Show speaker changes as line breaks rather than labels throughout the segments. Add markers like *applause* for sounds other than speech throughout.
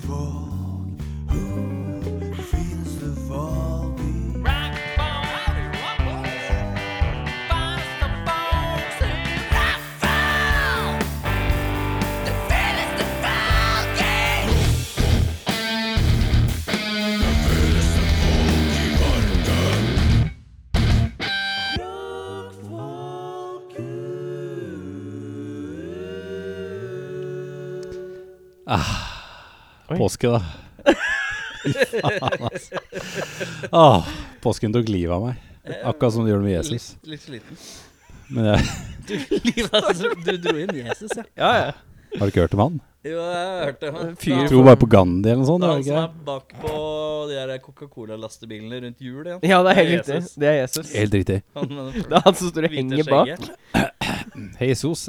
folk? Who finnes det folk i?
Oi.
Påske, da. Fy Faen, altså. Åh, påsken tok livet av meg. Akkurat som det gjorde med Jesus.
Litt, litt *laughs* sliten.
Men jeg
Livet, altså, du dro inn Jesus, ja.
Ja, ja.
har du ikke hørt om han?
Jo, jeg hørte han.
Fyr
Jeg tror bare på Gandhi eller
Det
noe sånt.
er han
var
som
det ikke
er bak på de der Coca-Cola-lastebilene rundt jul igjen.
ja, det er
Det
helt
er
riktig.
Jesus.
Det er Jesus.
det? Helt riktig.
Han med den
Det er han som står og
hvite
henger bak.
skjegget.
Hei, Sos.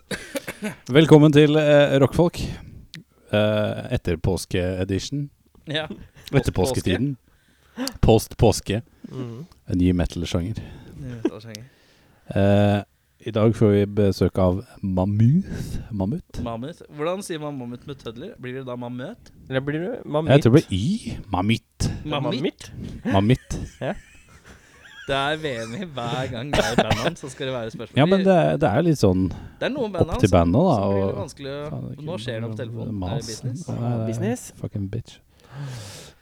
Velkommen til eh, Rockfolk. Eh, etter påske-edition.
Ja.
Etter
Post-påske.
påsketiden. Post påske.
Mm.
En ny metal-sjanger.
Det var skjegget.
Eh, I dag får vi besøk av Mammuth. Mammut?
Mammut. Hvordan sier man mammut med tødler? Blir det da mammut?
Eller blir du
Jeg
mammitt?
tror det ble Y. Mammitt.
Mammitt?
Mammitt.
Det er VM i hver gang det er i bandet hans, så skal det være spørsmål.
Ja, men det, er- det er litt sånn
det er noen band
opp
hans
til
som
bandet, da.
blir litt
Og
vanskelig å
Faen, det er
Nå
ikke
skjer det
noe
på telefonen. Det
mas.
er business.
Nei, det er
Business?
Fucking bitch.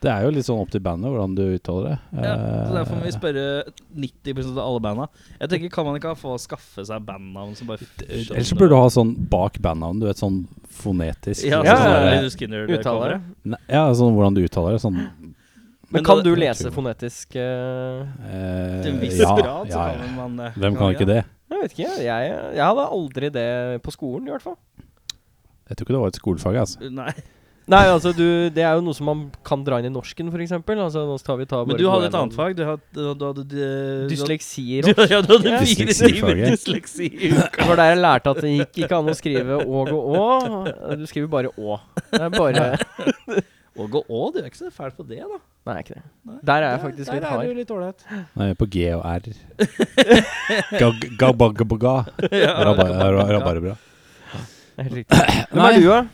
Det er jo litt sånn opp til bandet hvordan du uttaler det.
Ja, så Derfor må vi
Eh,
spørre 90 av alle banda. Jeg tenker, Kan man ikke få skaffe seg bandnavn som bare
Ellers så burde du ha sånn bak bandnavn, du vet, sånn fonetisk.
Ja,
sånn,
sånn som
ja, ja.
der-
Lydus Skinner
Uttaler
cover.
det.
Nei, ja, sånn hvordan du uttaler det. Sånn
Men
Men
kan
da-
du lese fonetisk eh,
eh,
Til en viss
ja,
grad, så
ja, ja.
kan man eh,
Hvem kan ikke det?
Jeg vet ikke, jeg, jeg, jeg hadde aldri det på skolen i hvert fall.
Jeg tror ikke det var et skolefag, altså.
Nei,
Nei, altså du, det er jo noe som man kan dra inn i norsken for eksempel. Altså, nå tar vi ta
Men
bare
du
gå
hadde et
gjennom- *laughs*
annet fag. Du hadde, eh, du hadde du-
Dysleksi.
Du, *laughs* ja, du hadde fire timer
Dysleksifaget.
dysleksi i
*laughs*
uka.
Det var der jeg lærte at det gikk ikke an å skrive åg og å. Du skriver bare å. Det er bare
Åge Å, du er ikke så fæl på det, da.
Nei, ikke det.
Nei.
Der er jeg faktisk
Der
litt
er
hard.
du litt *laughs* ålreit.
Nei, på G og
*laughs*
R. Gag- Gabagabaga. Rabar- ra- Rabarbra.
Det er Helt riktig. Hvem
Nei.
er du, da?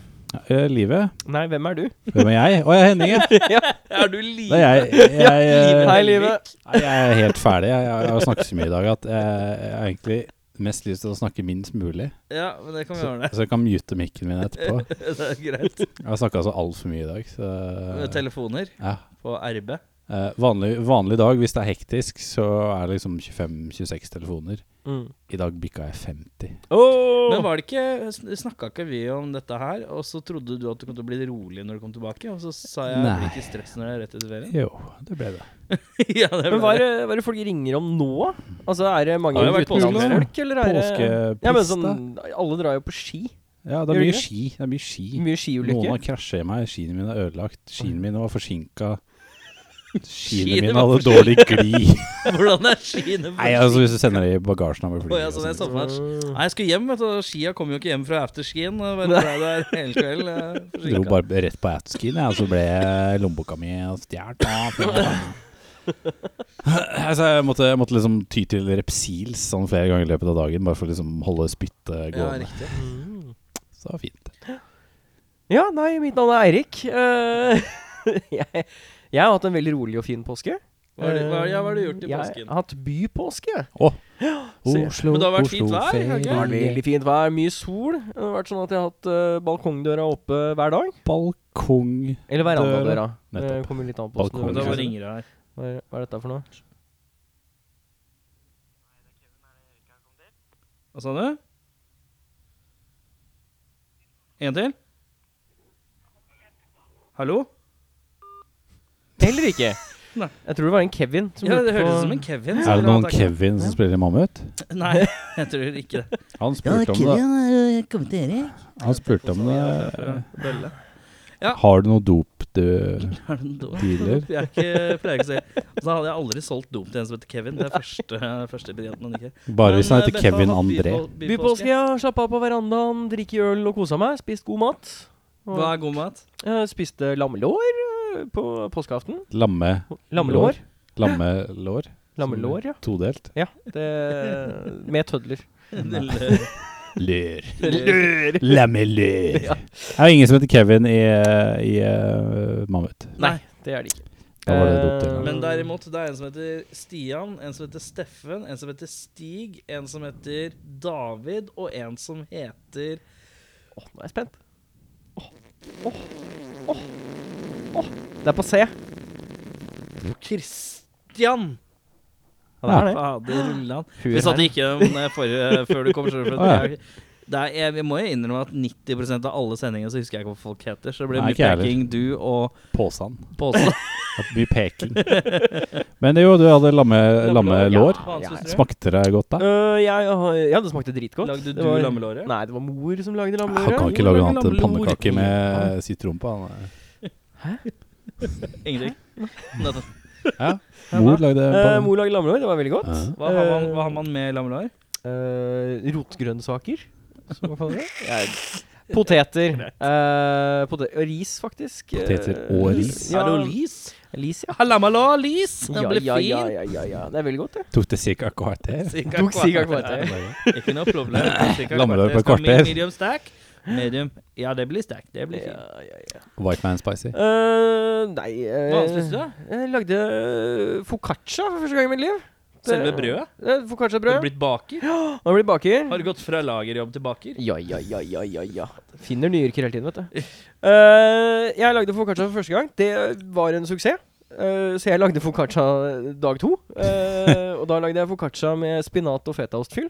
Eh, Livet.
Nei, hvem er du?
Hvem er jeg? Å, jeg er Henning, ja.
Er du
Det
livredd?
er
*laughs*
jeg. jeg, eh,
Hei, livet.
Nei, Jeg er helt ferdig. Jeg, jeg har snakket så mye i dag at jeg, jeg har egentlig mest lyst til å snakke minst mulig.
Ja, men det kan
Sånn
vi
Så,
ordne. *laughs*
så jeg kan mute mikken min etterpå.
Det er greit.
Jeg har snakka så altfor mye i dag. Så,
Telefoner
ja.
på RB.
Eh, vanlig, vanlig dag, hvis det er hektisk, så er det liksom 25-26 telefoner.
Mm.
I dag bikka jeg 50.
Men var det ikke sn- snakka ikke vi om dette her, og så trodde du at du kom til å bli rolig når du kom tilbake, og så sa jeg
Nei.
blir ikke stress når det er rett etter ferien?
Jo, det ble det.
*laughs* ja, det
Men
ble det.
hva er, det, hva er det folk ringer om nå? Altså, er det mange
Har det vært påskeferie?
utenlandsfolk, eller er det
Påskepiss,
Ja, men sånn,
da.
alle drar jo på ski.
Ja, det
Gjør
er
det
mye
ikke?
ski. Det er mye ski.
Mye
Noen
skiulykker.
har krasja i meg. Skiene mine er ødelagt. Skiene mine var forsinka.
*laughs*
Skiene
Skiene
mine
var
hadde dårlig gli.
Hvordan er skiene
Nei, altså hvis du sender det i bagasjen av et
Å,
fly Altså,
ja,
og
sånn jeg så for
sånt.
meg. Nei, jeg skulle hjem, vet du. og Skia kom jo ikke hjem fra afterskien. og Bare ble der hele kveld. eh,
*laughs* Jeg dro
forsinket.
bare rett på atskien, jeg, og så ble lommeboka mi stjålet.
*laughs*
altså, jeg, måtte, jeg måtte liksom ty til Repsils sånn flere ganger i løpet av dagen, bare for å liksom holde spyttet
Ja,
gående.
riktig.
Mm.
så det var fint.
Ja, nei, mitt navn er Eirik. Eh, *laughs* jeg, jeg har hatt en veldig rolig og fin påske.
Hva har du, hva, ja, hva har du gjort i
Eh, Jeg
påsken?
har hatt bypåske. Se.
Oslo,
Men det har vært
Oslo
fint vær, har det
Det har vært
ferie.
veldig fint vær, mye sol. Det har vært sånn at jeg har hatt eh, balkongdøra oppe hver dag.
Balkong
Eller verandadøra. Det
Nettopp.
kommer litt an på
Balkong.
Men da
Balkongdøra.
hvordan
var
du-
ringer her.
Hva er hva er dette for noe?
Hva sa du? En til? Hallo?
Eller ikke.
Nei.
Jeg tror det var en Kevin som
Ja,
lurte
det
på-
hørtes ut som en Kevin. som
Er det
ville ha
noen
tak-
Kevin som spiller i Mammut?
Nei, jeg tror ikke det.
Han spurte om det.
kom øh, til Erik.
Han spurte om det.
Bølle.
Har du noe dop
*laughs*
du
Er det noen dop?
dealer?
Jeg er ikke, pleier ikke å si Så da hadde jeg aldri solgt dop til en som heter Kevin. Det er første, første briljant man liker.
Bare hvis han
Men, eh,
heter
Beffa
Kevin
har hatt
André.
bypå- bypåske.
Bypåske, ja. Slappa av på verandaen, drikke øl og kosa meg. Spist god mat. Og
Hva er god
*laughs*
mat?
jeg spiste lammelår eh, på påskeaften.
Lamme...
Lammelår.
Lammelår?
Lammelår, ja.
Todelt? *laughs*
ja det, med tødler.
Lille-
Lør.
*laughs* Lør!
La meg lør.
Ja.
Det er jo ingen som heter Kevin i, eh, i eh, Mammut.
Nei, det er det ikke.
Da var det dumt. det.
Eh,
Men derimot, det er en som heter Stian, en som heter Steffen, en som heter Stig, en som heter David, og en som heter
Åh, nå er jeg spent. Åh, åh, åh, åh. Det er på C.
Kristian.
Ja, det er det.
Fader rullan.
Huet
Vi satt
her.
ikke om det
*laughs*
forrige før du kom. selv, for
Å, ja.
det er- Det er, jeg, jeg må jo innrømme at 90 av alle sendingene så husker jeg ikke hva folk heter. Så det blir
Nei,
mye
ikke jeg heller.
peking, du og
Påstand.
påstand.
Det er Mye peking. Men jo, du hadde *laughs* lamme, lammelår.
ja, ja.
Smakte
Smakte det godt da?
Øh, jeg, har- ja, det smakte dritgodt.
Lagde
Det
du
var-
lammelåret?
Nei, det var mor som lagde
Han kan
lammelåret.
ikke lage annet enn pannekaker med sitron på. han. eh.
Ingenting. Nettopp.
Ja, mor lagde
Eh,
panne-
mor lagde lammelår, det var veldig godt.
Ja.
Hva har man, hva har man med lammelår?
Eh, rotgrønnsaker, som man *laughs* kaller det. Jeg, poteter. eh, pote- og ris, faktisk.
Poteter
Eh,
og ris.
Ja,
Er det lis?
lis, ja.
Ha lammelår, lis! Den
Ja,
blir
ja, ja,
fin.
ja, ja, ja. Det er veldig godt, det.
Tok det ca. et
*laughs*
kvarter.
Cirka
Tok sikkert
kvarter. *laughs*
kvarter.
Ikke noe
*laughs*
problem. Cirka
Lammelår på et
Skal
kvarter.
mi- Medium stack. Medium. Ja, det blir stack. Det blir fint.
Ja, ja, ja.
White man spicy.
Eh, nei eh,
Hva spiste du da?
Jeg lagde eh, focaccia for første gang i mitt liv. Det-
Selve brødet?
Eh,
Har du
Focaccia-brød.
blitt baker?
Nå har jeg blitt baker.
Har du gått fra lagerjobb til baker?
Ja, ja, ja, ja, ja, ja. Finner nye yrker hele tiden, vet *laughs* du. Eh, jeg lagde focaccia for første gang. Det var en suksess. Eh, så jeg lagde focaccia dag to. Eh, og da lagde jeg focaccia med spinat og fetaostfyll.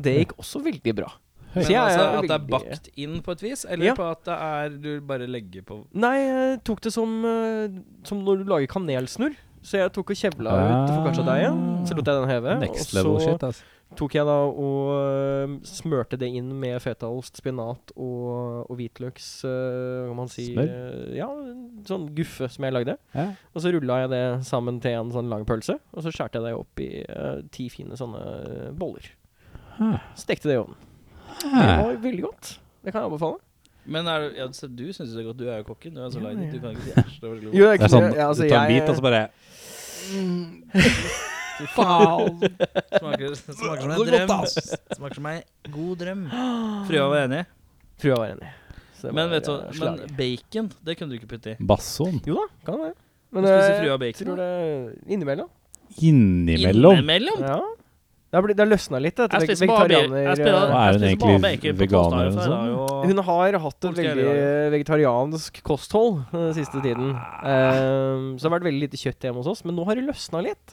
Det gikk også veldig bra.
Men
Så jeg
altså
er
At det er
veldig-
bakt inn på et vis, eller
Ja.
på at det er du bare legger på
Nei, jeg tok det som, eh, som når du lager kanelsnurr. Så jeg tok og kjevla ut
Ah.
foccacciadeigen. Så lot jeg den heve.
Next
og
level
så
shit, altså.
tok jeg da og eh, smørte det inn med fetaost, spinat og, og hvitløks eh, Hva kan man si
Smør?
eh, ja, en sånn guffe som jeg lagde.
Ja.
Og så rulla jeg det sammen til en sånn lang pølse. Og så skjærte jeg det opp i eh, ti fine sånne eh, boller.
Huh.
Stekte det i ovnen. Det
Ah.
var veldig godt. Det kan jeg anbefale.
Men er, du- ja, så du syns det er godt. Du er jo kokken. Du er så
Ja,
lei
ja.
Du kan ikke si æsj. Det var veldig godt.
Jo,
Det er sånn,
ja, altså,
du tar en
jeg-
bit, og så bare
Faen!
Smaker, smaker som en drøm. Smaker som en god drøm. Frua var enig.
Frua var enig. Så det
Men
var,
vet du
eh,
hva,
slaget.
men bacon, det kunne du ikke putte i.
Basson.
Jo da, kan det være. Men
Spiser
eh,
frua
jeg
bacon?
tror
da?
det innimellom.
Innimellom.
Innimellom?
Ja. Det har, blitt, det har løsna litt, dette
Jeg
veg-
spiser bare bacon. Jeg spiser,
eh,
Hva er
jeg
hun
spiser
egentlig,
bare bacon på
veganer
torsdager,
eller
for
noe
det er jo-
Hun har hatt et
Polske
veldig
hele
vegetariansk kosthold eh, den siste tiden. Ehm, så det har vært veldig lite kjøtt hjemme hos oss, men nå har det løsna litt.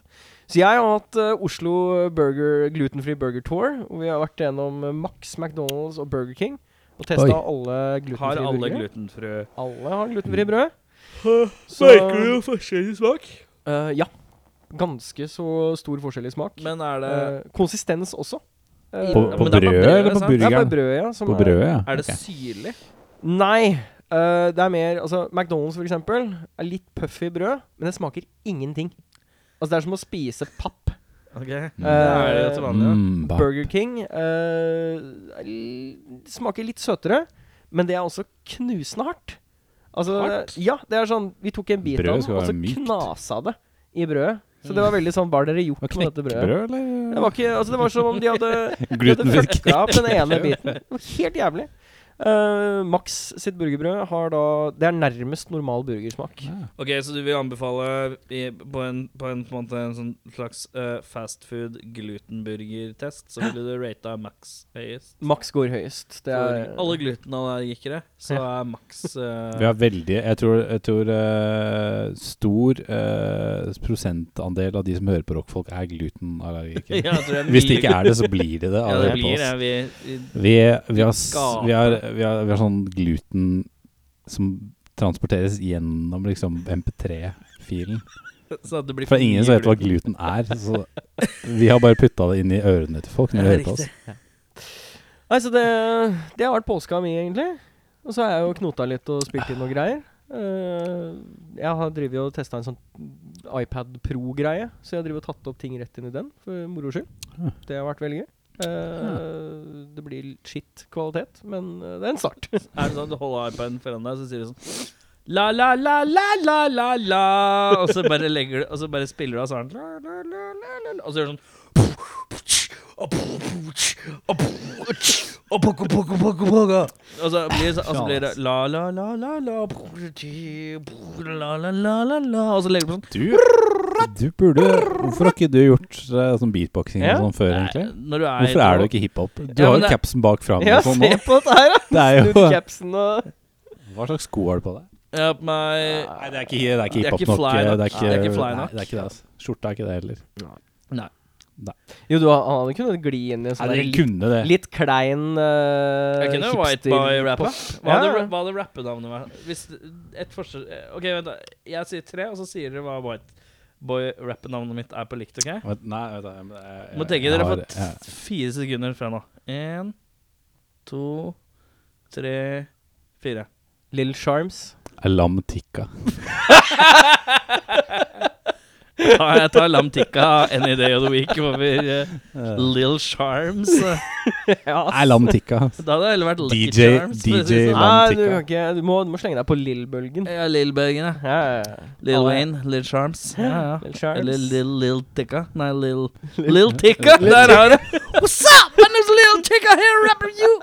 Så jeg har hatt eh, Oslo Burger Glutenfri Burger Tour, hvor vi har vært gjennom eh, Max, McDonald's og Burger King. Og testa
Oi.
alle
Har
glutenfrie
alle
burgere.
glutenfrø
alle har glutenfri brød. Så-
Merker du forskjellig smak?
Eh, ja. Ganske så stor forskjell i smak.
Men er det
Eh, konsistens også. Eh,
På,
Ja, men
på
det er på
brødet
brødet,
eller på
sant?
det er bare
burgeren?
brødet, ja. Som
På
er,
brødet, ja.
Er det
Ok.
syrlig?
Nei. eh, det er mer Altså, McDonald's, for eksempel, er litt puffy brød, men det smaker ingenting. Altså, det er som å spise papp.
Ok Det
Mm.
er det jo til vanlig, da.
Mm, ba-
Burger King eh, er l- smaker litt søtere, men det er også knusende hardt. Altså,
Hardt?
Ja, det er sånn Vi tok en bit
Brød
av den,
skal
og
være
så
mykt.
knasa det i brødet. Så det var veldig sånn Hva har dere gjort
Og
med dette
knekkebrød,
brødet?
eller?
Det var ikke, altså det var som om de hadde,
*laughs*
de hadde
Glutenfritt
fucka opp den ene biten. Det var helt jævlig. Eh, Max sitt burgerbrød har da Det er nærmest normal burgersmak.
Ja.
Ok, så du vil anbefale i, på, en, på, en, på en måte en sånn slags eh, fast food glutenburger-test, så ville
*gasps*
du rata Max høyest?
Max går høyest. Det er
For alle glutenallergikere, så er Max
*laughs*
eh,
Vi har veldig Jeg tror, jeg tror eh, stor eh, prosentandel av de som hører på rockfolk, er
*laughs* *laughs*
glutenallergikere.
ja, jeg tror det
Hvis det ikke er det, så blir det det.
Ja, det
allerede på
blir
oss.
det. Vi, vi,
Vi, vi, har, s-
Skape.
vi, har, vi, har, vi har sånn gluten som transporteres gjennom liksom MP3-filen.
så at det blir
For det er ingen som vet hva gluten er. Så vi har bare putta det inn i ørene til folk når de hører på oss.
Nei, så det, det har vært påska mi, egentlig. Og så har jeg jo knota litt og spilt inn noen greier. Eh, jeg har drevet og testa en sånn iPad Pro-greie, så jeg har drevet og tatt opp ting rett inn i den for moro skyld.
Ja.
Det har vært veldig gøy. Eh, det blir skitt kvalitet, men eh, det er en start.
Er det sånn at du holder iPaden foran deg, så sier du sånn La, la, la, la, la, la, la Og så bare, legger, du- og så bare spiller du av sånn la, la, la, la, la, la, Og så gjør du sånn Og poco, poco, poco, poco. Og så blir det, og så blir det la, la, la, la, la, la, la, la, la, la. Og så legger du på sånn.
Du, du burde Hvorfor har ikke du gjort eh, sånn beatboxing
Ja.
og sånn før,
Nei,
egentlig?
når du er
Hvorfor er du ikke hiphop? Du
Ja,
har
men
jo
det-
capsen bak fram.
*laughs* Ja,
og sånn
se
nå.
på dette
*laughs*
her,
Det
da!
er
Snudd
*laughs*
jo
capsen og
Hva slags sko har du på deg?
Jeg har på meg
Nei, det er ikke, det er ikke
Det er
hiphop
ikke
nok.
fly
eh,
nok.
Det er ikke,
Det er ikke fly
Nei,
nok.
det er ikke det, altså. Skjorta er ikke det heller.
Jo, du, han hadde kunnet gli inn i en
Nei,
sånn
dere
der litt,
kunne det.
litt klein uh,
Jeg kunne white boy-rappa. Hva
Ja,
hadde,
ja.
hva hadde rappenavnet vært? Hvis et forskjell OK, vent, da. Jeg sier tre, og så sier dere hva white boy-rappenavnet mitt er på likt, OK?
Vent, Nei, vet du, jeg- jeg- jeg-
Må tenke
jeg
dere
har-
får
jeg-
t- fire sekunder fra nå. Én, to, tre, fire.
Little Charms.
*laughs* Alam tikka.
Ja, jeg tar Lam Tikka any day of the week over uh, Lill Charms.
ja, ass.
Alam tikka.
*laughs* Da hadde det heller vært Lucky
DJ
Charms. for å si det sånn.
Nei, du
Atlantica.
kan ikke Du må, du må slenge deg på Lill-bølgen.
Ja, Lill Bergen, ja.
Ja, ja, ja.
Lill
Alle-
Wayne, Lill Charms. Ja, ja.
Little Charms.
Eller Lill Lill Tikka. Nei, *laughs* Lill Lill Tikka. Der har du What's up? My name's Lill Tikka here, rapping you.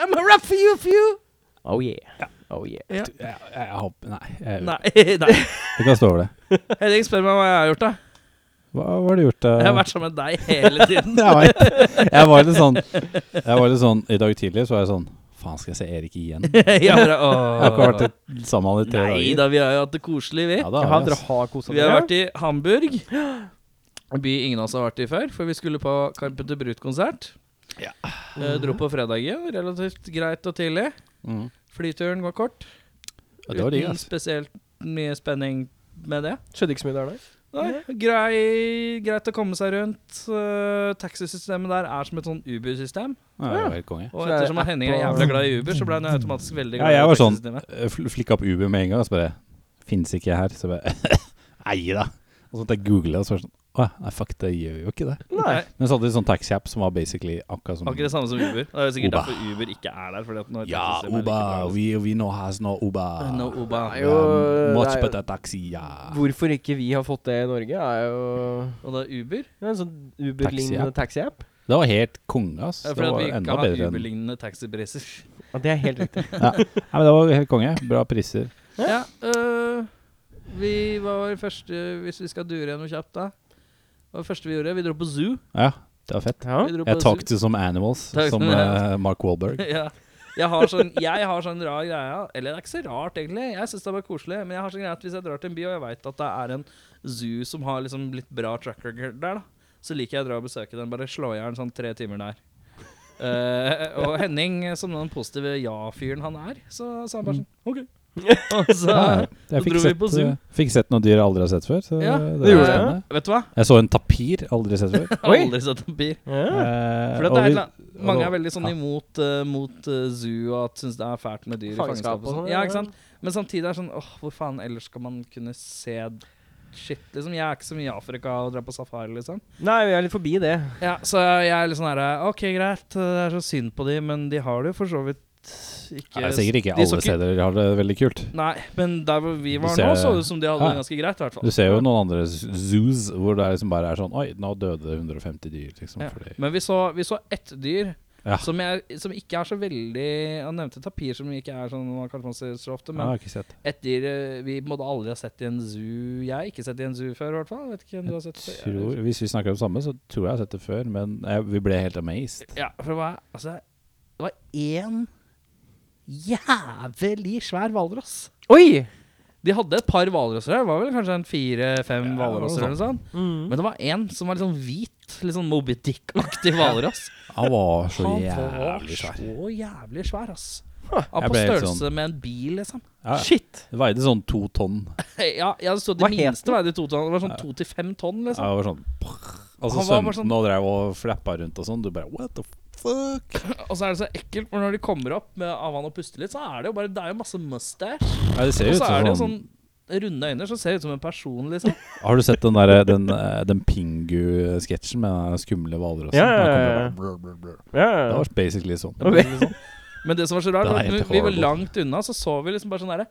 I'm a rap for you, for you.
Oh yeah. Oh yeah.
Du, Jeg, jeg, jeg, håper- nei, jeg,
Nei, nei.
jeg kan stå over det.
Henning, spør meg hva jeg har gjort, da.
Hva, hva har du gjort? eh?
Jeg har vært sammen med deg hele *laughs* tiden.
jeg vet. Jeg var litt sånn Jeg var litt sånn I dag tidlig så var jeg sånn Faen, skal jeg se Erik igjen? Jeg
Jeg bare,
har ikke vært
åh.
litt sammen med han i tre
Nei
dager.
da, vi har jo hatt det koselig, vi.
Ja, da,
Jaha,
har vi,
dere
ass.
har kosa
Vi har
dere?
vært i Hamburg. sånn En by ingen av oss har vært i før, for vi skulle på Carpenter Brut-konsert.
Ja.
Mhm.
Eh, dro på fredagen, relativt greit og tidlig.
Mm.
Flyturen var kort.
Ja, det var digg,
Uten
ass.
spesielt mye spenning med det.
Skjønte ikke så mye der, nei.
Nei, grei, greit å komme seg rundt. Eh, taxisystemet der er som et sånn Uber-system.
Ja, det var helt konge.
Og
Så det er
ettersom at Henning er
app og-
jævlig glad i Uber, så ble han automatisk veldig
Ja,
glad
jeg
i
var sånn
taxisystemet.
eh, fl- Flikka opp Uber med en gang og så bare Fins ikke jeg her? Så bare *laughs* Nei da. Og så måtte jeg googlet, og så var det sånn Å ja, nei, fuck, det gjør jo ikke det.
Nei,
Men så hadde de sånn taxi-app som var basically akkurat som
Akkurat det samme som Uber. Det er jo sikkert
Uber.
derfor Uber ikke er der. Fordi at nå er
Ja,
taxisystemet like
Uber.
bra.
We, we know has no Uber.
No Uber.
er jo-
Um, much
det er jo-
better taxi, ja.
Hvorfor ikke vi har fått det i Norge, er jo
Og da Uber
ja, en sånn Uber-lignende taxi-app.
Det var helt konge, ass.
Det er
Det
fordi at
var
vi ikke
enda
har
bedre enn
Uber-lignende taxipriser.
Ja, det er
*laughs*
helt riktig.
Nei, men det var helt konge. Bra priser.
Ja, øh, vi var første Hvis vi skal dure gjennom kjapt, da. Hva var det første vi gjorde? Vi dro på zoo.
Ja, det var fett.
Ja.
Vi dro på zoo.
Jeg talked to some animals,
Talked
som
to-
eh, Mark Wahlberg.
*laughs* ja. jeg, har sånn, jeg har sånn rar greie Eller det er ikke så rart, egentlig. Jeg syns det er bare koselig. Men jeg har sånn greie at hvis jeg drar til en by, og jeg veit at det er en zoo som har liksom litt bra track record der, da, så liker jeg å dra og besøke den. Bare slå i hjel sånn tre timer der. Eh, og Henning, som den positive ja-fyren han er, så sa han bare sånn OK. Og så,
Ja, jeg
så
fikk
dro vi
sett,
på zoo.
eh, fikk sett noen dyr jeg aldri har sett før. Så
Ja,
det
det
var
gjorde jeg.
spennende.
vet du hva?
Jeg så en tapir, aldri sett
*laughs*
før.
Jeg har
Oi.
Aldri sett en bil.
Ja.
Eh,
For at
og
det er,
vi-
et eller annet- mange
og-
er veldig sånn
ja.
imot, eh, mot eh, zoo og at syns det er fælt med dyr i fangenskap. og sånn. Ja, ikke sant? Men samtidig er det sånn åh, hvor faen ellers skal man kunne se shit? liksom? Jeg er ikke så mye i Afrika og drar på safari, liksom.
Nei, vi er litt forbi det.
Ja, Så jeg er litt sånn herre OK, greit, eh, det er så synd på de, men de har det jo for så vidt ikke
Ja, det er sikkert ikke
de så
alle steder har det veldig kult.
Nei, men der hvor vi var
Du
nå,
ser-
så det ut som de hadde
Ja.
det ganske greit, i hvert fall.
Du ser jo noen andre z- zoos hvor det er liksom bare er sånn Oi, nå døde 150 dyr, liksom.
Ja.
Fordi
Men vi så, vi så ett dyr
Ja.
som, jeg, som ikke er så veldig Han nevnte tapir, som ikke er sånn man kanskje man ser så ofte.
Ja, jeg
Men
har ikke sett.
ett dyr eh, vi måtte aldri ha sett i en zoo. Jeg har ikke sett i en zoo før, i hvert fall. Vet ikke om du har sett det.
Tror, hvis vi snakker om samme, så tror jeg jeg har sett det før, men jeg, vi ble helt amazed.
Ja, for det var, altså, det var én jævlig svær hvalross.
Oi!
De hadde et par hvalrosser her. Det var vel kanskje en fire-fem
Ja,
hvalrosser
noe Mm.
eller noe sånt. Men det var én som var litt sånn hvit, litt sånn Moby Dick-aktig hvalross.
Han var *laughs* så
Han var
jævlig svær.
så jævlig svær, ass. Han
Jeg
var på
ble helt sånn-
størrelse med en bil, liksom.
Ja, ja.
Shit!
Det veide sånn to tonn.
Ja, ja det stod
Hva
det
het
minste veide to tonn. Det var sånn to til fem tonn,
Ja,
liksom.
det var sånn Og så
Han var bare sånn-
svømte den og drev og flappa rundt og sånn. Du bare What the fuck?
Og så er det så ekkelt, for når de kommer opp med, av vann og puster litt, så er det jo bare Det er jo masse mustache.
Ja, det ser
Og
jo ut
så er
som
det
sånn,
jo sånn runde øyne som ser ut som en person, liksom.
Har du sett den der Den, eh, den Pingu-sketsjen med den skumle hvalrossen?
Ja, ja, ja, ja.
Den kommer bare brr, brr, brr.
Ja,
Det
ja.
var basically sånn.
Ok.
liksom- Men det som var så rart,
*laughs* Det er
var at
helt
når vi var
horrible.
langt unna, så så vi liksom bare sånn derre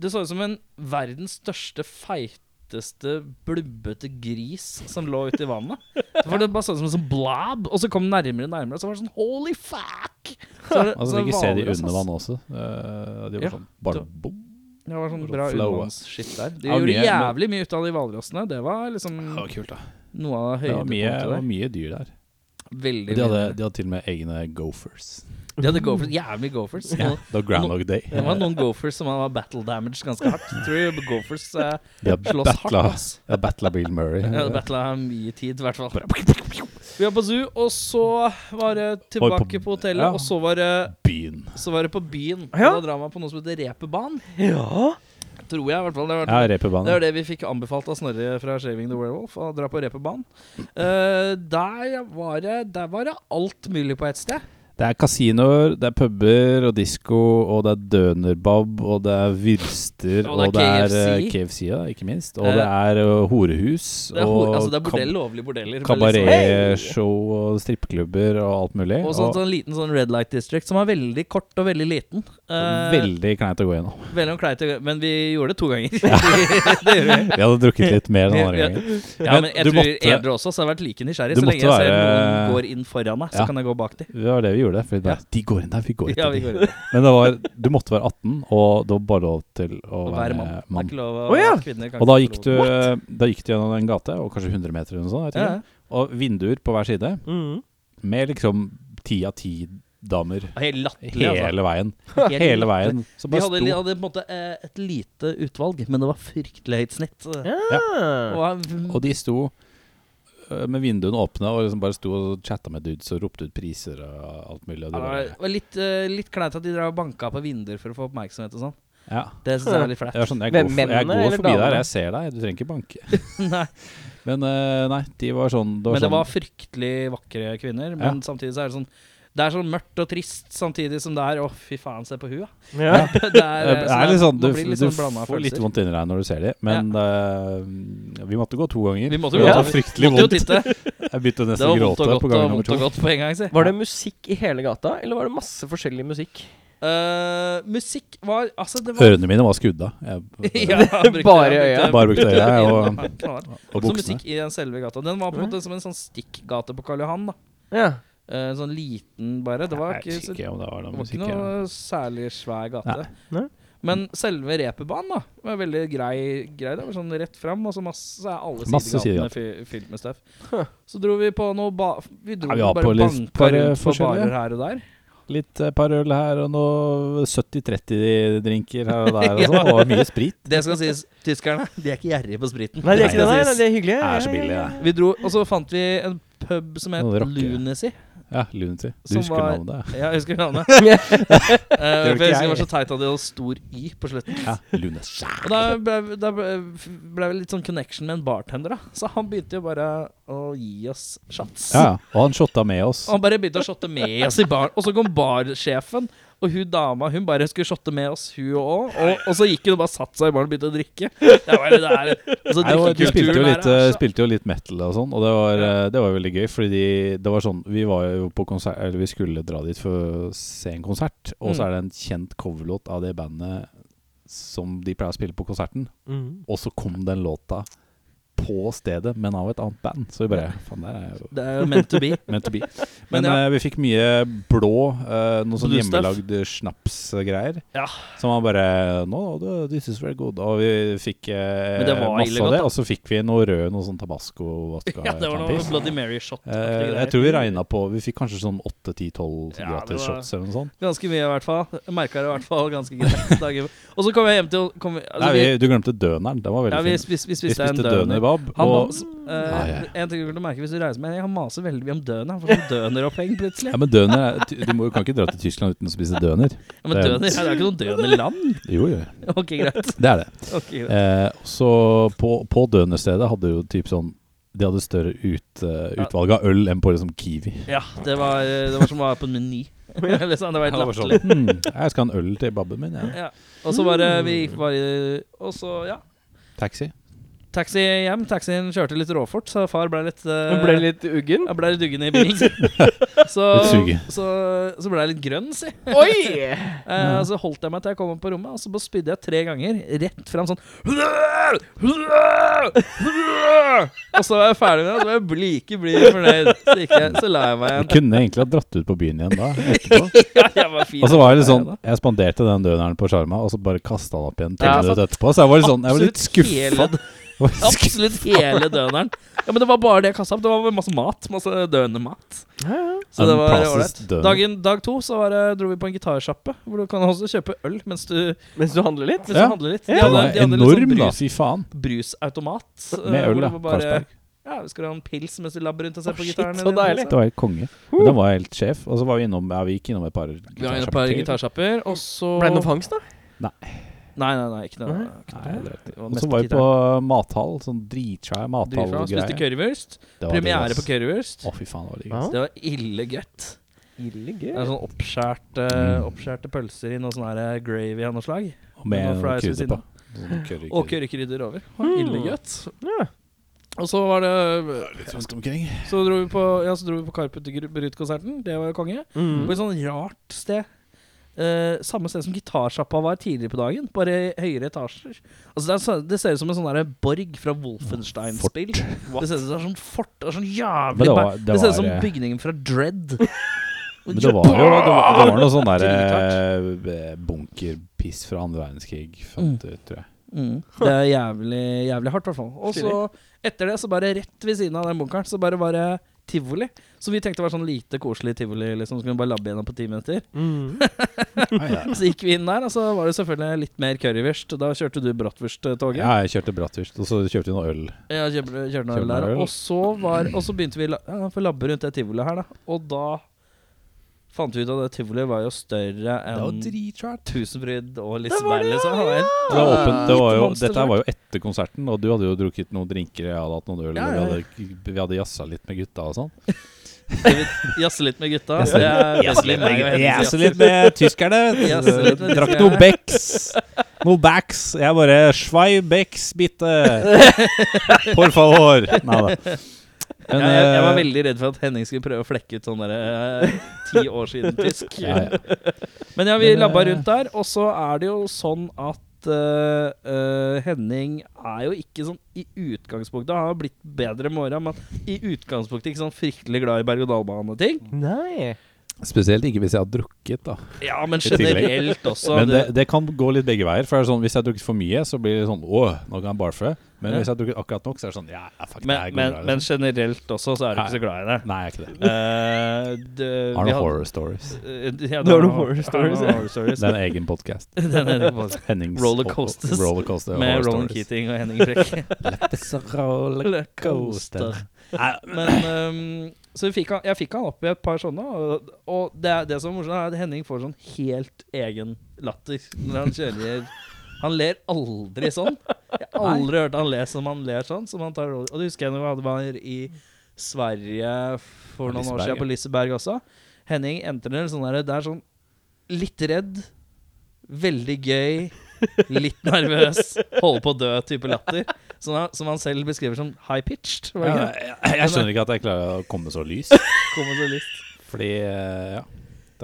Det så ut som en verdens største feite feiteste, blubbete gris som lå ute i
*laughs*
vannet. Så var det bare sånn som en sånn blob, og så kom den nærmere og nærmere, og så var det sånn holy fuck!
*laughs*
Så var det- sånn
Altså,
så
ikke se de
hvalross,
under
ass.
vann også. Eh, de var
Ja,
sånn bare
det-
bom.
Det var sånn bra
Flow,
undervannsskitt der. De
Ja,
gjorde
mye-
jævlig mye ut av de hvalrossene. Det var liksom
Det var kult, da.
noe av
Det var mye,
høydepunktet
det var
der.
mye dyr der. Og
Veldig
De hadde,
mye.
de hadde til og med egne gophers.
De hadde gophers, jævlig gophers.
Ja,
Og
*laughs* det var Groundhog Day.
Det var noen gophers som var battle damage ganske hardt. Tror jeg gophers eh,
De har
slåss hardt.
battla,
ass.
de har battla Bill Murray.
Jeg hadde battla mye tid, i hvert fall. Vi var på zoo, og så var det
Var
tilbake
på-
på hotellet.
ja.
Og så var, det,
Byen.
så var det på byen. Og
Ja.
Da drar man på noe som heter reperbanen.
Ja.
Tror jeg, i hvert fall. Det var,
Ja,
det
reperbane.
var det vi fikk anbefalt av Snorre fra Shaving the Werewolf, å dra på reperbanen. Eh, der, var det, der var det alt mulig på ett sted.
Det er kasinoer, det er puber og disko, og det er dønerbab, og det er vyrster,
Og det er
og det er eh,
KFC.
KFC, ja, ikke minst. Og
Eh,
det er eh, horehus,
Det er, ho-
og
altså, det er
kab-
bordell, lovlige bordeller. veldig sånn-
kabaretshow og strippeklubber og alt mulig.
Og
Og,
sånn, sånn liten sånn red light district som er veldig kort og veldig liten. Eh,
veldig kleint å gå gjennom.
Veldig kleit, men vi gjorde det to
*laughs*
ganger. *laughs* det gjorde vi.
Vi hadde drukket litt mer den andre
Ja.
gangen.
Ja, men jeg
du
tror
måtte-
edru også, så jeg har vært like nysgjerrig.
Du
Så lenge
måtte
jeg ser
være-
noen går inn foran meg, så
Ja.
kan jeg gå bak dem.
Det var det vi gjorde. For vi bare, De går inn der, vi går
Ja,
etter
vi
dem.
går inn.
Men det var, du måtte være 18, og det var bare lov til å
Og
være
hver mann. Det er
mann.
ikke lov å
Å, ja.
kvinner kan
Og da
ikke
gikk,
få
du, eh,
lov.
da gikk du gjennom en gate, og kanskje 100 meter eller noe sånt. jeg
ja.
tror. Og vinduer på hver side,
Mm.
med liksom ti av ti damer
ja. Helt latterlig, altså.
hele veien.
Helt
Hele
latterlig.
veien. Så
Vi
bare
hadde,
sto
hadde på en måte eh, et lite utvalg, men det var fryktelig høyt snitt.
Ah.
Og de sto øh, med vinduene åpne og liksom bare sto og chatta med dudes og ropte ut priser og alt mulig.
Ja, det
Og det bare,
var litt, eh, litt kleint at de drev og banka på vinduer for å få oppmerksomhet og sånn.
ja.
Det synes jeg var litt flaut.
Det var sånn, jeg
Hvem,
går, for, jeg
mennene
går
eller
forbi der,
damene?
jeg ser deg, du trenger ikke banke.
*laughs* Nei.
Men øh, nei, de var sånn det var
men det
sånn,
var fryktelig vakre kvinner. Men samtidig så er det sånn Det er sånn mørkt og trist, samtidig som det er Å, fy faen, se på hun, da.
Ja.
*laughs* Det er,
det
eh,
er,
så
litt
man
sånn, du,
blir litt
du
sånn blandet
får litt
følelser.
vondt inni deg når du ser dem, men øh, vi måtte gå to ganger.
Vi måtte
Det
gå
var
to-
fryktelig
Måtte jo
vondt.
titte.
*laughs* Jeg begynte
Det
nesten å
var vondt og
gråte
godt
på
og
gang nummer
vondt
to.
og godt på en gang, si.
Var det musikk i hele gata, eller var det masse forskjellig musikk?
Eh, musikk var Altså, det var
Ørene mine var skudda.
*laughs*
Jeg,
Ja, jeg brukte-
Bare
jeg brukte-
øya.
Bare brukte øya, og-
Ja, klar.
og
Så
buksene.
Altså, musikk i den selve gata. Den var på en måte som en sånn stikkgate på Karl Johan. da
Ja.
Eh, En sånn liten, bare. Det var
Jeg
ikke
vet
så
ikke om det var noe
Det var
musikk.
ikke
ja.
noe særlig svær gate.
Nei. Nei.
Men selve reperbanen da var veldig grei. grei det var sånn Rett fram, og så masse, så er alle
Masse
sidegatene fy- fylt med støv. Så dro vi på noe ba Vi dro
Ja, vi var
bare
på litt-
banka
bare
rundt på
forskjellige.
barer her og der.
Litt eh, par øl her og noe 70-30-drinker her og
*laughs*
der. Og
Ja.
sånn. Og mye sprit.
Det skal sies, tyskerne *laughs* de er ikke gjerrige på spriten.
Nei, det er ikke det,
skal
nei, nei,
sies.
det er hyggelig.
Det
ja,
er så
ja, ja,
billig,
ja.
det.
Vi dro, og så fant vi en pub som het
Noe rocker.
Lunacy.
Ja, Lunacy. Du
Som
husker
var-
navnet?
Ja, jeg husker
*laughs*
navnet.
Ja.
Eh, for jeg husker
ikke
det var
jeg.
så teit at de hadde stor Y på slutten.
Ja,
*laughs*
Lunacy.
Og da ble, da ble, ble vi litt sånn connection med en bartender, da. Så han begynte jo bare å gi oss shots.
Ja, ja. og han shotta med oss.
Og han bare begynte å shotte med oss i baren. Og så kom barsjefen, og hun dama hun bare skulle shotte med oss, hun òg. Og, og så gikk hun og bare satte seg i baren og begynte å drikke. Det var det der. Altså,
Nei, og de spilte jo,
drikkekulturen
litt,
her altså.
eh,
er så-
spilte jo litt metal og sånn, og det var, eh, det var veldig gøy. Fordi de- det var sånn Vi var jo på konsert Eller vi skulle dra dit for å se en konsert, og så
Mm.
er det en kjent coverlåt av det bandet som de pleier å spille på konserten.
Mm.
Og så kom den låta på stedet, men av et annet band. Så vi bare Faen, det er jo
Det er jo meant to
*laughs*
be.
meant to be.
*laughs* Men
Men,
ja.
eh, vi fikk mye blå, eh, noe sånn
Blue stuff.
hjemmelagd snapsgreier.
Ja.
Som var bare no, no, this is very good. Og vi fikk eh,
Men det var
masse
ille godt,
av det.
da.
Og så fikk vi noe rød, noe sånn tabasco vodka.
*laughs* Ja, det var noe
tampis.
Bloody Mary-shot.
Eh, jeg tror vi regna på Vi fikk kanskje sånn 8-10-12
Ja, det
gratis
var-
shots eller noe sånt.
Ganske mye, i hvert fall. Jeg merka det i hvert fall ganske greit. dagen. Og så kom jeg hjem til kom, vi- altså,
Nei, vi, du glemte døneren. Den var
vi, ja,
veldig
vi,
fin.
spis, vi
Vi
spiste en
spiste
døner.
dønerbab.
Han
og-
mas- eh,
Ja, ja.
En ting du kunne merke hvis du reiser med Han maser veldig mye om døner. Han får sånn døneroppheng plutselig.
Ja, men døner er- Du må, kan ikke dra til Tyskland uten å spise døner.
Ja, men
det-
døner, ja, det er ikke noe
*laughs*
dønerland.
Jo, jo.
Ok, greit.
Det er det.
Ok, greit.
Eh, så på, på dønerstedet hadde jo typ sånn De hadde større ut, eh, utvalg av øl enn på liksom Kiwi.
Ja, det var, eh, det var som å være på en meny. Eller sånn, det var helt
Jeg var sånn,
latterlig.
«Hm, jeg skal ha en øl til babben min. Ja.
Ja. Og så var det Vi gikk bare Og så, ja.
Taxi.
Taxi hjem. Taxien kjørte litt råfort, så far ble litt eh,
Hun ble litt uggen.
Jeg ble litt duggende i bilen. Så,
Litt suge.
så, så ble jeg litt grønn, si.
*laughs* Oi!
Eh, Så holdt jeg meg til jeg kom opp på rommet, og så bare spydde jeg tre ganger. Rett fram sånn Og så var jeg ferdig med det, og så var jeg blike blid fornøyd. Så, gikk jeg, så la jeg meg
Jeg
igjen.
kunne egentlig ha dratt ut på byen igjen da. Etterpå.
*laughs* Ja, jeg var fin.
Og så var jeg litt sånn Jeg spanderte den døneren på Sjarma, og så bare kasta han opp igjen ti
Ja, altså,
minutter etterpå. Så jeg var litt sånn Jeg var litt
Absolutt hele-
skuffa. *laughs* Jeg var skuffet.
Absolutt hele døneren. Ja, Men det var bare det jeg kasta opp. Det var masse mat. Masse dønemat.
Ja, ja.
Så det
En
var
plastisk
ålreit.
døner.
Dagen- Dag to så var det, dro vi på en gitarsjappe, hvor du kan også kjøpe øl mens du,
Mens du handler litt?
mens
Ja.
du handler litt. De
Den
de
var
litt sånn
enorm, da.
brus-
Fy faen.
brusautomat.
Med
eh,
øl,
hvor
da,
det var bare-
Carlsberg.
Ja, vi skulle ha en pils mens du labber rundt og ser
Å,
på
shit,
gitaren.
så
din,
deilig.
altså.
Det var helt konge. Men den var helt sjef. Og så var vi innom Ja, vi gikk innom et par
Vi har et par
til.
gitarsjapper, og så
Ble det noe fangst, da?
Nei, nei, nei, ikke noe.
Nei.
ikke noe.
Nei, jeg dreit i.
Det var
Og
mest
så var vi
gitar.
på mathall. Sånn dritsvær
Drivfra, Spiste
mathallgreie.
currywurst.
Det var
Premiere
digg,
på
ass.
currywurst.
Å, fy faen, det var digg.
Ja. Altså,
ass.
Det var ille gøtt.
Ille
Det er sånn oppskjært, eh,
Mm.
oppskjærte pølser i noe sånn her, eh, gravy av noe slag.
Og med
Og
noe
fries ved
krydder
siden
på.
av.
Sånn curry-
Og currykrydder over. Det var
Mm.
Ille gøtt.
Ja.
Og så var det
Litt rundt omkring.
Så dro vi på, ja, så dro vi på Karpet Brut-konserten. Det var jo konge. På
Mm.
et sånn rart sted. Eh, samme sted som gitarsjappa var tidligere på dagen, bare i høyere etasjer. Altså Det, er, så- det ser ut som en sånn der borg fra Wolfenstein-spill. Det ser ut som sånn fort. Det, er sånn jævlig,
Men det
det,
var- det
ser ut
var,
som
eh,
bygningen fra Dread.
*laughs*
*laughs*
Men det var jo Det var, det var noe sånn der
Tiltak.
eh, bunkerpiss fra andre verdenskrig, fant jeg ut,
*laughs*
tror jeg.
Mm. Det er jævlig, jævlig hardt, i hvert fall. Og så etter det, så bare rett ved siden av den bunkeren, så bare var det tivoli. Så vi tenkte det var sånn lite koselig tivoli, liksom. Så kunne vi bare labbe gjennom på ti minutter.
Mm.
*laughs* Så gikk vi inn der, og så var det selvfølgelig litt mer currywurst. Da kjørte du bratwurst-toget.
Ja, jeg kjørte bratwurst, og så kjøpte vi noe øl.
Ja, kjørte, kjørte noe
Kjørte
øl der.
noe øl.
Og så, var, og så begynte vi la- ja, for å labbe rundt det tivoliet her, da. Og da fant vi ut at det tivoliet var jo større enn
dritsvært.
Tusenfryd og Liseberg, liksom. Det var helt-
Det var åpent, det var jo,
Litt monstersvært.
dette her var jo etter konserten, og du hadde jo drukket noen drinker, jeg hadde hatt noen øl,
Ja, ja,
og
ja.
vi hadde, vi hadde jazza litt med gutta og sånn.
liksom. Jazze litt med gutta.
Jazze
Det er veldig meg og Hennes jazz.
litt med tyskerne.
Jazze litt med
Drakk
tyskerne.
noe Becks. Noe Backs. Jeg bare Schwei Becks, bitte.
*laughs*
Por favor. Nei da. eh,
Ja, jeg, jeg var veldig redd for at Henning skulle prøve å flekke ut sånn derre eh, ti år siden tysk.
ja, ja.
Men ja, vi
Men,
labba
eh,
rundt der, og så er det jo sånn at eh, eh, Henning er jo ikke sånn i utgangspunktet Han har blitt bedre med åra, men i utgangspunktet ikke sånn fryktelig glad i berg-og-dal-bane-ting.
Nei.
Spesielt ikke hvis jeg har drukket, da.
Ja, men
tillegg.
generelt også.
Men det,
det-
det kan gå litt begge veier. For det er sånn, Hvis jeg har drukket for mye, så blir det sånn Åh, nå kan jeg barfe. Men
Ja.
hvis jeg har drukket akkurat nok, så er det sånn Ja, ja, fuck, det
men,
her går
men,
bra.
men
liksom.
generelt også, så er du ikke så glad i det.
Nei, jeg er ikke det.
Eh, det- vi
Arnold
hadde-
Horror Stories.
Eh, ja,
Nå er det
Arnold-
horror
Arnold
stories, ja.
Horror Stories. *laughs*
Det er en egen podkast.
Den er det faktisk.
Hennings
Rollercoasters.
Rollercoaster
Med
Horror
Roland
Stories.
Keating og Henning Frekk.
*laughs* Let's rollercoaster.
Men øhm, Så vi fikk han, jeg fikk han opp i et par sånne, og, og det, er- det som er morsomt, er at Henning får sånn helt egen latter når han kjører Han ler aldri sånn. Jeg har aldri hørt han le som han ler sånn. Som han tar, roll- og det husker jeg når vi hadde var i Sverige for noen år
Liseberg,
siden, på Liseberg også. Henning endte ned sånn der, det er sånn litt redd, veldig gøy, litt nervøs, holder på å dø type latter. Som han, som han selv beskriver som high-pitched. Var det
Ja,
ikke det?
jeg, jeg skjønner ikke at jeg klarer å komme så lys.
Kommer så lyst.
Fordi, eh, ja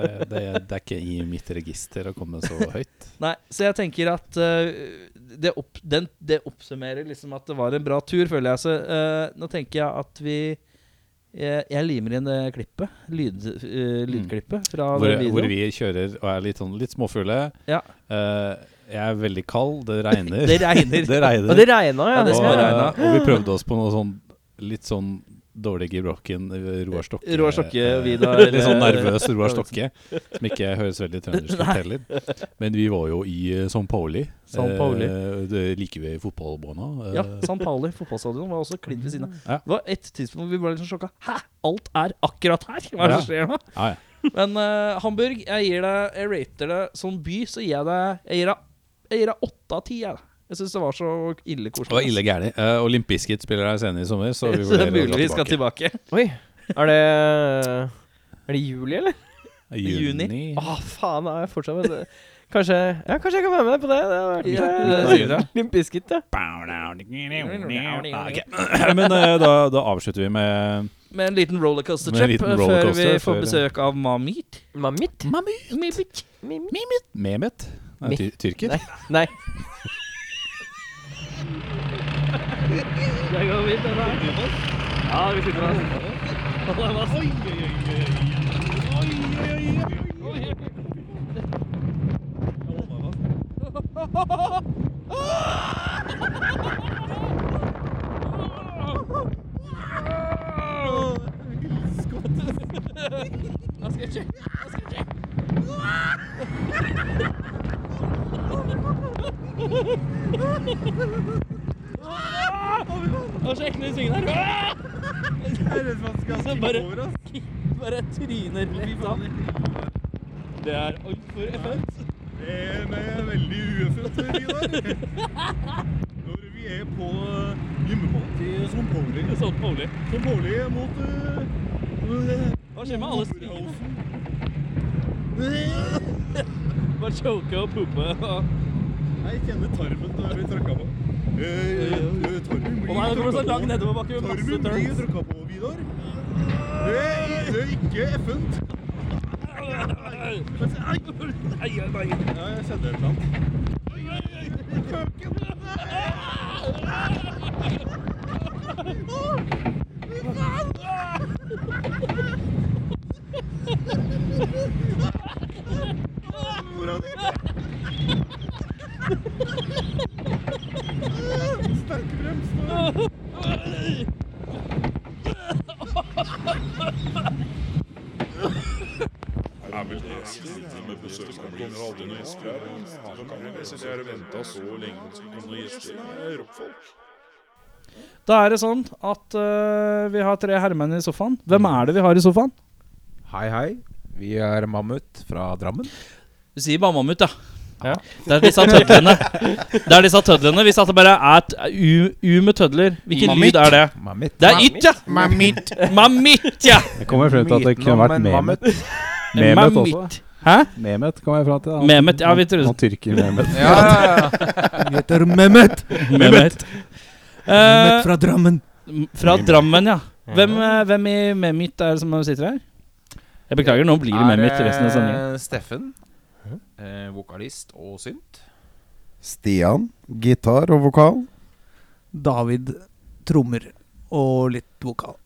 det, det, det er ikke i mitt register å komme så høyt.
Nei, så jeg tenker at eh, det, opp, den, det oppsummerer liksom at det var en bra tur, føler jeg. Så eh, nå tenker jeg at vi Jeg, jeg limer inn det klippet. Lyd, eh, lydklippet fra
Mm. Hvor,
den videoen.
hvor vi kjører og er litt, sånn, litt småfugle.
Ja.
Eh, jeg er veldig kald, det regner.
Det regner.
*laughs* det regner.
Og det regna, ja.
Ja, det
det
og,
skal regne.
og vi prøvde oss på noe sånn litt sånn dårlig gebrokken eh, Roar Stokke.
Roar Stokke-video,
eh, *laughs* Litt sånn
eller-
nervøs Roar Stokke, som ikke høres veldig trøndersk ut heller. Men vi var jo i eh, São Pauli.
São Pauli.
Eh, det liker vi fotballbåna. Eh,
ja, San Pauli fotballstadion var også klint ved siden av.
Ja.
Det var et tidspunkt hvor vi ble litt sånn sjokka. Hæ, alt er akkurat her? Hva er det som skjer nå?
ja, ja.
Men eh, Hamburg, jeg gir deg Jeg rater det som by, så gir jeg deg Jeg gir deg, jeg gir deg åtte av ti. Jeg, jeg syns det var så ille koselig.
Det var ille gærent. Uh, Olympiskit spiller her senere i sommer, så vi
*laughs* Så det er
vurderer å dra
mulig vi skal tilbake.
*laughs*
Oi. Er det Er det juli, eller?
Juni.
Å, faen. Er jeg fortsatt Kanskje, ja, kanskje jeg kan være med deg på det. Det hadde vært
Ja,
eh,
det sier du.
Limp Bizkit, ja.
Ok. Men eh, da, da avslutter vi med
Med en liten rollercoaster
Med en
trip
liten
før vi
rollercoaster
får
før-
besøk av Mamit.
Mamit?
Mamit.
Mimit?
Mehmet. Nei,
Me-
ty tyrker.
Nei. Nei.
*laughs* Nei, jeg er veldig ueffent i dag. Når vi er på eh, liksom. hjemmebane til Son Pauli. Son
Sånn,
Pauli. mot eh, Hva skjer med alle strikene? Eh,
Bare choke og puppe.
Jeg kjenner tarmen da jeg blir tråkka på. Eh, eh, eh, Tarmen blir
Å nei, det kommer så
tråkket
langt
på.
nedoverbakke med masse
Tarmen blir
turns.
tråkket på, Vidar. Eh, Det er ikke effent. Ja, jeg kjenner et eller annet.
Da er det sånn at eh, vi har tre herremenn i sofaen. Hvem er det vi har i sofaen?
Hei, hei. Vi er Mammut fra Drammen.
Du sier bare mammut, ja. Det er disse tødlene. Det er disse tødlene. Hvis at det bare er et u, u med tødler, hvilken
Mammut.
lyd er det?
Mammut.
Det er ytt, ja! *laughs*
Mammut.
Mammut, ja!
Jeg kommer frem til at det kunne vært Mehmet. Mehmet også.
Mammut. Hæ?
Mehmet kommer jeg frem til. Han-
Mehmet, ja, vi trodde-
Han tyrker Mehmet.
Ja, ja, ja. Jeg heter Mehmet.
Mehmet. Eh,
Mehmet fra Drammen.
fra Drammen, ja. Hvem, eh, hvem i Mehmet er det som sitter her? Jeg beklager, nå blir det Mehmet resten av sendingen.
eh, Steffen, eh, vokalist og synt.
Stian, gitar og vokal.
David trommer og litt vokal.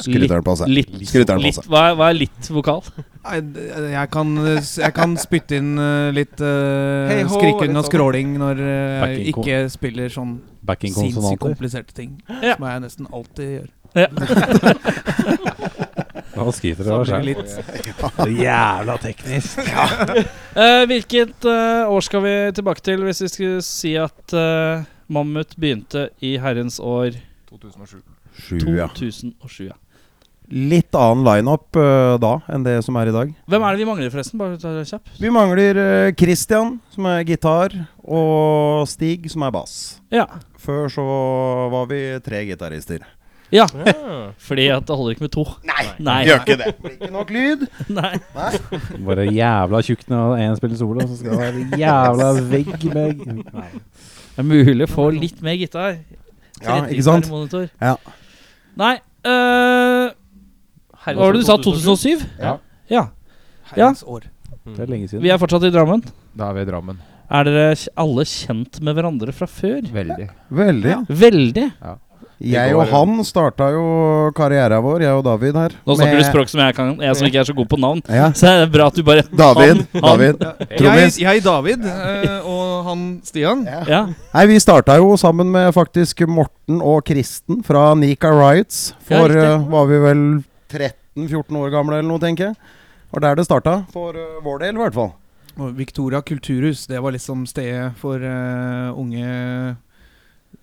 Skryteren eh, på seg.
Litt.
Skryteren på
litt
seg.
hva, er, hva er litt vokal?
Nei, d- Jeg kan, jeg kan spytte inn eh, litt eh,
Hei ho, litt
skrikking og
sånn.
skråling når eh, jeg
Backing ko-
ikke spiller sånn sinnssykt
Backing-konsonanter.
kompliserte ting.
Ja.
Som jeg nesten alltid gjør.
Han skriver det
Da
over
blir det
seg.
litt
*laughs*
Jævla teknisk.
Eh, hvilket eh, år skal vi tilbake til hvis vi skulle si at eh, Mammut begynte i herrens år
2007.
Sju, ja.
2007? Ja.
Litt annen lineup uh, da enn det som er i dag.
Hvem er det vi mangler, forresten? Bare ta det kjapt.
Vi mangler eh, Christian, som er gitar, og Stig, som er bass.
Ja.
Før så var vi tre gitarister.
ja. Fordi at det holder ikke med to. Nei. Nei.
Gjør ikke det. Blir ikke nok lyd.
Nei.
Bare jævla tjukt når én spiller solo, så skal det være jævla vegg med Nei.
Det er mulig å få litt mer gitar.
Ja,
Tredje
ikke sant?
gitarmonitor.
Ja.
Nei eh, Hva var det du sa? 2007?
Ja.
ja.
herrens år.
Det er lenge siden.
Vi er fortsatt i Drammen.
Da er vi i Drammen.
Er dere k- alle kjent med hverandre fra før?
Veldig.
Veldig.
Veldig.
Jeg og han starta jo karrieren vår, jeg og David her.
Nå snakker
med-
du språk som jeg kan Jeg som ikke er så god på navn.
Ja.
Så det er bra at du bare
David.
Han- han-
David.
Jeg,
Trommis.
jeg David, eh, og han Stian.
Ja.
Nei, vi starta jo sammen med faktisk Morten og Kristen fra Nika Riots.
Ja,
For
riktig.
eh, var vi vel 13-14 år gamle eller noe, tenker jeg. Var der det starta. For eh, vår del, i hvert fall.
Og Victoria kulturhus, det var liksom stedet for eh, unge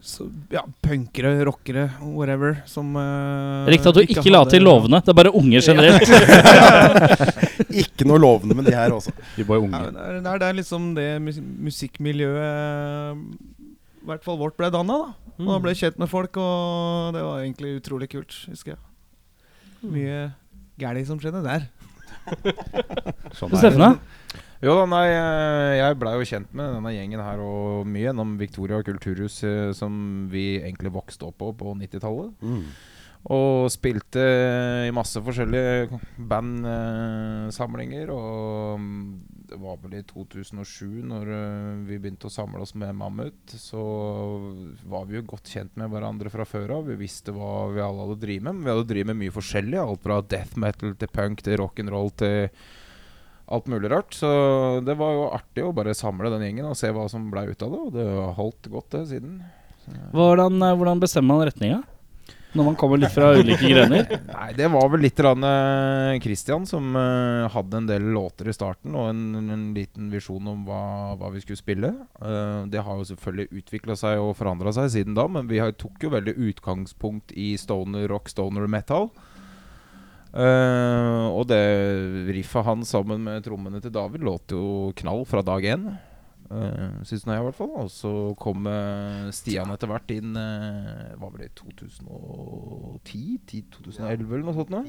så, ja, punkere, rockere, whatever, som eh,
Riktig at du ikke la
hadde-
til lovene. Det er bare unge generelt.
*laughs* Ikke noe lovende med de her altså. også.
Vi er bare
Ja,
unge.
men det, er, det er- det er liksom det mus musikkmiljøet I hvert fall vårt ble danna, da. Og da ble jeg kjent med folk, og det var egentlig utrolig kult, husker jeg.
Mm.
Mye gæli som skjedde der.
Sånn er det.
Steffen, da?
Jo da, nei, eh, jeg blei jo kjent med denne gjengen her og mye gjennom Victoria kulturhus, eh, som vi egentlig vokste opp på på 90-tallet.
Mm.
Og spilte i masse forskjellige bandsamlinger. Og mm, det var vel i 2007, når eh, vi begynte å samle oss med Mammut, så var vi jo godt kjent med hverandre fra før av. Vi visste hva vi alle hadde drevet med. Men vi hadde drevet med mye forskjellig. Alt fra death metal til punk til rock'n'roll til alt mulig rart. Så det var jo artig å bare samle den gjengen og se hva som blei ut av det. Og det har holdt godt, det, siden.
Hvordan, eh, hvordan bestemmer man retninga? Når man kommer litt fra *laughs* ulike grener?
Nei, det var vel litt rann, eh, Christian som eh, hadde en del låter i starten og en, en liten visjon om hva, hva vi skulle spille. Eh, det har jo selvfølgelig utvikla seg og forandra seg siden da, men vi har, tok jo veldig utgangspunkt i stoner rock, stoner metal. Eh, og det riffet han sammen med trommene til David låt jo knall fra dag én. Uh, Syns nå jeg, i hvert fall. Og så kom eh, Stian etter hvert inn eh, Hva var det, 2010? 10, 2011 eller noe sånt? nå?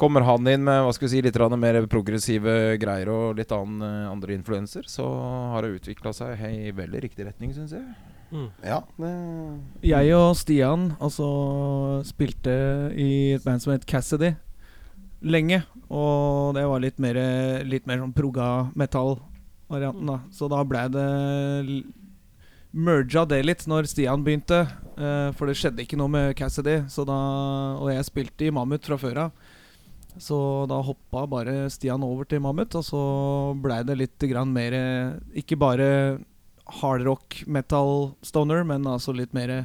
Kommer han inn med hva skal vi si, litt grann mer progressive greier og litt annen, eh, andre influenser, så har det utvikla seg hei, i veldig riktig retning, syns
*laughs*
jeg.
Ja, det
Jeg og Stian altså spilte i et band som het Cassidy lenge. Og det var litt mer, litt mer sånn proga-metall-varianten, da. Så da ble det l- merga det litt når Stian begynte. eh, for det skjedde ikke noe med Cassidy, så da, og jeg spilte i Mammut fra før av. Så da hoppa bare Stian over til Mammut, og så blei det litt grann mer eh, Ikke bare hardrock, metal, stoner, men altså litt mer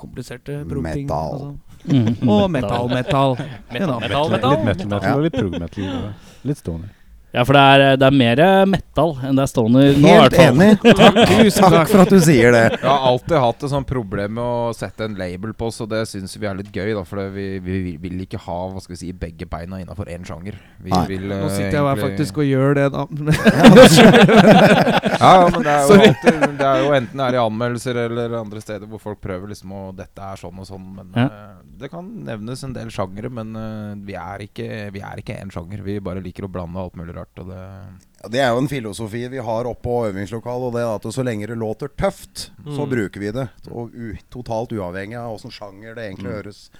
kompliserte prog-ting.
Metal.
Altså.
Mm. *laughs*
Og metal, metal. You
Metal,
know.
Litt
metal.
metal metal og litt prog metal. og Litt stoner.
Ja, for det er, det er mer eh, metal enn det er stoner nå, i hvert
Helt
fall. *laughs*
enig. Takk, takk for at du sier det.
Jeg har alltid hatt et sånt problem med å sette en label på, så det syns vi er litt gøy. da For det- vi, vi vil ikke ha hva skal vi si, begge beina innafor én sjanger. Vi
Nei.
vil,
Nå
eh,
sitter jeg her
egentlig-
faktisk og gjør det, da. *laughs*
Ja, ja, men det
*laughs*
er, jo
Sorry.
alltid, det er jo enten det er i anmeldelser eller andre steder hvor folk prøver liksom å Dette er sånn og sånn, men
Ja.
eh, det kan nevnes en del sjangere. Men eh, vi er ikke Vi er ikke én sjanger. Vi bare liker å blande alt mulig rart. Og det
Ja, Det er jo en filosofi vi har oppe på øvingslokalet, og det er at så lenge det låter tøft,
Mm.
så bruker vi det. Og u totalt uavhengig av åssen sjanger det egentlig
Mm.
høres,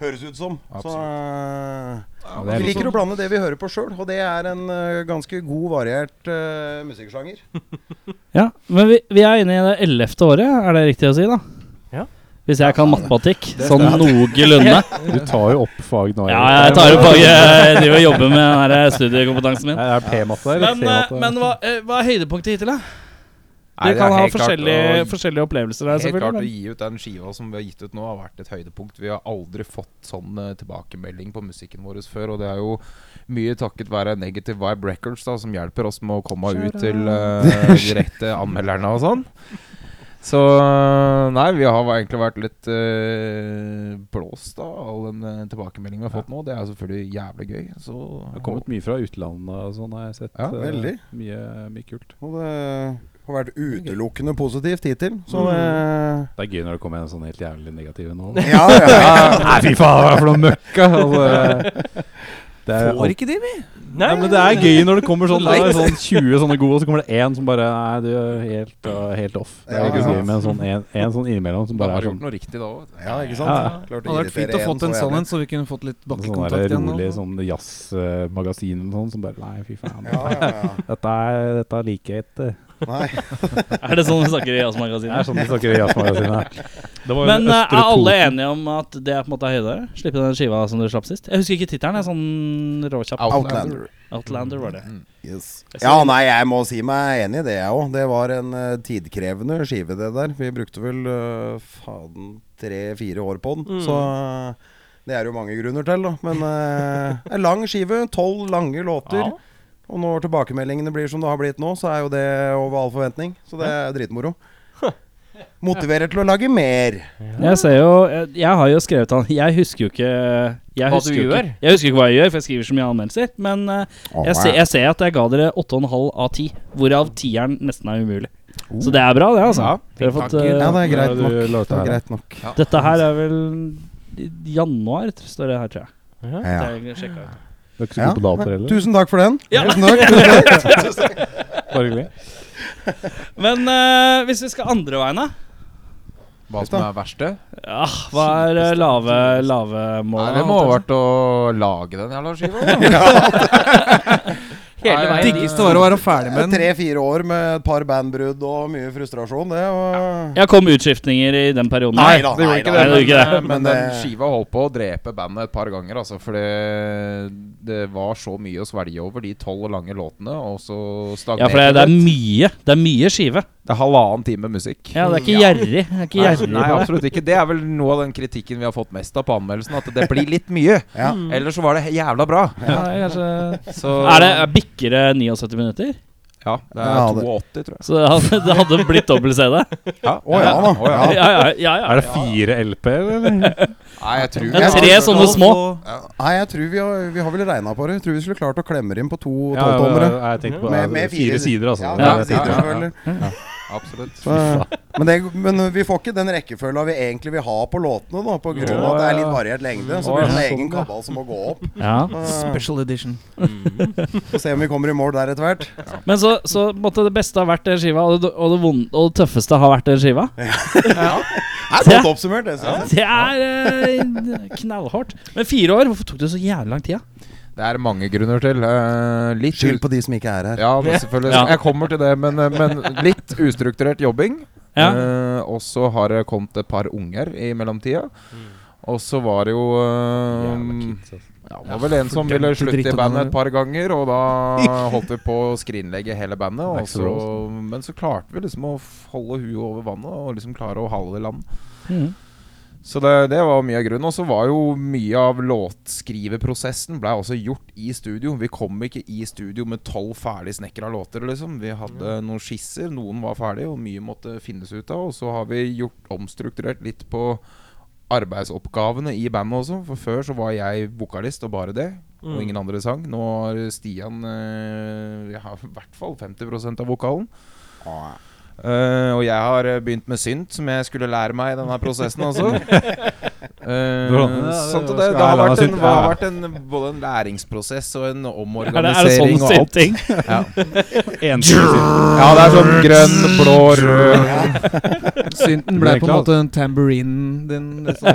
høres ut som. Så eh,
det er liksom-
Vi liker å blande det vi hører på sjøl, og det er en eh, ganske god, variert uh, musikksjanger.
Ja, Men vi, vi er inne i det ellevte året, er det riktig å si, da?
Ja.
Hvis jeg kan matematikk sånn
*laughs*
noenlunde.
Du tar jo opp fag nå.
Ja, jeg tar jo faget Jeg driver og jobber med den her studiekompetansen min.
Det er P-matte eller
Men, eh,
C-matte?
men hva, eh, hva er høydepunktet hittil, da?
Nei,
Vi
det er
kan ha
helt klart
forskjellige,
å-
forskjellige opplevelser der,
Helt klart å
selvfølgelig.
gi ut den skiva som vi har gitt ut nå, har vært et høydepunkt. Vi har aldri fått sånn eh, tilbakemelding på musikken vår før, og det er jo mye takket være Negative Vibe Records, da, som hjelper oss med å komme ut til eh, de rette anmelderne og sånn. Så eh, nei, vi har egentlig vært litt eh, blåst av all den eh, tilbakemeldingen vi har fått nå. Det er selvfølgelig jævlig gøy. Så
Det har
*laughs*
kommet mye fra utlandet og sånn, har jeg sett.
Ja,
eh,
veldig.
Mye, mye kult.
Og det har vært utelukkende positivt hittil. Så
Mm. *laughs*
eh,
Det er gøy når det kommer en sånn helt jævlig negativ nå.
*laughs* ja, ja, ja.
Nei, fy faen, hva er det for noe møkka?
eh,
Altså, det er
Får ikke de, vi?
Nei, men det er gøy når det kommer sånn, det er sånn 20 sånne gode, og så kommer det én som bare Nei, du er helt, uh, helt off. Det er
Ja,
ikke
ikke
så gøy
sant?
med en sånn, en, en sånn innimellom som
Da
bare
har
er
vi
sånn,
gjort noe riktig da òg.
ja, ikke
Ja, ja.
sant? Klart
Det hadde vært fint å få en sånn en, så vi kunne fått litt
sånn der
bakkekontakt igjen.
rolig
nå.
sånn jazzmagasin eller sånn som bare Nei, fy faen.
Ja, ja, ja.
Dette er, dette er like et eh,
Nei.
Er det sånn vi snakker i
Det er
Jazz-magasinet?
sånn de snakker i jazzmagasinet her. Det var jo
Men eh,
Østre
er alle
Toten.
enige om at det er på en måte er høydere? Slippe den skiva som du slapp sist? Jeg husker ikke tittelen. jeg er Sånn råkjapp.
Outlander.
Mm,
Outlander var det.
Yes. Ja, nei, jeg må si meg enig i det, jeg òg. Det var en eh, tidkrevende skive, det der. Vi brukte vel eh, faden tre-fire år på den.
Mm.
Så eh, det er jo mange grunner til, da. Men eh, en lang skive. Tolv lange låter. Og når tilbakemeldingene blir som det har blitt nå, så er jo det over all forventning. Så det er dritmoro. Motiverer til å lage mer.
Jeg ser jo Jeg, jeg har jo skrevet han Jeg husker jo ikke jeg
Hva
husker
du
jo
gjør?
Ikke, jeg husker ikke hva jeg gjør, for jeg skriver så mye anmeldelser. Men eh, jeg, ser, jeg ser at jeg ga dere 8,5 av 10, hvorav tieren nesten er umulig. Så det er bra, det, altså. Dere har fått, eh,
Ja, det er greit
Ja,
nok.
du la ut
Det er
det her.
greit nok.
Dette her er vel i januar, står det her, tror jeg.
Ja.
*laughs* Så jeg sjekket ut.
Du er ikke så god på datoer
Nei,
heller?
Tusen takk for den.
Ja.
Tusen takk. Tusen takk.
Bare hyggelig.
Men eh, hvis vi skal andre veien, da?
Hva som er verste?
Ja, hva er eh, lave, lave mål?
Nei, det må ha vært å lage den jævla *laughs* skiva. *laughs*
Hele
Nei,
veien. dit.
Diggeste var å være ferdig
*laughs*
med den.
Tre-fire år med et par bandbrudd og mye frustrasjon, det. Og
Jeg kom utskiftninger i den perioden.
Nei da,
Det gjorde
nei
ikke
da.
Nei, det gjorde
det,
ikke
men, eh, men,
Men
den
det-
skiva holdt på å drepe bandet et par ganger, altså. Fordi det var så mye å svelge over de tolv lange låtene, og så
Ja,
stagnerte
for det, det er
litt.
mye. Det er mye skive.
Det er halvannen time musikk.
Ja, altså. det er ikke gjerrig. Det er ikke
Nei,
gjerrig
nei,
på det.
absolutt ikke. Det er vel noe av den kritikken vi har fått mest av på anmeldelsen. At det blir litt mye.
Ja.
Ellers så var Mm. det jævla bra.
Ja, det er kanskje
Så
Er det er bikker det 79 minutter?
Ja, det er
Ja, det-
82, tror jeg.
Så det hadde, det hadde blitt dobbel CD?
Ja.
Å ja da.
Å, ja.
Ja, ja, ja. ja.
Er det fire LP-er,
*laughs*
eller?
Nei, jeg tror
Det er
Jeg
tre
har
sånne små.
Nei, jeg tror vi har, vi har vel regna på det. Jeg tror vi skulle klart å klemme det inn på to
Ja,
tolvtommere.
ja, jeg tenkte på
Med- med
fire
fire-
sider, altså.
Ja,
Det er-
med sider,
ja, ja.
selvfølgelig.
Absolutt.
Så- Men, det, men vi får ikke den rekkefølga vi egentlig vil ha på låtene, da, på grunn av at det er litt variert lengde. Så
Å,
blir det
ja,
en egen
sånn, ja.
kabal som må gå opp.
ja.
Special edition.
Få se om vi kommer i mål der etter hvert.
Men så, så måtte det beste ha vært den skiva, og det, og det, vonde, og det tøffeste har vært den skiva.
Det er godt oppsummert, det. synes jeg.
*laughs* Det er eh, knallhardt. Men fire år, hvorfor tok det så jævlig lang tid? da?
Det er mange grunner til. eh, litt
Skyld på de som ikke er her.
Ja, men selvfølgelig.
Ja.
Jeg kommer til det, men, eh, men litt ustrukturert jobbing.
Ja.
Eh, og så har det kommet et par unger i mellomtida.
Mm.
Og så var det jo eh,
altså.
ja, Det var vel en som ville slutte i bandet et par ganger, og da
*laughs*
holdt vi på å skrinlegge hele bandet. Og
Axl
så,
altså.
men så klarte vi liksom å f- holde huet over vannet og liksom klare å holde det i land.
Mhm.
Så det, det var mye av grunnen. Og så var jo mye av låtskriveprosessen ble også gjort i studio. Vi kom ikke i studio med tolv ferdig snekra låter, liksom. Vi hadde noen skisser, noen var ferdige, og mye måtte finnes ut av. Og så har vi gjort omstrukturert litt på arbeidsoppgavene i bandet også. For før så var jeg vokalist og bare det,
Mm.
Mm.
og ingen andre sang. Nå har Stian eh, Jeg har i hvert fall 50 av vokalen. Eh, og jeg har eh, begynt med synt, som jeg skulle lære meg i denne prosessen også. Eh,
Hvordan- ja,
sånn at
det-
det,
skal
det
jeg lære
har vært,
meg
en,
synt?
har
Ja.
vært en, både en læringsprosess og en
Er det, er det
omorganisering
sånn
og
*laughs*
alt.
ting?
Ja.
Ensidig.
ja, det er sånn grønn, blå, rød
Synten ble på en måte den tambourinen din.
*laughs*
Det som,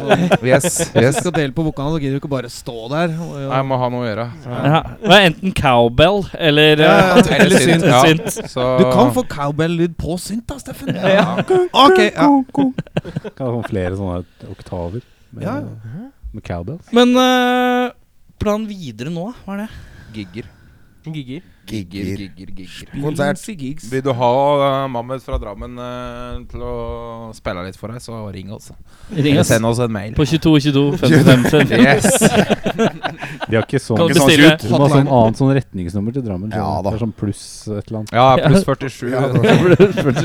Yes.
Hvis
yes.
du skal dele på vokalen, så gidder du ikke bare stå der. Og,
Jeg må ha noe å gjøre.
Ja. Det var enten cowbell eller
Ja,
eh,
ja.
Eller synt. Ja.
synt.
Så-
Du kan få cowbell-lyd på synt, da,
*laughs*
Steffen. Ok, ja.
Kan ha flere sånne oktaver med,
Ja, ja.
med cowbells.
Men eh, planen videre nå, hva er det?
Gigger.
Gigger.
Gigger, gigger, gigger.
Konsert.
Lindsey Giggs.
Vil du ha eh, Mahmoud fra Drammen eh, til å spille litt for deg, så ring oss.
Ring
Eller
oss
send oss en mail.
på 22 22 *laughs* 55 55.
Yes!
De har ikke sånn
Kan du
De
bestille
har sånn annet sånn retningsnummer til Drammen.
Ja,
skjønner du.
da.
Det er sånn pluss et eller annet.
Ja, pluss 47.
*laughs*
Ja,
*laughs* det
da.
Jeg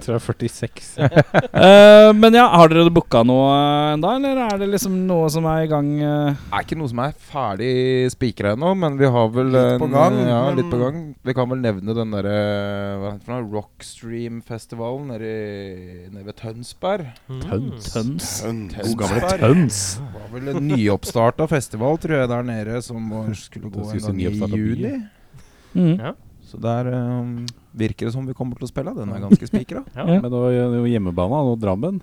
tror det er 46.
*laughs* Eh, men ja, har dere booka noe ennå, eller er det liksom noe som er i gang? eh?
er ikke noe som er ferdig spikra ennå, men vi har vel
Litt på gang,
ja,
men-
litt på gang. Vi kan vel nevne den derre Hva heter det for noe? Rockstream-festivalen nede i- nede ved Tønsberg.
Mm.
Tøns.
Tøns.
God
Tønsberg.
gamle
Tøns.
Det var vel en nyoppstarta festival, tror jeg, der nede, som var, skulle
Det
gå
skulle
en
si
gang i
nyoppstarta by,
juni.
Mm.
Så der eh, virker det som vi kommer til å spille. Den er ganske spikra.
Ja, men det var jo det var hjemmebana, nå Drammen.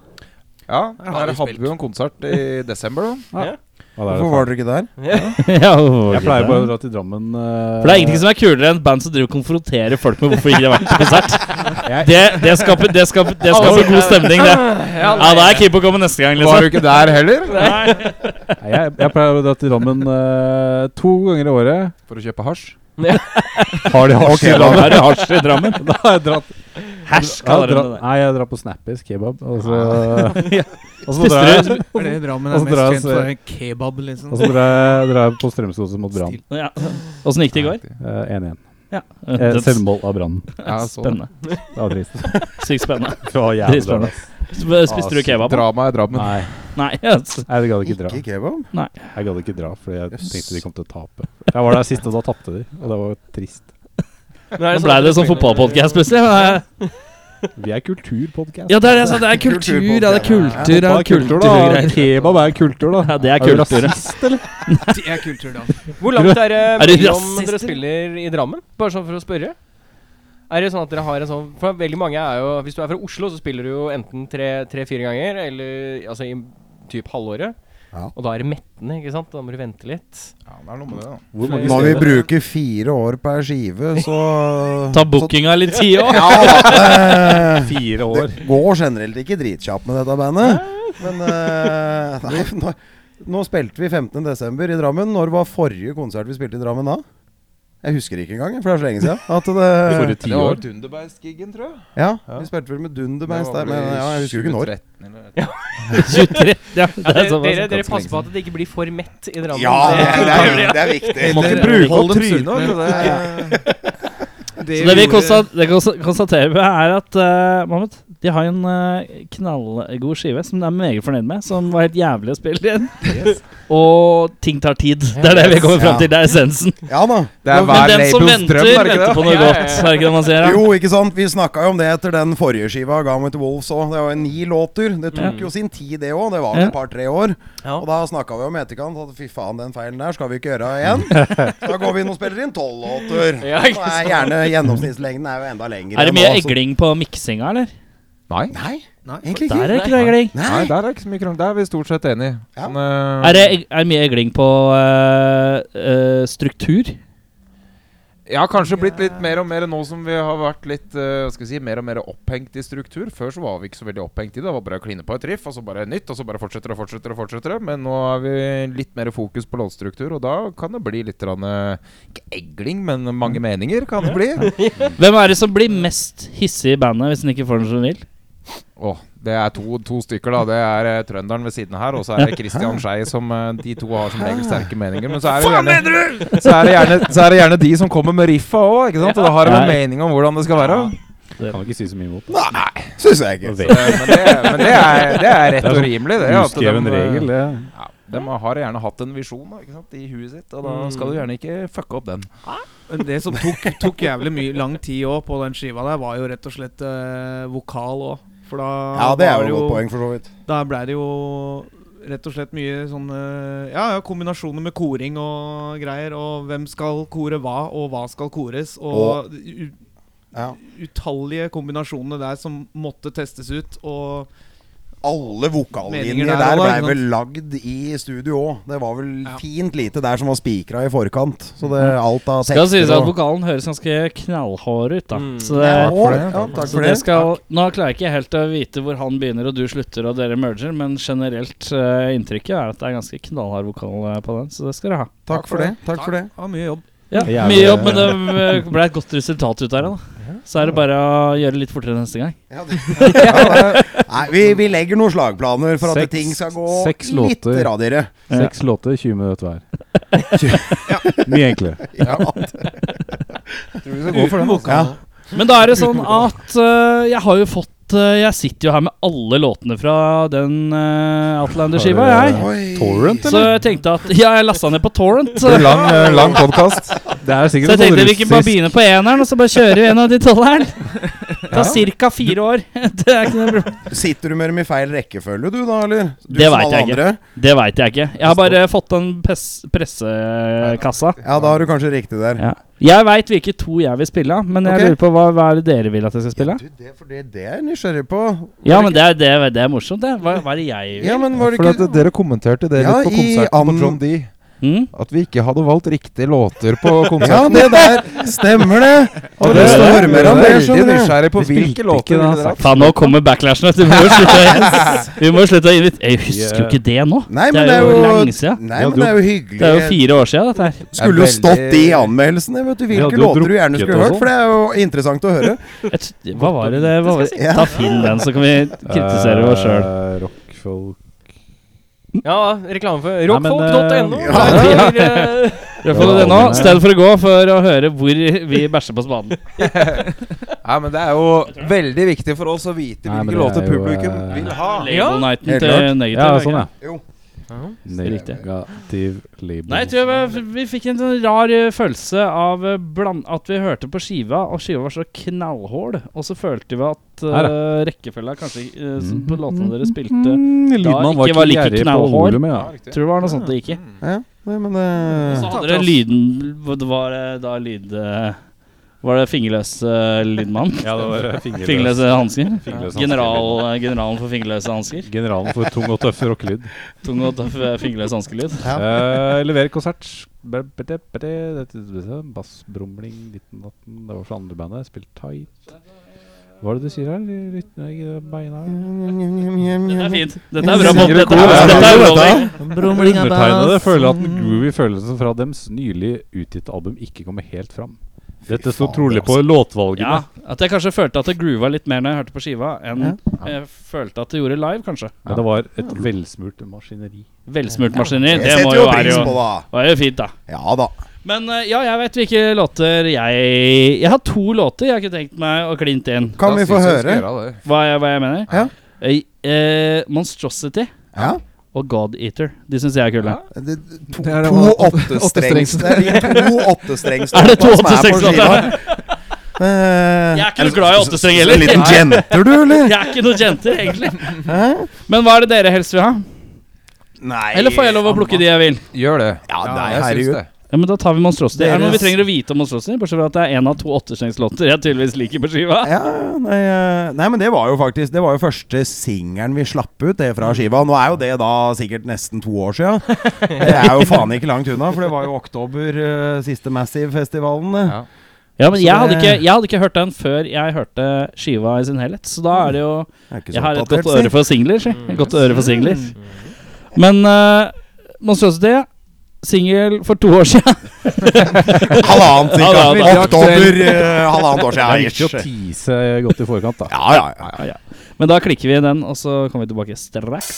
Ja, her hadde vi jo en konsert i
*laughs*
desember, da.
Ja, da er det
Hvorfor var dere ikke der?
*laughs* ja,
faen.
hvorfor
jeg pleier
ikke?
bare å dra til Drammen eh,
For det er ingenting som er kulere enn band som driver og konfronterer folk med hvorfor ikke de har vært på *laughs* konsert. Det, det skaper, det skaper, det skaper god stemning, det. Ja, da er jeg keen på å komme neste gang,
Var
liksom.
du ikke der
*laughs*
heller?
Nei, jeg, jeg pleier å dra til Drammen eh, to ganger i året.
For å kjøpe hasj?
Har de hasj i Drammen?
Er det hasj i Drammen?
Da har jeg dratt
Hæsj,
jeg har
kaller de
dratt-
det.
Nei, jeg drar på Snappis kebab. Og så, *laughs* og så drar
Spiser
jeg,
Er det
Og
Drammen er
så drar jeg og
mest kjent for?
ser-
En Kebab, liksom.
og så drar jeg, drar jeg på Strømsgodset mot Brann.
Ja. Åssen gikk det i går?
Eh, 1-1.
Ja.
Eh,
Den-
Selvmål av Brann.
Ja, så det.
Spennende.
Det var trist.
Sykt spennende.
Det var jævlig
Trist
dårlig.
spennende. Sp- Spiste du kebab? da?
Drama er Drammen.
Nei,
Nei. yes.
jeg gadd ikke dra.
Ikke kebab?
Jeg gadd ikke dra, fordi jeg tenkte de kom til å tape. Jeg var der sist, og da tapte de. Og det var trist.
Nå er
Nå
sånn
ble
at
det sånn
spiller-
fotballpodkast plutselig. men, eh,
Vi er kulturpodkast.
Ja, det er det jeg sa! Det er kultur! Ja, det er kultur, ja, kultur,
da.
kulturgreier.
Kebab er kultur, da.
Ja, det er
du
kultur, ja.
rasist, eller?
Det er kultur, da.
Hvor langt er det
Er det
mellom
rasister?
dere spiller i Drammen? Bare sånn for å spørre. Er det sånn at dere har en sånn For veldig mange er jo Hvis du er fra Oslo, så spiller du jo enten tre-fire ganger, eller altså i typ halvåret.
Ja.
Og da er det mettende, ikke sant? Da må du vente litt.
Ja, det er noe med det, da.
Hvor
mange
Når vi bruker fire år per skive, så
Ta bookinga litt tid òg. *laughs*
*laughs*
Ja, da, det,
Fire år.
det går generelt ikke dritkjapt med dette bandet. Men eh, *laughs* nei, nå, nå spilte vi 15.12. i Drammen. Når var forrige konsert vi spilte i Drammen da? Jeg husker ikke engang, for det er så lenge siden. At det,
Forrige
Det var
tiår.
Dunderbergskiggen, tror jeg.
ja, vi spilte vel med Dunderbeins der, men ja, jeg husker ikke når.
2013 eller et eller annet.
23. Ja, *laughs* det er
Dere,
sånn,
dere,
altså.
dere passer på at det ikke blir for mett i Drammen.
Ja, det, er, det er viktig.
Må ikke bruke opp trynet.
trynet.
Så det vi konstat- det konsta- konstaterer, med er at eh, Mohammed de har en eh, knallgod skive som de er meget fornøyd med, som var helt jævlig å spille igjen. Og ting tar tid. Det er det vi kommer fram til. Det er essensen.
Ja da.
*laughs* Det er
Men
hver
den som
labels
venter,
drøm, er det
venter
ikke
på
det?
noe
Ja, ja, ja.
godt. Er det ikke det man sier? da?
Jo, ikke sant. Vi snakka jo om det etter den forrige skiva, 'Gone with the Wolves' òg. Det var jo ni låter. Det tok
Ja.
jo sin tid, det òg. Det var
Ja.
et par-tre år.
Ja.
Og da snakka vi om i etterkant at fy faen, den feilen der skal vi ikke gjøre igjen. da går vi inn og spiller inn tolv låter.
Ja,
Og
ikke
er gjerne gjennomsnittslengden er jo enda lengre.
Er det
nå,
mye
så-
egling på miksinga, eller?
Nei.
Nei,
Nei,
egentlig
Der
ikke.
er det ikke noe egling.
Nei,
Nei.
der er ikke så mye krangel. Der er vi stort sett enige.
Ja.
Men, eh,
Er det eg- er det mye egling på eh, eh, struktur?
Jeg har kanskje blitt litt mer og mer nå som vi har vært litt eh, hva skal vi si, mer og mer opphengt i struktur. Før så var vi ikke så veldig opphengt i det. Det var bare å kline på et riff, og så bare nytt, og så bare fortsetter og fortsetter. og fortsetter Men nå har vi litt mer fokus på låtstruktur, og da kan det bli litt grann, eh, Ikke egling, men mange meninger kan det bli.
Hvem er det som blir mest hissig i bandet hvis en ikke får den som den vil?
Åh, det er to, to stykker, da. Det er eh, trønderen ved siden her, og så er det Christian Skei som eh, De to har som regel sterke meninger. Men så er det gjerne, så er det gjerne, så er det gjerne de som kommer med riffa òg, ikke sant? Og da har de en
Ja.
mening om hvordan det skal være.
Kan ikke si så mye imot.
Nei, syns jeg ikke.
Det
Eh, men det, men det, er, det er rett
Det er
og
sånn
rimelig, det. at
Uskreven
dem, eh,
regel, det.
Ja, de har gjerne hatt en visjon da, ikke sant, i huet sitt, og da skal du gjerne ikke fucke opp den.
Men Det som tok, tok jævlig mye lang tid òg på den skiva der, var jo rett og slett eh, vokal òg. For da
Ja, det er
var
jo et godt poeng, for så vidt.
Da ble det jo rett og slett mye sånn eh, Ja, ja, kombinasjoner med koring og greier. Og hvem skal kore hva, og hva skal kores. Og, u-
Ja.
utallige kombinasjoner der som måtte testes ut. Og Meninger
Alle vokallinjer
der
der
også,
ble
ikke
vel lagd i studio òg. Det var vel
Ja.
fint lite der som var spikra i forkant. Så det alt av
Skal sies
tekster
at
og
vokalen høres ganske knallhard ut, da.
Mm.
Så det
Ja,
er
og- ja, takk
Så
for
det
det.
skal, nå klarer jeg ikke helt å vite hvor han begynner og du slutter og dere merger, men generelt eh, inntrykket er at det er ganske knallhard vokal eh, på den, så det skal dere ha.
Takk for det. Takk for det.
ja, mye jobb.
Ja,
Jævlig-
Mye jobb, men det eh, ble et godt resultat ut der. da Så er det bare å gjøre litt fortere neste gang.
Ja, det, ja, det, nei, vi, vi legger noen slagplaner for at
Seks-
ting skal gå
seks
litt
låter.
radigere.
Seks låter, 20 minutter
*laughs*
hver. Mye enklere.
Ja.
Uten vokal.
Men da er det sånn at eh, jeg har jo fått eh, Jeg sitter jo her med alle låtene fra den eh, Outlander-skiva,
Har du-
jeg.
Oi.
Torrent,
Så jeg tenkte at Ja, jeg lasta ned på Torrent. Så
Lang, eh, lang podkast.
Det er
så
sikkert
jeg tenkte vi kunne bare begynne på eneren, og så bare kjører vi en av de tolveren. Det tar ca. fire år. *laughs* Det er ikke noe problem.
Sitter du med dem i feil rekkefølge, du da, eller? Du
Det
som
vet
alle
jeg ikke.
andre?
Det veit jeg ikke. Jeg har bare fått den pes- pressekassa.
Ja, da har du kanskje riktig der.
Ja. Jeg veit hvilke to jeg vil spille, av, men jeg
Ok.
lurer på hva, hva er det dere vil at jeg skal spille?
Du, det, for det, det er jeg nysgjerrig på.
Ja, men det er, det, er- det er morsomt, det. Hva, hva er det jeg vil?
Ja, men var det
For at
ikke
Dere kommenterte det
Ja,
litt på
i
konserten på
an-
John D.
Mm?
At vi ikke hadde valgt riktige låter på
*laughs* Ja,
konserten.
det der stemmer, det! Har du lyst til å høre mer om det,
veldig
skjønner du?
nysgjerrig på
Vi spilte
hvilke
ikke
låter
da,
ville dere
altså.
hatt.
Faen, nå kommer backlashen. vet du. Vi må jo slutte å- Vi må jo slutte å invitere Jeg husker jo ikke det nå.
Nei,
Det
men
er
det er jo
lenge siden.
Nei, men det er jo hyggelig.
Det er jo fire år siden, dette her.
Skulle jo
Det er
stått i
veldig-
anmeldelsene, vet du,
Vi hadde
hvilke
jo
låter du gjerne
drukket
skulle
og
hørt. For det er jo interessant å høre.
Jeg t- Hva var det det hva var?
Ja.
Ta Finn den, så kan vi kritisere oss sjøl.
Eh,
Eh,
*laughs*
Rockfolk
Ja, reklame for
Nei, men,
*laughs*
rockfolk.no.
eh,
Ja, ja.
I stedet for å gå for å høre hvor vi bæsjer på spaden.
Nei, men det er jo veldig viktig for oss å vite
Nei, men det
hvilke
er
låter
jo,
publikum
eh,
vil ha.
Label nighten
helt
til
klart.
negativ.
Ja,
er ikke
sånn, ja.
det?
Jo.
Negativ label.
Nei, jeg tror vi, vi fikk en sånn rar eh, følelse av eh, bland, at vi hørte på skiva, og skiva var så knallhård, og så følte vi at eh,
Her,
rekkefølga kanskje eh,
Mm.
som på låtene dere spilte
Lydmannen
ikke var like
gjerrig på
knallhard.
volumet,
Ja,
ja.
riktig.
Tror det var noe sånt det gikk i.
Ja, nei, men eh,
Og så
det
hadde dere lyden hvor Det var eh, da lyd eh, Var det fingerløse lydmann?
Ja, det var *laughs* fingerløs.
Fingerløse hansker?
Fingerløs hansker.
General, eh, generalen for fingerløse hansker.
Generalen for tung og tøff rockelyd.
Tung og tøff eh, fingerløs hanskelyd.
*laughs* Eh, leverer konsert. Bæ, bæ, bæ, bæ, bæ, bæ, bæ, Bassbrumling 1918. Det var så andre bandet. Spilt tight. Hva er det du sier her? Litt- nei, Beina
Dette er fint. Dette er bra pop.
Synger i
Dette
kor,
er,
ja.
dette er
Dette
rolling.
Undertegnede føler at den groovy følelsen fra dems nylig utgitte album ikke kommer helt fram. Dette sto
faen,
trolig
det
på
Ja,
låtvalgene.
at jeg kanskje følte at det groova litt mer når jeg hørte på skiva, enn jeg følte at det gjorde live, kanskje.
Men det var et velsmurt maskineri.
Velsmurt maskineri,
Jeg
det må
setter
jo
jo
være
pris på
jo,
det.
var jo fint, da.
Ja da.
Men eh, ja, jeg vet hvilke låter jeg Jeg har to låter jeg kunne tenkt meg å klinte inn.
Kan
Da
vi få
synes jeg vi
høre?
skal gjøre det.
Hva jeg, hva jeg mener?
Ja.
Eh, eh, Monstrosity
Ja.
og God Eater. De syns jeg er kule.
Det, to
Det er det
to
åtte-
åttestrengs Det er de to åttestrengs
*laughs* Er det to
som er på
åttestrengs låter?
skiva. *laughs* Eh,
Jeg er ikke noe glad i åttestreng heller.
En liten
Nei.
jenter,
*laughs*
du,
Jeg
eller?
er ikke noen jenter, egentlig. Men hva er det dere helst vil ha?
Nei
Eller får jeg lov å plukke de jeg vil?
Gjør det.
Ja, nei,
jeg syns
herregud.
det.
Ja, men Da tar vi Monstrosity. Er det noe vi
Deres-
trenger å vite om Monstrosity? Bortsett fra at det er en av to åttestrengslåter jeg tydeligvis liker på skiva.
Ja, nei, eh, nei, men det var jo faktisk Det var jo første singelen vi slapp ut det fra skiva. Nå er jo det da sikkert nesten to år sia. Det er jo faen ikke langt unna, for det var jo oktober, eh, siste Massive-festivalen. det.
Ja.
Ja, men
Så
jeg hadde,
det-
ikke, jeg hadde ikke hørt den før jeg hørte skiva i sin helhet, så da er det jo
Det er ikke så
Jeg har et
oppdatert,
godt
si.
øre for singler. si. Et Godt øre for singler. Men uh, Monstrosity Singel for to år siden. *laughs*
Halvannet, cirka.
Ja, da, da.
Oktober, eh, halvannet år
Det er viktig å
sia.
tease eh, godt i forkant, da.
Ja, ja, ja. ja.
Men da klikker vi i den, og så kommer vi tilbake straks.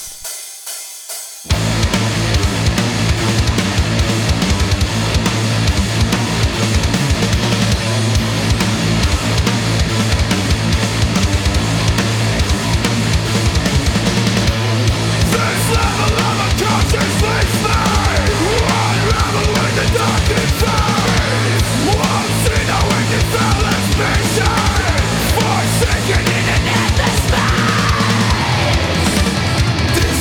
Forsaken in an endless space This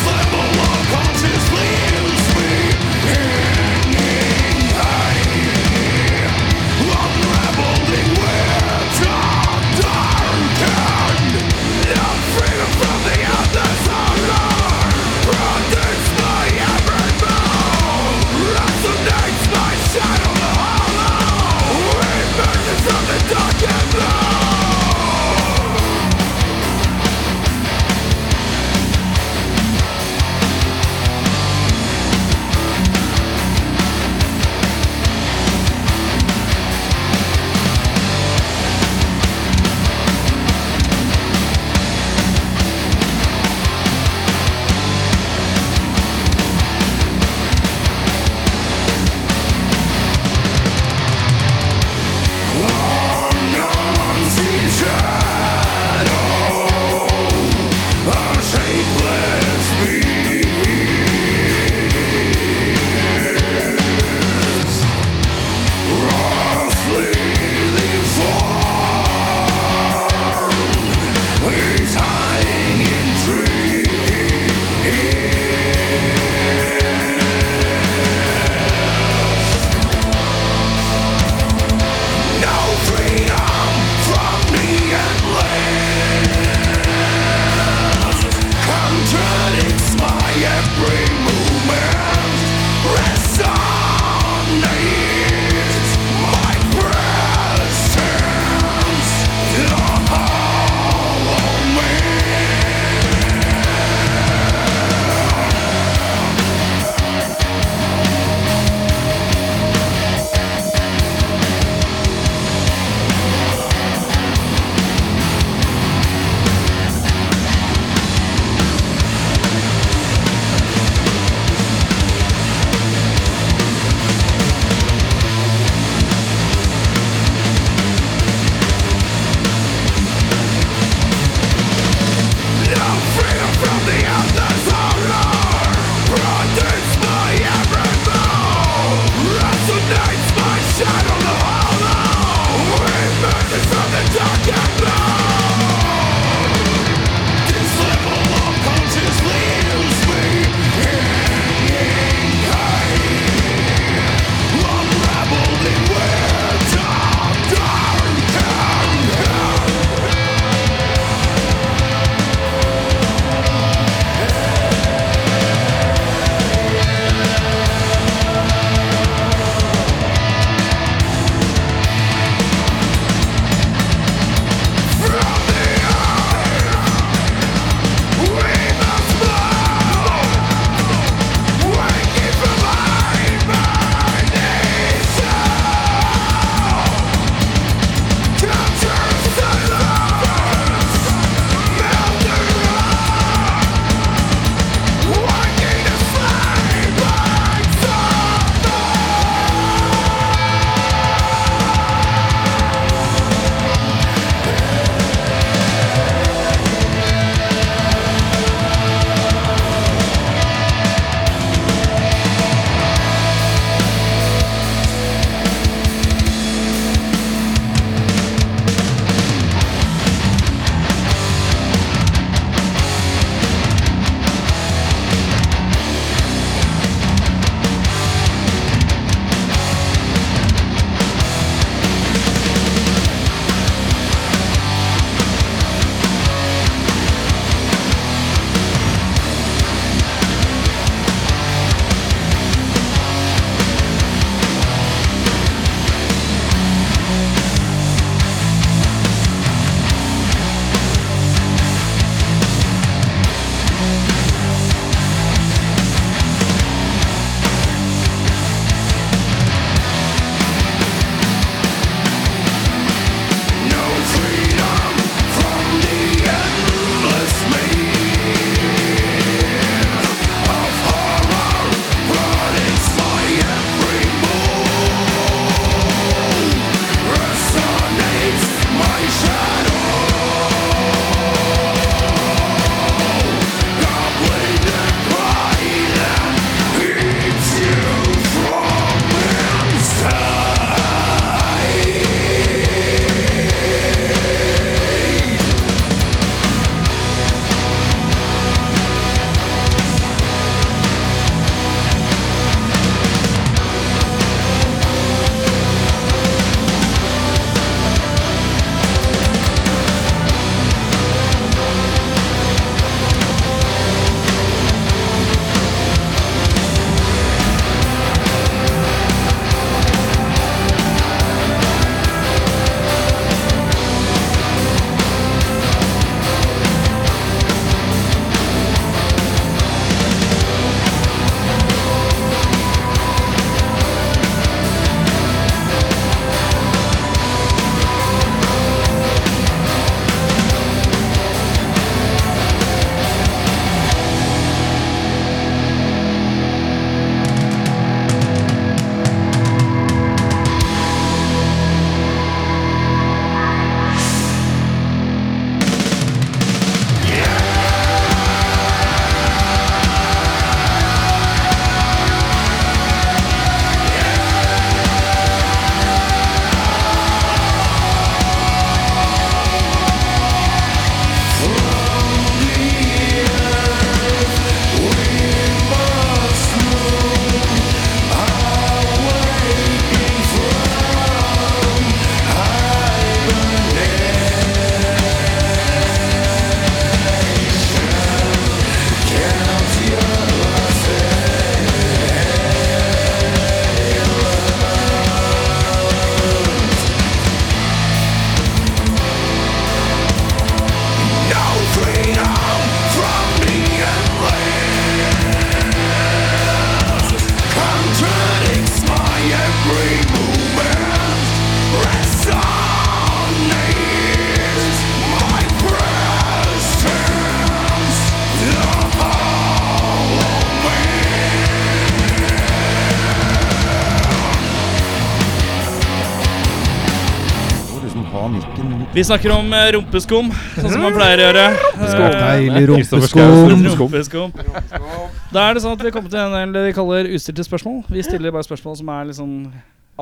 Vi snakker om eh, rumpeskum, sånn som man pleier å gjøre. Eh,
Deilig
rumpeskum.
rumpeskum.
rumpeskum. Da er det sånn at vi kommer til en del vi kaller ustilte spørsmål. Vi stiller bare spørsmål som er litt sånn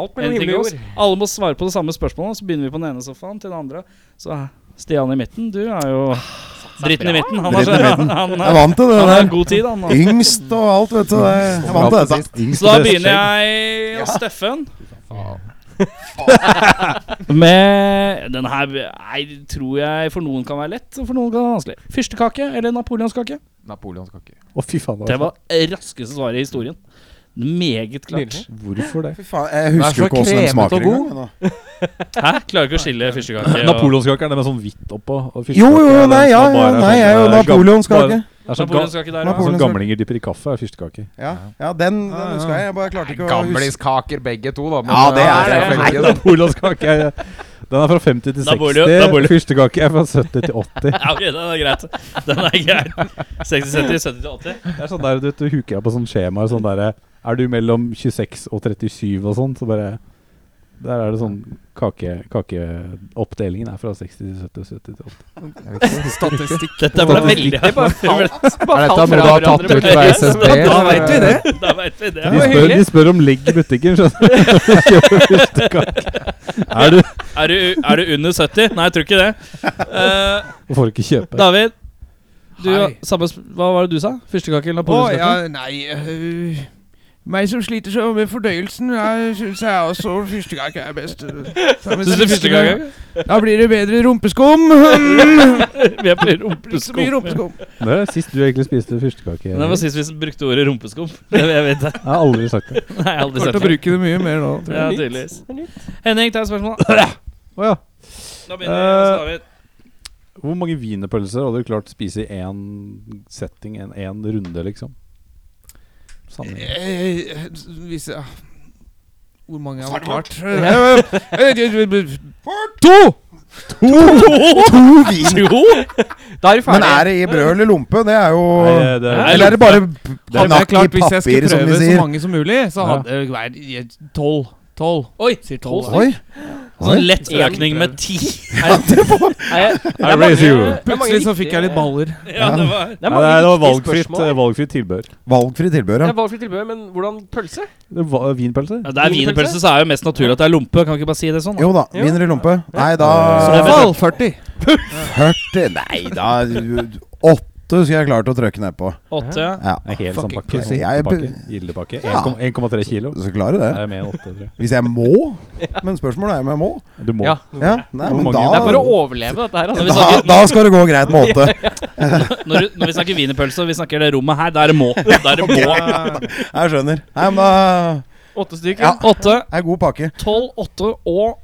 Alt
en
mellom
ting
himmel og
til oss.
jord.
Alle må svare på det samme spørsmålet, så begynner vi på den ene sofaen til den andre. Så eh, Stian i midten, du er jo dritten i midten. Han har,
Dritten i midten.
Han,
Jeg er
er-
vant til det
han har
der.
god tid, han. nå.
Yngst og alt, vet du. det. Jeg er vant til dette.
Så da begynner jeg hos Steffen.
Faen.
Med den her Nei, tror jeg for noen kan være lett, og for noen kan være vanskelig. Fyrstekake eller napoleonskake?
Napoleonskake.
Å, fy faen.
Det
Det var
var raskeste svaret i historien. Meget klart.
Nydelig.
Hvorfor det?
Fy faen, jeg
Den er så
husker jo ikke åssen
kremete
den smaker
og god.
engang. jeg, nå.
Hæ? Klarer ikke å skille fyrstekake og
Napoleonskake er det med sånn hvitt oppå. og
Jo,
fyrstekake er
jo,
den
nei,
som
ja,
er
ja,
bare
nei,
sånn-
jeg er jo
det sånn-
napoleonskake.
Det er sånn, ga
Napoleonskake der, altså.
det er
ja.
Napoleon-
sånn gamlinger dypper i kaffe, er fyrstekake.
Ja, ja den, den husker jeg. Jeg bare klarte ikke å huske
Gamliskaker begge to, da. men- eh,
Ja, det
Altså,
er det.
Nei,
Nei, Napoleonskake er Den er fra 50 til
Napoleon-
60.
Napoleon.
Fyrstekake er fra 70 til 80.
Ja, ok, den er greit. Den er greit. 60, 70, 70 til 80.
Det er sånn der, du, vet, du huker deg på sånn skjemaer sånn der, Er du mellom 26 og 37 og sånn, så bare Der er det sånn kake, Kakeoppdelingen er fra 60 til 70 og 70 til 80.
Statistikk.
Dette ble veldig
Det bare falt,
Er
bare
dette
falt
noe du
fra
har tatt
hverandre.
ut fra SSB?
Da vet vi det.
Da vet vi det.
De
var
spør,
hyggelig.
de spør om legg i butikken, skjønner du. Kjøper fyrstekake. Er du
Er du, er du under 70? Nei, jeg tror ikke det. Eh,
Og får ikke kjøpe.
David, du,
Hei.
samme, sp- hva var det du sa? Fyrstekake eller
Å
napoleonskake?
ja, nei øh, Meg som sliter så med fordøyelsen, jeg syns jeg også første gang er best.
Synes du fyrstekake?
Da blir det bedre rumpeskum. Mm,
*laughs* Vi er på
Ikke så mye
rumpeskum.
rumpeskum.
Det er sist du egentlig spiste fyrstekake.
Det var
Erik.
sist vi brukte ordet rumpeskum. *laughs* Det jeg vet jeg.
Jeg har aldri sagt det.
Nei, jeg har aldri
Kommer
sett
til
det.
å bruke det mye mer nå. tror jeg.
Ja,
Det er nytt.
tydeligvis.
Det er nytt.
Henning, ta et spørsmål. Da
Å ja.
begynner vi hos
Eh,
David.
Hvor mange wienerpølser hadde du klart å spise i én setting, en- én runde, liksom? Sammenlignet.
Eh, Hvis jeg Hvor mange har vært? Eh, klart? eh, To!
to vin.
Da er vi
Men
ferdige.
er det i brød eller lompe? Det er jo
Nei, det er-
Eller er det bare p-
Hadde jeg
knakk i
klart Hvis jeg skulle
papir, som de
prøve så
sier?
mange som mulig, så
Ja.
hadde det vært i- tolv. Tolv.
Oi,
Sier tolv.
tolv.
da.
Oi.
Sånn lett økning med ti.
Er det
I raise you.
mange- det er mange
Plutselig så fikk jeg litt baller.
Ja, det var
Det
Nei,
er mange
det var
viktige
valgfritt,
spørsmål.
eh, valgfritt tilbør.
Valgfri tilbør,
Det
ja.
er valgfritt tilbud, men hvordan pølse?
Det var Vinpølse?
ja, Det er wienerpølse, så er jo mest naturlig at det er lompe. Kan vi ikke bare si det sånn? da?
Jo da. Wiener i lompe. Nei, da
I hvert fall 40.
40 Nei, da 8 skulle jeg klart å trøkke ned på.
Åtte.
Ja,
Det er helt sånn
Fucking
pakke.
pussy.
Sånn
Jeg-
pakke. Gildepakke.
Ja.
1,- 1,3 kilo.
så klarer jeg
Det
det.
er mer enn 8, tror jeg.
Hvis jeg må. Men spørsmålet er om jeg må.
Du må.
Ja.
Ja, nei,
Hvor
men
mange?
da
Det er for å overleve dette her.
Når vi
Altså.
da,
snakker,
da skal det gå greit med åtte.
når, du- når vi snakker wienerpølse, og vi snakker det rommet her, da er det må. Da er det må.
*laughs* Jeg skjønner. Nei, men da
Åtte stykker.
Ja,
Åtte,
er god pakke.
tolv, åtte og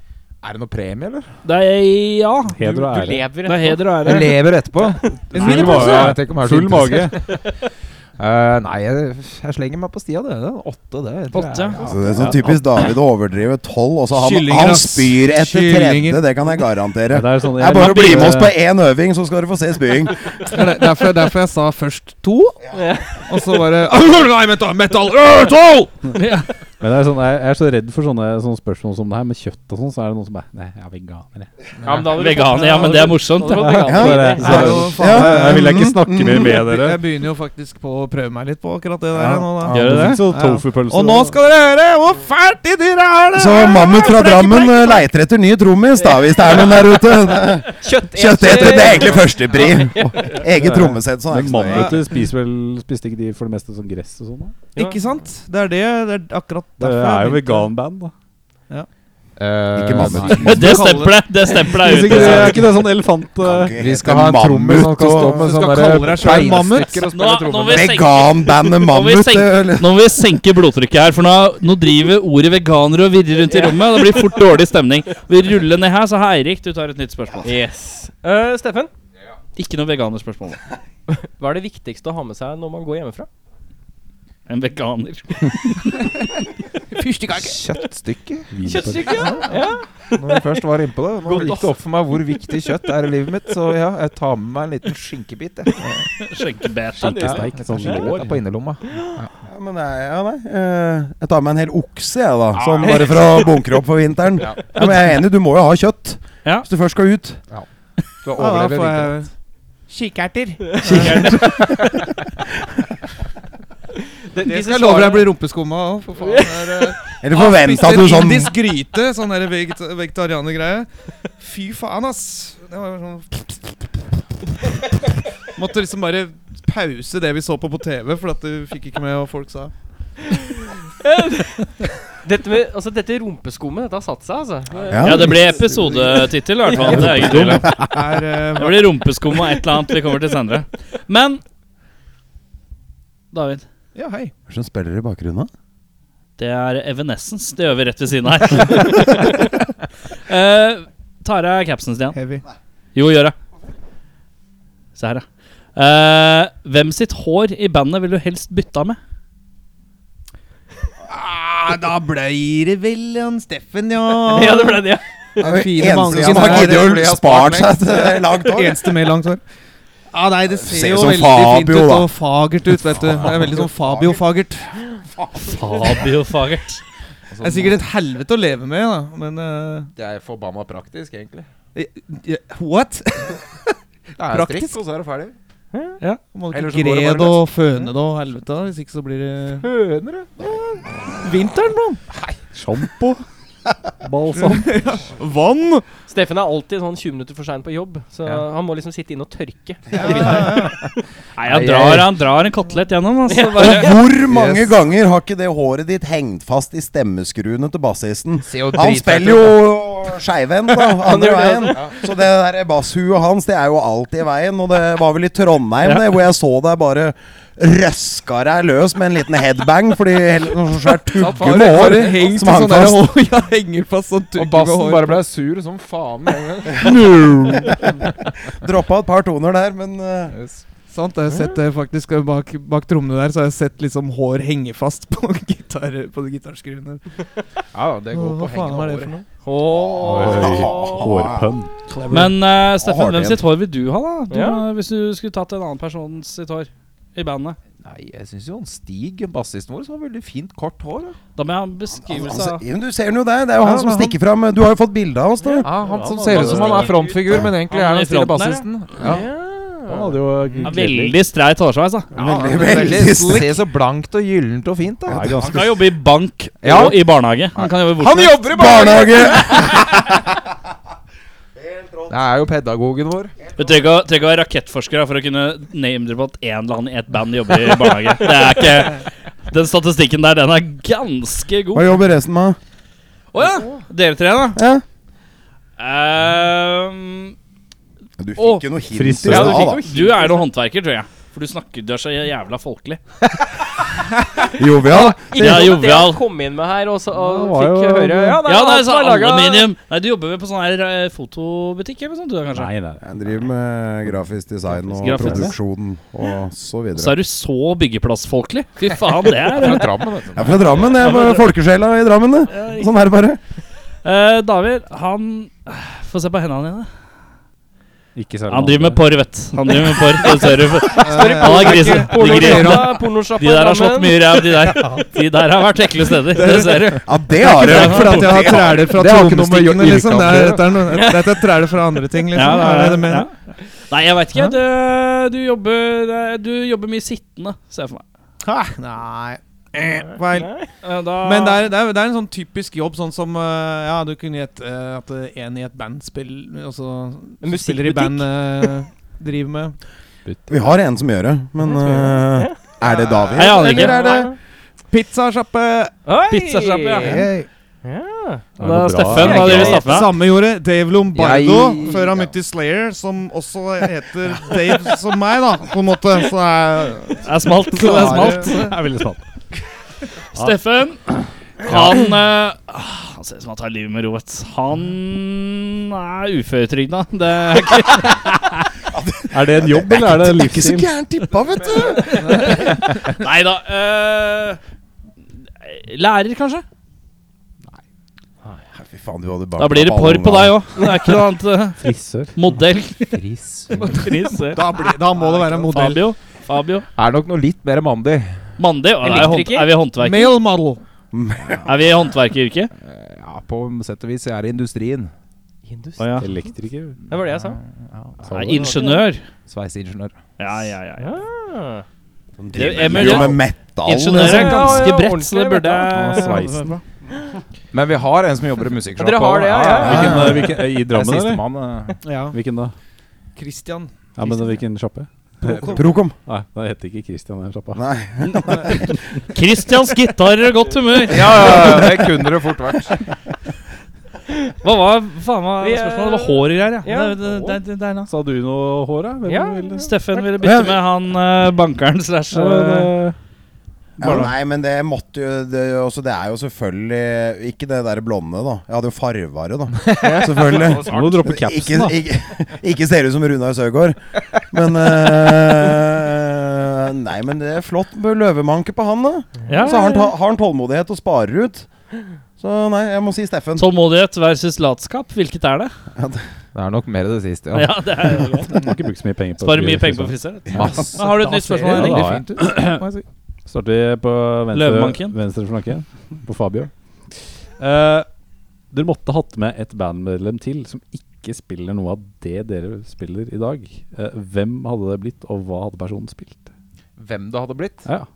Er det noe premie, eller?
Det er ja.
Heder og
Du
ære.
lever
Det er heder og
Jeg
ære.
lever etterpå.
Full mage.
Tenk om jeg er så
Full mage.
*laughs* Eh, nei, jeg, jeg slenger meg på Stia, det. Det er Åtte, det. tror jeg.
Åtte.
Ja.
Så det er så typisk David å overdrive tolv, og så han,
Kyllinger,
han
ass.
spyr etter
Kyllinger.
tredje. Det kan jeg garantere.
Ja, det er sånn-
Det er bare å bli med oss på én øving, så skal du få se spying.
Det er derfor, derfor jeg sa først to,
Ja.
og så bare Nei, metal! metal øh, tolv!
Men det er sånn, jeg jeg er så redd for sånne, sånne spørsmål som det her, med kjøtt og sånn, så er det noen som bare Nei, jeg er veganer, jeg.
Ja, men da hadde du fått-
Veganer, ja, men det er morsomt. Ja.
da hadde du fått
Ja,
veganer.
det er-
Nei,
det er jo faen-
Nei,
mm.
Jeg vil ikke snakke mer med dere.
Jeg begynner jo faktisk på å prøve meg litt på akkurat det der.
Ja.
Nå, da.
Ja.
Det
det?
finnes jo Sånn Tofu-pølser.
Og nå skal dere høre hvor fælt de dyra er! det
Så
er!
Mammut fra Drammen eh, leiter etter ny trommis, da, hvis det er noen der ute. Kjøttetere, det er egentlig førstepri. *laughs* Eget trommesett. Sånn
Men
ekstra.
mammuter spiser vel Spiste ikke de for det meste sånn gress og sånn? da?
Ikke sant? Det er det. Det er akkurat
Det
derfor.
er jo
jeg begynte.
veganband, da.
Eh,
Ikke masse.
nei.
Det stempelet det stempelet
Hvis
er
ikke
ute.
det, er ikke det sånn elefant eh,
Vi skal ha en trommis som kan stå med
sånn
Du skal
sånne
kalle deg selv mammut.
beinstykker og
Nå,
spille
nå,
trommer.
må vi senke,
Veganbandet
*laughs* må vi
Mammut.
senke-
eller?
nå må vi senke blodtrykket her, for nå, nå driver ordet veganere og virrer rundt i rommet. og Det blir fort dårlig stemning. Vi ruller ned her, så har Eirik du tar et nytt spørsmål.
Yes. Eh, Steffen,
Ikke noe veganerspørsmål.
hva er det viktigste å ha med seg når man går hjemmefra?
En veganer.
Kjøttstykke.
Kjøttstykke, ja.
Når vi først var innpå det. Nå gikk det opp for meg hvor viktig kjøtt er i livet mitt, så ja, jeg tar med meg en liten skinkebit. Jeg.
Skjenkebæsj.
Ja, litt sånn skinkebit på innerlomma.
Ja, men nei, ja, nei. eh, Jeg tar med en hel okse, jeg, da. Sånn bare for å bunkre opp for vinteren. Ja. men jeg er enig, du må jo ha kjøtt
Ja.
hvis du først skal ut.
Du overlever vinteren.
Kikerter.
Det,
Det
disse
skal jeg love deg
svarene- *laughs*
blir rumpeskumma òg, for faen. det er, eh,
Eller forventa
spiser
du sånn
Indisk gryte, sånn der veget vegetarianergreie. Fy faen, ass. Det var sånn Måtte liksom bare pause det vi så på på TV, for at du fikk ikke med hva folk sa.
Dette, med, altså, dette rumpeskummet, dette har satt seg, altså.
Ja, det ble episodetittel, i hvert fall. Det er ikke tvil om.
Er, eh,
Det blir rumpeskum og et eller annet. Vi kommer til senere. Men David,
ja, hei.
Hva slags spiller i bakgrunnen?
det er Evanescence. Det gjør vi rett ved siden av her. *laughs* Eh, tar av capsen, Stian.
Heavy.
Jo, gjør det. Se her, ja. Eh, hvem sitt hår i bandet vil du helst bytte av med?
Ah, da blei det vel han Steffen, *laughs* ja.
Ja, det ble det.
Fine mange
Eneste
som
som har
har
giddet
det,
å spart seg *laughs* et langt år.
Eneste med langt hår. Ah, nei, det ser,
Ser
jo
som
veldig fint
Fabio,
ut
da.
og fagert ut, vet du. Det er veldig sånn Fabio-fagert.
Fabio Fagert.
Altså,
Det er sikkert et helvete å leve med, da, men
Det er forbanna praktisk, egentlig.
eh, What? *laughs*
Det er
Praktisk.
strikk, og så er det ferdig.
Ja, må du
Ellers
ikke
så går det
gre
bare
det og føne det og helvete, da, hvis ikke så blir det
Høner,
Vinteren, *laughs* mann!
Sjampo. Balsam.
Vann!
Steffen er alltid sånn 20 minutter for sein på jobb, så han må liksom sitte inne og tørke.
Nei, han drar, han drar en kotelett gjennom. Altså. Bare.
Hvor mange ganger har ikke det håret ditt hengt fast i stemmeskruene til bassisten? Han spiller jo skeivhendt, da. Andre veien. Så det der basshuet hans, det er jo alltid i veien. Og det var vel i Trondheim, det, hvor jeg så deg bare røska deg løs med en liten headbang fordi hele- noe svært tugge med hår
Hengt
som hang
sånn der
fast.
hår. Ja, henger fast sånn tugg
Og
med
bassen
hår.
bare ble sur som faen med *laughs* en gang.
Droppa et par toner der, men eh,
Sant, jeg har sett det faktisk eh, bak, bak trommene der, så har jeg sett liksom hår henge fast *laughs* på, gitar, på de gitarskruene.
Ja, det går på
Hva faen
hengende
er det
håret.
for noe?
Hårpønn.
Men eh, Steffen,
Har det
hvem
en.
sitt hår vil du ha, da? Du,
Ja.
Hvis du skulle tatt en annen person sitt hår i bandet.
Nei, jeg syns jo han Stig, bassisten vår, som har veldig fint, kort hår. Da.
Da må jeg ha en beskrivelse
altså,
av
ja, men Du ser den jo der. Det er jo han som stikker fram. Du har jo fått bilde av oss, du.
Ja,
Han som ser ut som han er frontfigur, men egentlig
Han er
er
i
han stille
fronten der,
bassisten. Ja.
Han hadde jo
ja, Veldig streit hårsveis, da.
Veldig,
eh, Veldig
veldig
Se så blankt og gyllent og fint, da.
Han kan jobbe i bank
Ja.
og i barnehage. Han kan jobbe hvor som
Han
helst.
jobber i barnehage!
Barnehage!
*laughs* Det er jo pedagogen vår.
Du trenger ikke å- trenger ikke å være rakettforsker da, for å kunne name-droppe at en eller annen i et band jobber i barnehage. Det er ikke Den statistikken der, den er ganske god.
Hva jobber resten med?
Å ja! Dere tre, da.
Ja.
Ehm,
Du fikk
Å,
jo noe hint.
frisør.
i
Ja, du
stad,
fikk
da.
du er noen håndverker, tror jeg. For du snakker du er så jævla folkelig.
Jovial.
Ikke
Ja,
sånn at
jovial.
jeg kom inn med her og, så, og
Ja, det var
fikk
jo-
høre Ja, det er
Ja,
han
nei,
som
så
har laget-
aluminium Nei, du jobber vel på sånn her eh, fotobutikk eller noe sånt, du da, kanskje?
Nei, nei.
Jeg driver med grafisk design og
Grafisk.
produksjon og så videre.
Så er du så byggeplassfolkelig. Fy faen, det er
*laughs* Fra Drammen, vet
Jeg
du.
er fra Drammen. Jeg er bare folkesjela i Drammen. det. Sånn er det bare.
Eh, David, han Få se på hendene dine.
Ikke særlig
Han driver med
vanlig.
porr, vet du. Han driver med porr. Det ser du. Han er grisen. De, grisen.
Pornosjappa, pornosjappa
de der har
i
slått
Drammen.
mye ræv, de der. De der har vært ekle steder. Det ser du.
Ja, det
Det er
har jeg.
fordi at jeg har træler fra
Det har ikke noe med
trommestikkene,
yrket
liksom.
å
Det er,
gjøre.
dette er noe, dette er træler fra andre ting, *laughs* liksom.
Ja, det er-
er, det det mener?
ja. Nei, jeg veit ikke. Du, du, jobber, du jobber mye sittende, ser jeg for meg.
Ah, Nei. Eh, Feil.
Eh, Da,
Men det er, det, er, det er en sånn typisk jobb, sånn som eh, Ja, du kunne gjette eh, at eh, en i et band spiller Altså som spiller i band eh,
*laughs*
driver med
Vi har en som gjør det, men eh, er det David?
Nei, jeg aner
Eller
ikke.
er det pizzasjappe?
Oi!
Pizzasjappe, ja.
Hey.
Det er noe
Da,
bra,
Steffen,
ja.
hva driver Steffen med?
Samme gjorde Dave Lombardo
Jeg-
før han
ja.
begynte i Slayer, som også heter Dave som meg, da, på en måte. Så er
Det er smalt. Det er smalt.
Det er veldig smalt.
*laughs* Steffen, Han eh, ah, Han ser ut som han tar livet med ro, vet du. Han er uføretrygda. Det er ikke
Er det en jobb, eller er det en
Ikke så
livsstil?
gærent tippa, vet du!
Nei da. eh, lærer, kanskje?
Fy faen, du hadde
Da blir det porr på deg òg. Det er ikke noe annet. eh,
Frisør.
*laughs* modell.
Da, blir, da må det være en
*laughs*
modell.
Fabio. Fabio.
Er nok noe litt mer mandig.
Mandig. Er, jeg hånd,
Elektriker.
er vi håndverker?
Male model.
Er vi i håndverkeryrket?
Ja, på sett og vis. Jeg er i industrien.
Hindus.
Å ja.
Elektriker.
Det var det jeg sa.
Nei, ingeniør.
Sveiseingeniør.
Ja, ja, ja. ja.
Ah.
Det
Ja, men
er jo
det-
med metal.
Ingeniør er
Ja, ja,
ganske
ja,
bredt, så det
ordentlig,
burde
Ah, sveisen.
Men vi har en som jobber i musikksjappa.
Dere har det, ja, ja, ja.
Hvilken, eh, hvilken, eh, I Drammen, eller?
Sistemann. eh,
Ja.
Hvilken da?
Christian.
Ja, men eh, Hvilken sjappe?
Prokom.
Nei, den heter ikke Christian, den sjappa.
Nei.
Christians gitarer og godt humør.
Ja, ja, det kunne det fort vært.
Hva var faen var
Vi, eh,
spørsmålet? Det var hår og greier, ja.
ja.
Det, det, det, det, det er noe.
Sa du noe hår, da? Hvem
Ja.
ville-
Steffen ville bytte med han eh, bankeren slash
Så,
eh,
eh,
Ja, nei, men det måtte jo det, er jo også, det er jo selvfølgelig Ikke det der blonde, da. Jeg hadde jo farva
*laughs*
det, da. Selvfølgelig.
Nå må du droppe
Ikke,
capsen, da.
ikke, ikke ser ut som Runar Søgaard. Men eh, Nei, men det er flott med løvemanke på han, da.
ja.
Så har han, ta, har han tålmodighet og sparer ut. Så nei, jeg må si Steffen.
Tålmodighet versus latskap. Hvilket er det?
Det er nok mer det siste,
Ja,
ja.
det er *laughs* jo godt.
Må ikke bruke så mye penger på
Sparer mye
frisør.
penger på frisør. vet du.
Masse.
Da har du et nytt spørsmål,
det
Henning.
da. Starter vi på venstre,
Løvemanken.
venstre flanke, på Fabio. Eh, dere måtte hatt med et bandmedlem til som ikke spiller noe av det dere spiller i dag. Eh, hvem hadde det blitt, og hva hadde personen spilt?
Hvem det hadde blitt?
Ja, ja.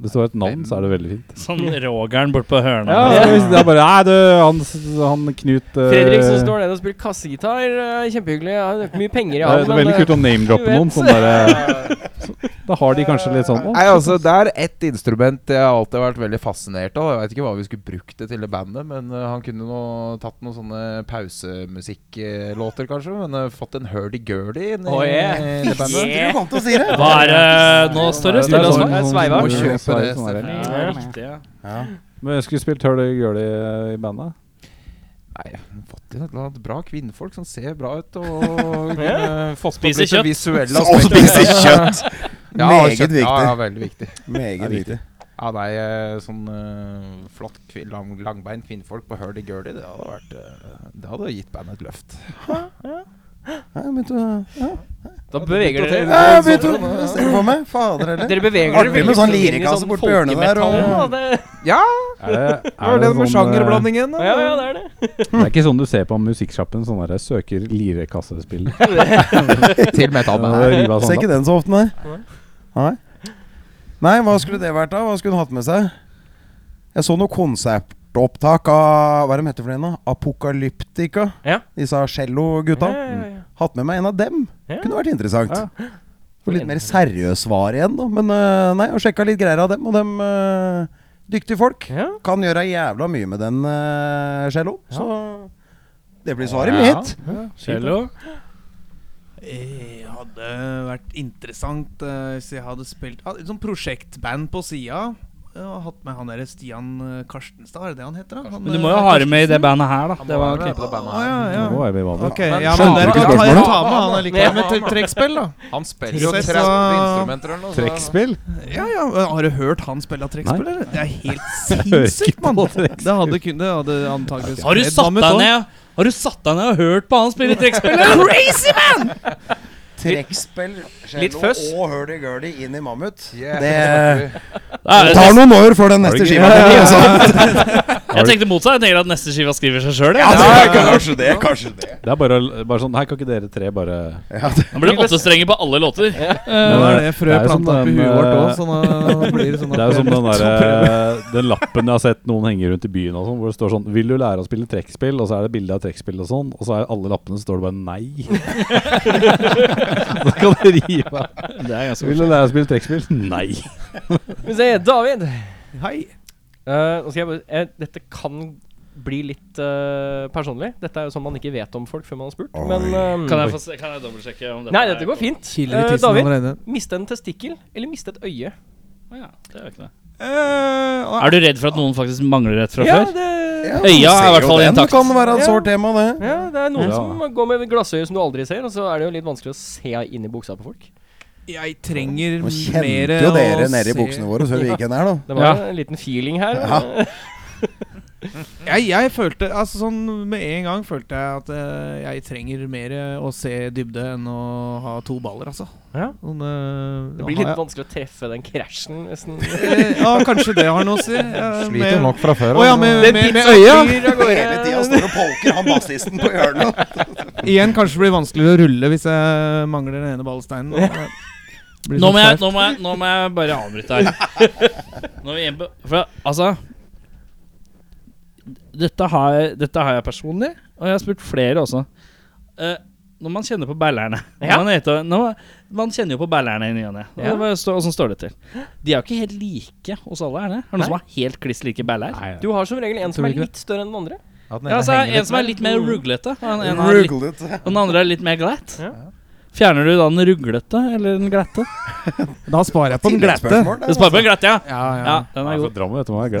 Det står et navn, så er det veldig fint.
Sånn Rogeren bort på hørna.
Ja, det er- det er bare Nei, du, han, s- han Knut eh,
Fredrik som står nede og spiller kassegitar. eh, Kjempehyggelig. Ja, eh, det er ikke mye penger i
det er, det er veldig kult å name-droppe noen. Sånn der, eh, da har de kanskje litt sånn
Nei,
å,
altså, Det er ett instrument jeg har alltid vært veldig fascinert av. Jeg veit ikke hva vi skulle brukt det til i bandet, men eh, han kunne nå tatt noen sånne pausemusikklåter, kanskje. Men eh, fått en hurdy-gurdy inn i
Å, yeah.
i det bandet.
Jeg tror du kom til å si det.
Hva er det Nå står det stille.
Det er
Altså.
sånn- sveiva.
Må kjøpe det,
Sveiv, sånn der.
Ja.
Ja.
Men jeg skulle spilt Hurdy Gurdy eh, i bandet.
Nei, fått inn et eller annet bra kvinnfolk som ser bra ut og kunne fått på
Spiser
litt det
kjøtt.
visuelle
Og
aspektet.
spise kjøtt!
Ja,
Meget
kjøtt,
viktig.
Ja, ja, veldig viktig.
Meget viktig.
Ja, nei, eh, sånn eh, flott kvin- lang, langbeint kvinnfolk på hurdy-gurdy, det hadde vært eh, Det hadde gitt bandet et løft.
Nei, men du ja.
eh, Da beveger dere
Nei, men du Ser du på meg? Fader heller.
Dere beveger
Eh,
dere
Artig med
veldig
sånn
fint inn i
lirekasse
sånn
bort på hjørnet der, og-
folkemetall, da. Det-
Ja!
Er det,
Hva er det med
sånn, eh,
sjangerblandingen? da?
Ja, ja, det er det.
Det er ikke sånn du ser på musikksjappen, sånn der søker lirekassespill.
Til metalbandet.
Ser
Sånn,
ikke den så ofte, nei. Nei. Nei, hva skulle det vært, da? Hva skulle hun hatt med seg? Jeg så noe konsertopptak av Hva er de heter for noe? Apokalyptika.
Ja.
Disse cellogutta.
Ja, ja, ja.
Hatt med meg en av dem.
Ja.
Kunne vært interessant. For litt mer seriøst svar igjen, da. Men øh, nei, og sjekka litt greier av dem. Og dem øh, dyktige folk
Ja.
kan gjøre jævla mye med den øh, celloen. Så det blir svaret
Ja.
mitt.
Cello.
Det hadde vært interessant eh, hvis jeg hadde spilt ah, et sånt prosjektband på sida. Og hatt med han der Stian eh, Karstenstad, er det det han heter? da? Han,
Men du
eh,
må jo ha det med i det bandet her, da.
Han må
Det
være
var
med
knepet.
på det
Å,
bandet her.
ja, ja.
Nå er vi vant.
Ok,
Men
ja, men
skjønner
der kan
du ikke
ta,
spørsmålet?
ta med han allikevel med tre- trekkspill, da.
Han spiller jo
Trommer,
30
så-
instrumenter eller noe. så-
Trekkspill?
Ja, ja, Har du hørt han spille trekkspill, eller? Det
*laughs*
er helt
hører ikke
sinnssykt, mann!
på
Det hadde kunnet det hadde antakeligvis
Har du
kledd
satt
Mammut
deg
også.
ned? Har du satt deg ned og hørt på han spille trekkspill? eller? Crazy man!
Trekkspill,
Litt
cello
føss.
og hurdy-gurdy inn i Mammut.
Yeah.
Det
Nei,
Det tar noen år før den neste skiva kommer. altså.
*laughs* Jeg tenkte motsatt. Jeg tenker at neste skiva skriver seg sjøl.
Ja, det er kanskje det, kanskje det.
*laughs* Det er bare, bare sånn Her kan ikke dere tre bare eh,
Nå blir det åtte strenger på alle låter.
Ja, det Eh, er det
Det
frø
er jo som
planta oppi
den,
huet vårt sånn
eh,
òg, så da da blir det sånn
*laughs* Det er jo
*laughs*
som den der, Den lappen jeg har sett noen henge rundt i byen og sånn, hvor det står sånn 'Vil du lære å spille trekkspill?' Og så er det bilde av trekkspill og sånn, og så er alle lappene så står det bare 'nei'. *laughs* Da kan du rive av.
Det er ganske
Vil du lære å spille trekkspill? Nei.
Men se, David.
Hei!
Eh, nå skal jeg bare, eh, dette kan bli litt eh, personlig. Dette er jo sånn man ikke vet om folk før man har spurt. Men eh,
Kan jeg, få se, kan jeg dobbeltsjekke om dette
Nei, dette går fint.
Kilder i
Eh,
tissen
David,
allerede.
miste en testikkel eller miste et øye?
Ja, det er jo ikke det.
Eh,
Er du redd for at noen faktisk mangler et fra
Ja,
før?
det,
Ja,
Øya er
du
i
ser
hvert
jo
fall
den.
intakt.
Det kan være et
Ja.
sårt tema, det.
ja, det er noen
Ja.
som går med glassøye som du aldri ser, og så er det jo litt vanskelig å se inn i buksa på folk.
jeg trenger
Nå
mer
kjente jo
å
dere
se.
nedi buksene våre før vi gikk inn her, da.
Det var
Ja.
en liten feeling her.
Ja.
Jeg, jeg følte altså sånn Med en gang følte jeg at eh, jeg trenger mer å se dybde enn å ha to baller, altså.
Ja.
Sånn,
*laughs*
eh,
Det blir
har
litt
jeg-
vanskelig å treffe den krasjen, nesten.
Eh, Ja, kanskje det har noe å si. eh,
Sliter
med-
nok fra før.
Å ja,
altså.
med,
Det
med, med øya.
pizzafyr av
Hele tida
gårde.
står og polker han bassisten på hjørnet.
Igjen kanskje det blir vanskeligere å rulle hvis jeg mangler den ene ballsteinen. Eh, blir
Nå
sånn
må jeg, nå
skjevt.
må jeg, nå må jeg bare avbryte her.
*laughs*
Nå er vi igjen på For altså dette har, jeg- dette har jeg personlig, og jeg har spurt flere også. Eh, når man kjenner på ballerne
Ja.
man, heter, når, man kjenner jo på ballerne i ny og ne. Og
Ja.
hva står- Åssen står det til? De er jo ikke helt like hos alle, er det? Er det
Nei.
noen som har helt kliss like baller?
Nei,
Du har som regel en som
Tror
er
ikke
litt større enn den andre.
At den
Ja,
ene
altså,
henger
en
litt
som er litt mer ruglete, og en- en har litt-
Ruglete.
og den andre er litt mer glatt.
Ja.
Fjerner du da den ruglete eller den glatte?
Da sparer jeg på den glatte.
Tilleggsspørsmål,
Du
det.
sparer på den glatte, ja.
Ja, ja.
ja den er
Nei,
god.
for Drammen, vet du hva jeg er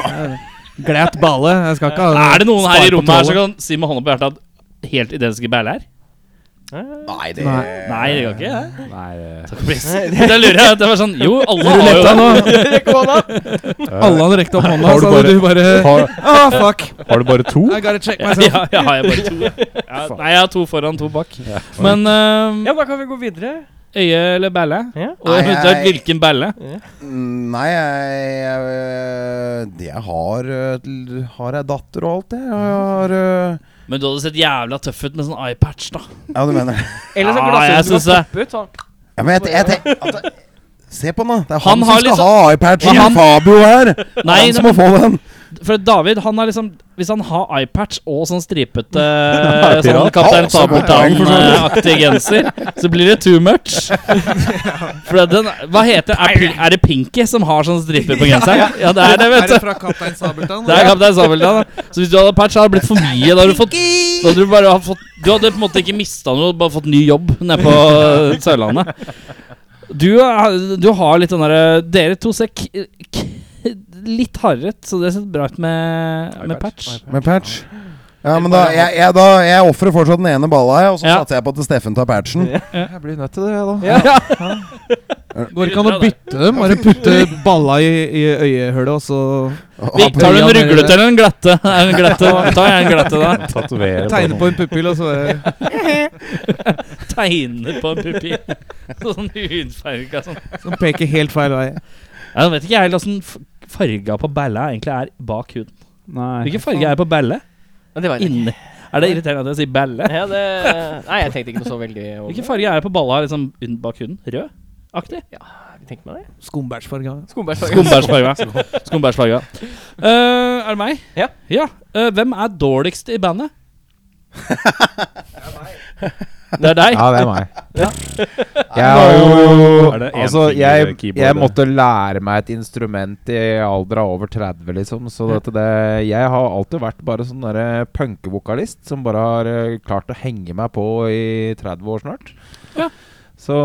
glad.
Glatt balle. Jeg skal ikke ha
Er det noen her i
Spar på
rommet her som
trollet.
kan si med hånda på hjertet at helt identiske bæler?
Nei, det
Nei.
Nei, det kan ikke det.
Nei, eh,
Da lurer jeg. Det var sånn Jo, alle har jo
*laughs* Alle hadde rekt opp
Har
hånda,
du
så hadde
bare-
du bare
har,
Ah, fuck!
har du bare to?
I gotta check
Ja, *laughs*
myself.
ja, ja, jeg har bare to. ja. Ja, nei, jeg har to foran, to bak. Men eh,
Ja, da kan vi gå videre.
øye eller bæle?
Ja.
Og *laughs* jeg har funnet ut
Nei.
hvilken bæle.
Mm, Nei, jeg, jeg, det jeg har eh, l- Har jeg datter og alt det? Jeg har eh,
Men du hadde sett jævla tøff ut med sånn eyepatch, da.
Ja, du mener det?
Eller så
Ja,
glasser
jeg
som
synes
skal
det.
poppe ut. Sånn.
Ja, men jeg, te- jeg te- altså, Se på den, da. Det er
Han
han,
har
som skal
liksom-
ha iPad.
Men
Ja,
han-
Fabio her.
Nei,
han som må få den.
for David, han er liksom Hvis han har eyepatch og sånn stripete
er
eh, sånn
pirat.
Kaptein
Ja, så godt poeng for så vidt.
Sabeltann-aktig genser, så blir det too much. *laughs* For den Hva heter Er, Pin- er det Pinky som har sånn striper på genseren? Ja, det er det, vet du.
fra Kaptein Sabeltann?
Det er Kaptein Sabeltann. da. Så hvis du hadde patch, hadde det blitt for mye. Da hadde du, fått, da hadde du, bare hatt fått, du hadde på en måte ikke mista noe, bare fått ny jobb nede på eh, Sørlandet. Du, er- du har litt den derre Dere to ser k k litt hardere ut, så det ser bra ut med, med patch.
Med patch. Ja, men da Jeg, jeg, da, jeg ofrer fortsatt den ene balla, jeg, og så
Ja.
satser jeg på at Steffen tar patchen.
Jeg blir nødt til det, jeg, da.
Går ikke an å bytte dem? Bare putte
*laughs*
balla i, i øyehullet, og så
Vi, tar du en ruglete eller en glatte? En glatte tar jeg en glatte, da.
Tatovere
tegne på en pupill, og så bare
Tegner på en pupill. *laughs* Sånn hudfarga sånn.
som peker helt feil vei.
Jeg vet ikke jeg helt åssen farga på balla egentlig er bak huden.
Nei.
Hvilken farge er på balle?
Ja, det var
Inni. Er det irriterende at jeg sier balle?
Ja, det, nei, jeg tenkte ikke noe så veldig over
Hvilken
det.
farge er det på balla liksom unn- bak huden? Rød? Aktig?
Tenkte meg det.
Skumbærsfarga.
Skombærsfarge.
Skumbærsfarga. Skumbærsfarga. Eh, er det meg?
Ja.
Eh, hvem er dårligst i bandet? Det er deg?
Ja, det er meg. Jeg har jo
Er det en
Altså,
finger
jeg,
keyboard,
jeg
eller?
måtte lære meg et instrument i alder av over 30, liksom. Så at det, jeg har alltid vært bare sånn derre punkevokalist som bare har eh, klart å henge meg på i 30 år snart.
Ja.
Så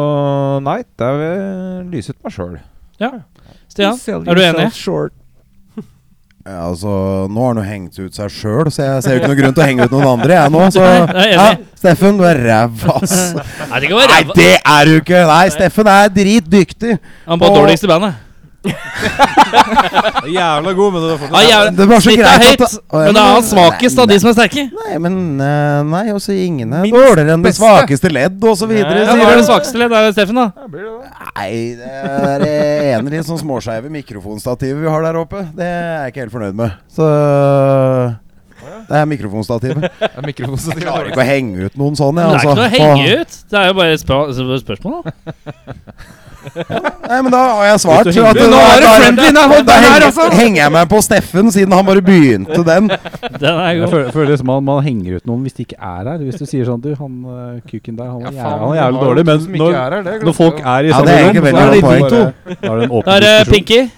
nei, det er vel lyset meg sjøl.
Stian, er du enig?
Ja, altså, nå har han jo hengt ut seg sjøl, så jeg ser jo ikke noen grunn til å henge ut noen andre, jeg nå. Så
Nei, jeg er enig.
Steffen, du er ræv,
*laughs*
ass.
Nei, det kan være
Nei,
ræva.
det er du ikke! Nei, Steffen er dritdyktig.
Han var
Åh.
dårligst i bandet.
Jævla god, men
Ah, jævla.
Det var så
Snittet er
greit
høyt,
at det- Åh, ja,
men da er han
men-
svakest av de som er sterke.
Nei, men eh, Nei, også ingen er dårligere enn det
beste.
svakeste ledd, og så videre.
Ja,
sier
Hva er
han.
det svakeste ledd? Er det Steffen, da?
Nei, det er det ene litt sånn småskeive mikrofonstativet vi har der oppe. Det er jeg ikke helt fornøyd med. Så Det er mikrofonstativet. Jeg klarer ikke å henge ut noen sånn,
Det
jeg,
er ikke
altså.
noe å henge ut. Det er jo bare et spør- spørsmål, da.
Nei, men da har jeg svart.
Hvis du henger-
at-
Men nå er
da-
det
da-
friendly,
da-
nei, hold
Da
den her,
henger,
altså.
henger jeg meg på Steffen, siden han bare begynte den.
Den er
Jeg
god.
føler, føler det som man, man henger ut noen hvis de ikke er her. Hvis du sier sånn Du, han eh, kuken der, han er
faen,
jævla, han er
har
jævlig
jo
dårlig.
to
Men
som ikke
når,
er her, det
når
glemte
folk
jeg.
liksom er i
Ja,
samme
det er
rom,
egentlig
så er
veldig
det
bra
de
poeng.
to. Da er det en åpen
Da er det
diskusjon.
Pinky.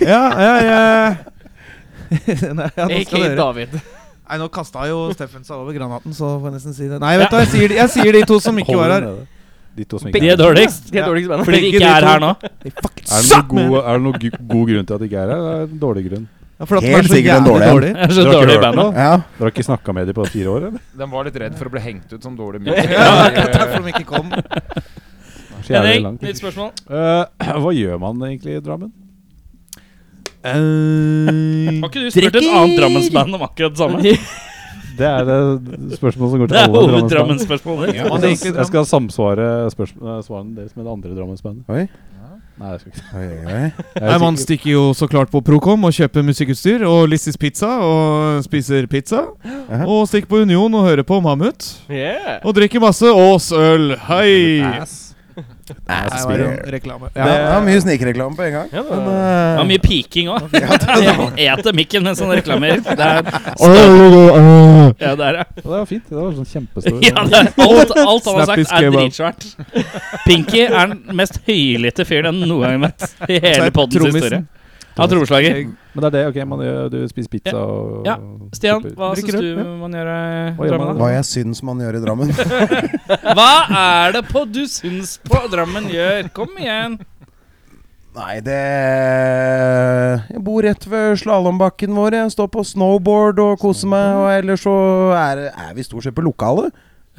Ja, ja, ja. Nei, ja, nå
AK
skal dere
David.
Nei, nå kasta jo Steffen seg over granaten, så får jeg nesten si det. Nei, vet du, jeg sier, de- jeg sier de to som ikke
Holder
var
den
her.
nede. De to som
De
ikke
er
er her.
dårligst.
De er dårligst bandet.
Fordi de ikke er her nå.
Er det noen god, er det noe gu- god grunn til at de ikke er her? eller Er det en dårlig grunn?
Ja, for at de
Helt
er så
sikkert en
jævlig
dårlig en.
dårlig.
Det er så
Dere har ikke
dårlig
hørt
band nå.
Ja.
Dere har ikke snakka med de på fire år, eller?
Den var litt redd for å bli hengt ut
*laughs*
som dårlig musiker.
Derfor de ikke kom.
Så jævlig
Henning,
langt.
nytt spørsmål.
Eh, *clears throat* hva gjør man egentlig i Drammen?
Har ikke du spurt et annet Drammensband om akkurat *laughs* det samme?
Det er det spørsmålet som går til
Det er
alle Drammensband.
hoveddrammensspørsmålet ditt.
Jeg skal- Jeg skal samsvare spørsm- eh, svarene deres med det andre Drammensbandet.
Oi.
Nei, jeg skal ikke
Oi, oi, oi.
Jeg
Nei,
er
Man
sikker-
stikker jo så klart på Procom og kjøper musikkutstyr og Lissis pizza og spiser pizza.
Ja.
Og stikker på Union og hører på Mammut.
*laughs* Yeah.
Og drikker masse Ås øl. Hei!
Nei,
Det
så
var jo
spiller-
reklame.
Ja, det var mye snikreklame på en gang.
Ja, det
Men,
Det
var-
var
eh,
mye piking òg. Eter mikken mens han reklamerer. Det er Ja, det er det.
Ja, Det var fint. Det var sånn
*laughs*
kjempestor
Ja, det er, alt, alt han har
Snappy
sagt, er
kebab.
dritsvært. Pinky er den mest høylytte fyren jeg noen gang har møtt i
Så
hele
er
poddens
trommisen.
historie. Av trommeslager.
Men det er det. ok, man gjør, Du spiser pizza
Ja.
og
Ja. Stian,
Super.
hva
Drikker
syns
øl,
du man gjør i
Hva gjør man
Drammen?
hva jeg syns man gjør i Drammen.
da? Hva er det på du syns på Drammen gjør? Kom igjen.
Nei, det Jeg bor rett ved slalåmbakken vår. Jeg står på snowboard og koser meg. Og ellers så er, er vi stort sett på lokalet.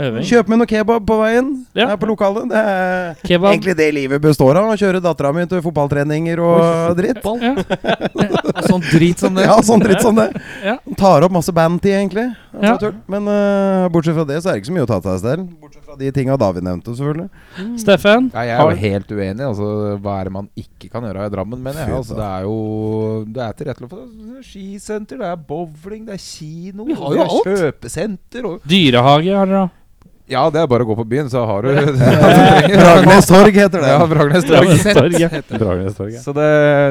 Øving.
Kjøper meg noe kebab på veien.
Ja.
Er på lokalet. Det er
Kebab.
egentlig det livet består av. Å kjøre dattera mi til fotballtreninger og dritt.
Ja.
*laughs* Sånn drit som det.
Ja, sånn dritt som det.
*laughs*
Ja.
Tar opp masse bandtid, egentlig. Det er
Ja.
så tull. Men eh, bortsett fra det, så er det ikke så mye å ta til seg selv. Bortsett fra de tinga David nevnte, selvfølgelig.
*laughs*
Steffen?
Nei, jeg er jo helt uenig. Altså, hva er det man ikke kan gjøre i Drammen, mener jeg.
Fy
Altså, det er jo Det er tilrettelagt for det. er skisenter, det er bowling, det er kino,
Vi har jo
det er
alt.
kjøpesenter og
Dyrehage har dere, da.
Ja, det er bare å gå på byen, så har
*laughs*
du *laughs*
Dragnes torg heter det.
Ja, Bragernes
Drammenstorg, ja.
Dragsett.
Dragernes torg, ja.
*laughs* Så det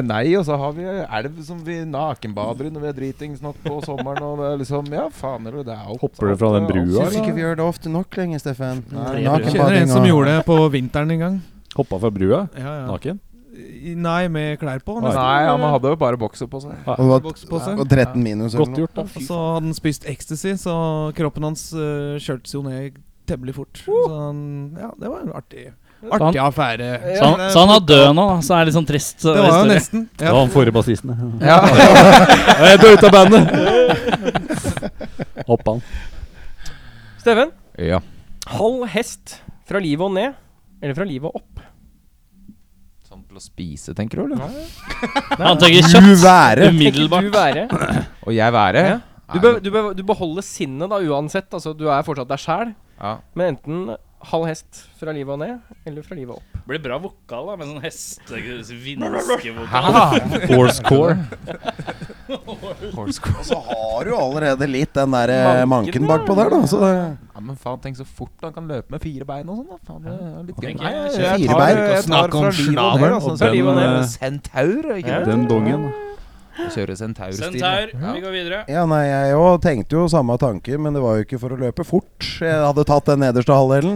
Nei, og så har vi elv som vi nakenbader i når vi er dritings nok på sommeren, og det er liksom Ja, faen eller det er alt.
Hopper du fra den
alt er- alt.
brua,
Syns
eller?
ikke vi gjør det ofte nok lenger, Steffen.
Tre
Jeg
brød.
nakenbading
kjenner en som
og-
gjorde det på vinteren en gang.
Hoppa fra brua?
Ja, ja.
Naken?
I- Nei, med klær på. nesten.
Nei, ja, man hadde jo bare bokser på seg.
Og det var
Boks på
Ja,
seg.
Og 13 minus. eller
Godt
noe.
gjort, *laughs* da.
Og så hadde han spist ecstasy, så kroppen hans uh, kjørtes jo ned temmelig fort. Så han, ja, det var en artig,
han-
artig affære.
Så han, så han er død nå, da, så er det litt sånn trist. uh,
Det var jo
historie.
nesten.
Det
Ja.
var han forrige bassisten. ja.
Ja, *laughs*
Jeg er ut av bandet! Hoppa han.
Steffen,
ja.
halv hest fra livet og ned. Eller fra livet og opp.
Sånn til å spise, tenker du, eller?
Han tenker
Du
kjøtt.
være!
Du
Umiddelbart.
være
Og jeg være?
Ja. Du,
Nei,
be, du, be, du beholder sinnet da uansett. Altså, du er fortsatt deg sjæl.
Ja.
Men enten halv hest fra livet og ned, eller fra livet og opp.
Blir bra vokal da, med sånn heste-vinskevokal.
Force core.
Og så har du allerede litt den der eh, manken bakpå der, da. Så det
*laughs* Ja, men faen, tenk så fort han kan løpe med fire bein og sånn, da. Faen, det er litt gøy.
Tenk,
Nei,
jeg
jeg,
kjører
jeg
fire
tar,
bein.
jeg tar
Snakk om
fra liv og ned,
snabelen,
altså.
og
Fra liv og ned.
den, eh,
Centaur, er ikke det?
Den dongen.
Jeg kjører centaur-stil.
Centaur, vi går videre.
ja, nei, jeg òg tenkte jo samme tanke, men det var jo ikke for å løpe fort. Jeg hadde tatt den nederste *laughs* halvdelen.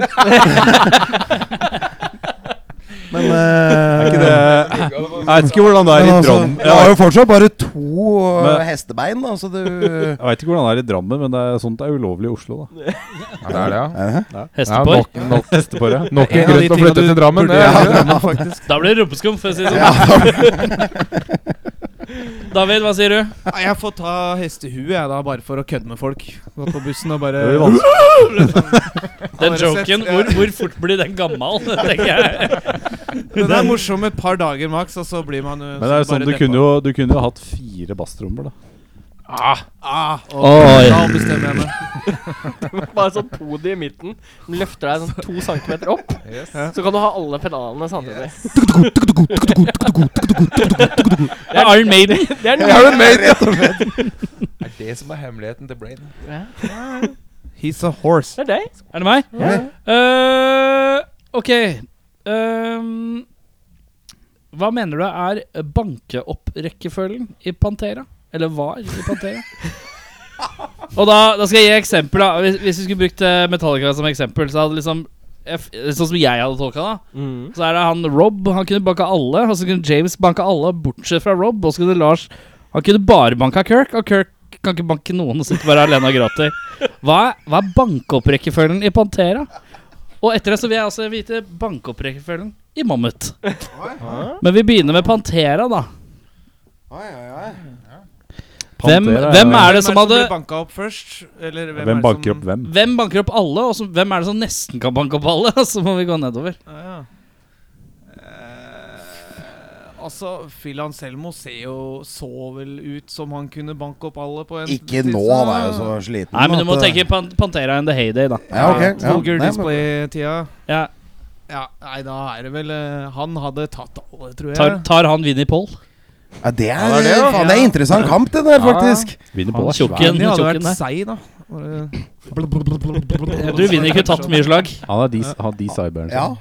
men eh,
Ikke det *laughs* Jeg vet ikke hvordan det er
men
i
altså,
Drammen.
Jeg har jo fortsatt bare to eh,
Men-
hestebein, da, så du
*laughs* Jeg vet ikke hvordan det er i Drammen, men det er, sånt er ulovlig i *laughs* Oslo, da.
Ja, det er det, ja.
Eh,
Hestepår.
nok, nok,
Hestepåre.
nok en grunn til å flytte til Drammen. det.
Da blir det rumpeskum, for å si det sånn. *laughs* David, hva sier du?
Nei, jeg får ta hestehue, jeg, da, bare for å kødde med folk. Gått på bussen og bare
Det blir vanskelig.
Den
Har dere sett?
joken, hvor, hvor fort blir den gammal? *laughs* tenker jeg.
Det er morsom et par dager maks, og så blir man jo
Men det er jo sånn, du kunne jo, du kunne jo hatt fire basstrommer, da.
ah,
Oi.
og, Da bestemmer jeg meg.
Bare sånn podi i midten. Den løfter deg sånn to centimeter opp. Så kan du ha alle pedalene samtidig.
Det er Iron Maiden.
Det er
Er
noe.
*laughs* det mer, rett og slett?
*laughs*
Det er det som er hemmeligheten til Brain.
He's a horse.
Det er deg.
Er det meg?
Ja.
Eh, ok. Ehm, hva mener du er banke-opp-rekkefølgen i Pantera? Eller var i Pantera? Og da, da skal jeg gi eksempel. da Hvis, hvis vi skulle brukt eh, Metallica som eksempel, så hadde liksom jeg f- Sånn som jeg hadde tolka det,
Mm.
så er det han Rob. Han kunne banka alle. Og så kunne James banka alle, bortsett fra Rob. Og så kunne Lars Han kunne bare banka Kirk, og Kirk kan ikke banke noen og sitte bare alene og gråter. Hva, er- hva er banke-opp-rekkefølgen i Pantera? Og etter det så vil jeg også vite bankopprekkefølgen i Mammut. Men vi begynner med Pantera, da.
Oi, oi, oi.
Hvem,
Pantera,
hvem
ja.
er det som hadde
blir banka opp først? Eller hvem,
Hvem
er det
banker
som,
opp hvem?
Hvem banker opp alle, og så, hvem er det som nesten kan banke opp alle? *laughs* Så må vi gå nedover.
Ja, ja. Eh, altså, Phil Anselmo ser jo så vel ut som han kunne banke opp alle på en
Ikke nå, han er jo så sliten.
Nei, men du må
at, eh,
tenke pan Pantera in the heyday, da.
ja, ok, ja,
Vulgar
nei, men-
Eh, display-tida.
Ja,
Ja, nei, da er det vel eh, Han hadde tatt alle, tror jeg.
tar, tar han Vinnie Paul?
ja, det, er,
Ja, det er det, ja.
faen, det er interessant kamp, det der,
Ja.
faktisk.
Vinner på
Han tjukken.
Men de hadde
tjukken
vært
der.
seig, da. Bare-
Jeg tror Vinnie kunne tatt mye slag.
Han har de, han de cyberne
Ja.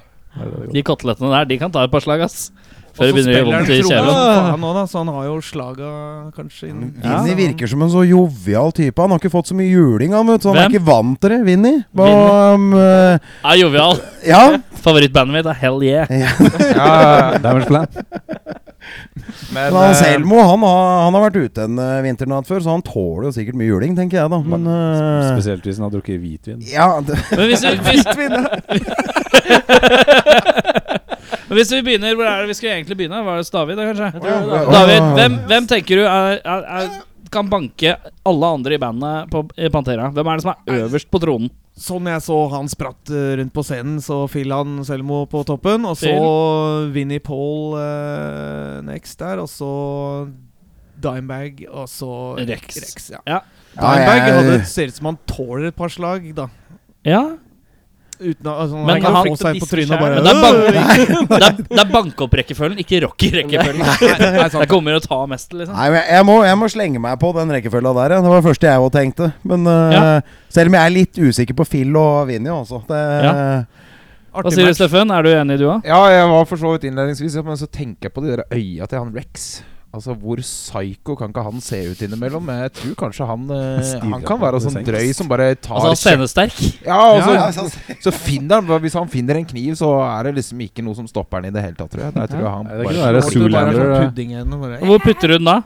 De kotelettene der, de kan ta et par slag, ass. Før det
Og
begynner
så
å gjøre
spiller
vondt i
han tromme
kjeven.
som faen nå, da, så han har jo slaga kanskje inn.
Vinny virker som en så jovial type. Han har ikke fått så mye juling, han, vet du. så Han
Hvem?
er ikke vant til det, Vinny. Og, um,
Er Ah, jovial.
eh, ja.
Favorittbandet mitt er Hell Yeah.
Damage plan.
Men han Selmo han har, han har vært ute en eh, vinternatt før, så han tåler jo sikkert mye juling, tenker jeg, da. Men eh,
Spesielt hvis han har drukket hvitvin.
ja, det,
Men hvis vi, hvis, Men hvis vi begynner, hvor er det vi skulle egentlig begynne? Var det David, da, kanskje? David, hvem, hvem tenker du er, er, er, kan banke alle andre i bandet på i Pantera? Hvem er det som er øverst på tronen?
Sånn jeg så han spratt eh, rundt på scenen, så Phil han Selmo på toppen. Og så Vinnie Paul eh, next der, og så Dimebag, og så
Rex.
Rex ja.
ja,
Dimebag
jeg-
hadde ser ut som han tåler et par slag, da.
Ja,
Uten å altså,
Men
han kan
han-
få seg på trynet og
men
bare
det er, bank, *laughs* det er, det er bankopp-rekkefølgen, ikke rocky-rekkefølgen. Det kommer å ta mest, liksom.
Nei, men jeg- jeg må, jeg må slenge meg på den rekkefølga der. Ja. Det var det første jeg òg tenkte. Men eh,
Ja.
selv om jeg er litt usikker på Phil og Vinny, altså. Det,
Hva sier du,
match.
Steffen? Er du enig, du òg?
Ja, jeg var for så vidt innledningsvis, ja, men så tenker jeg på de der øya til han Rex. Altså, Hvor psycho kan ikke han se ut innimellom? Men Jeg tror kanskje han
*laughs*
eh,
Stirrer
Han kan være
på
sånn
sengs.
drøy som bare tar
Altså, scenesterk.
kjeft- Ja, og så,
Ja, ja, sant.
så finner han Hvis han finner en kniv, så er det liksom ikke noe som stopper han i det hele tatt, tror jeg. Der tror jeg han
Er det
bare-
ikke noe der Zoolander eh,
Hvor putter du den da?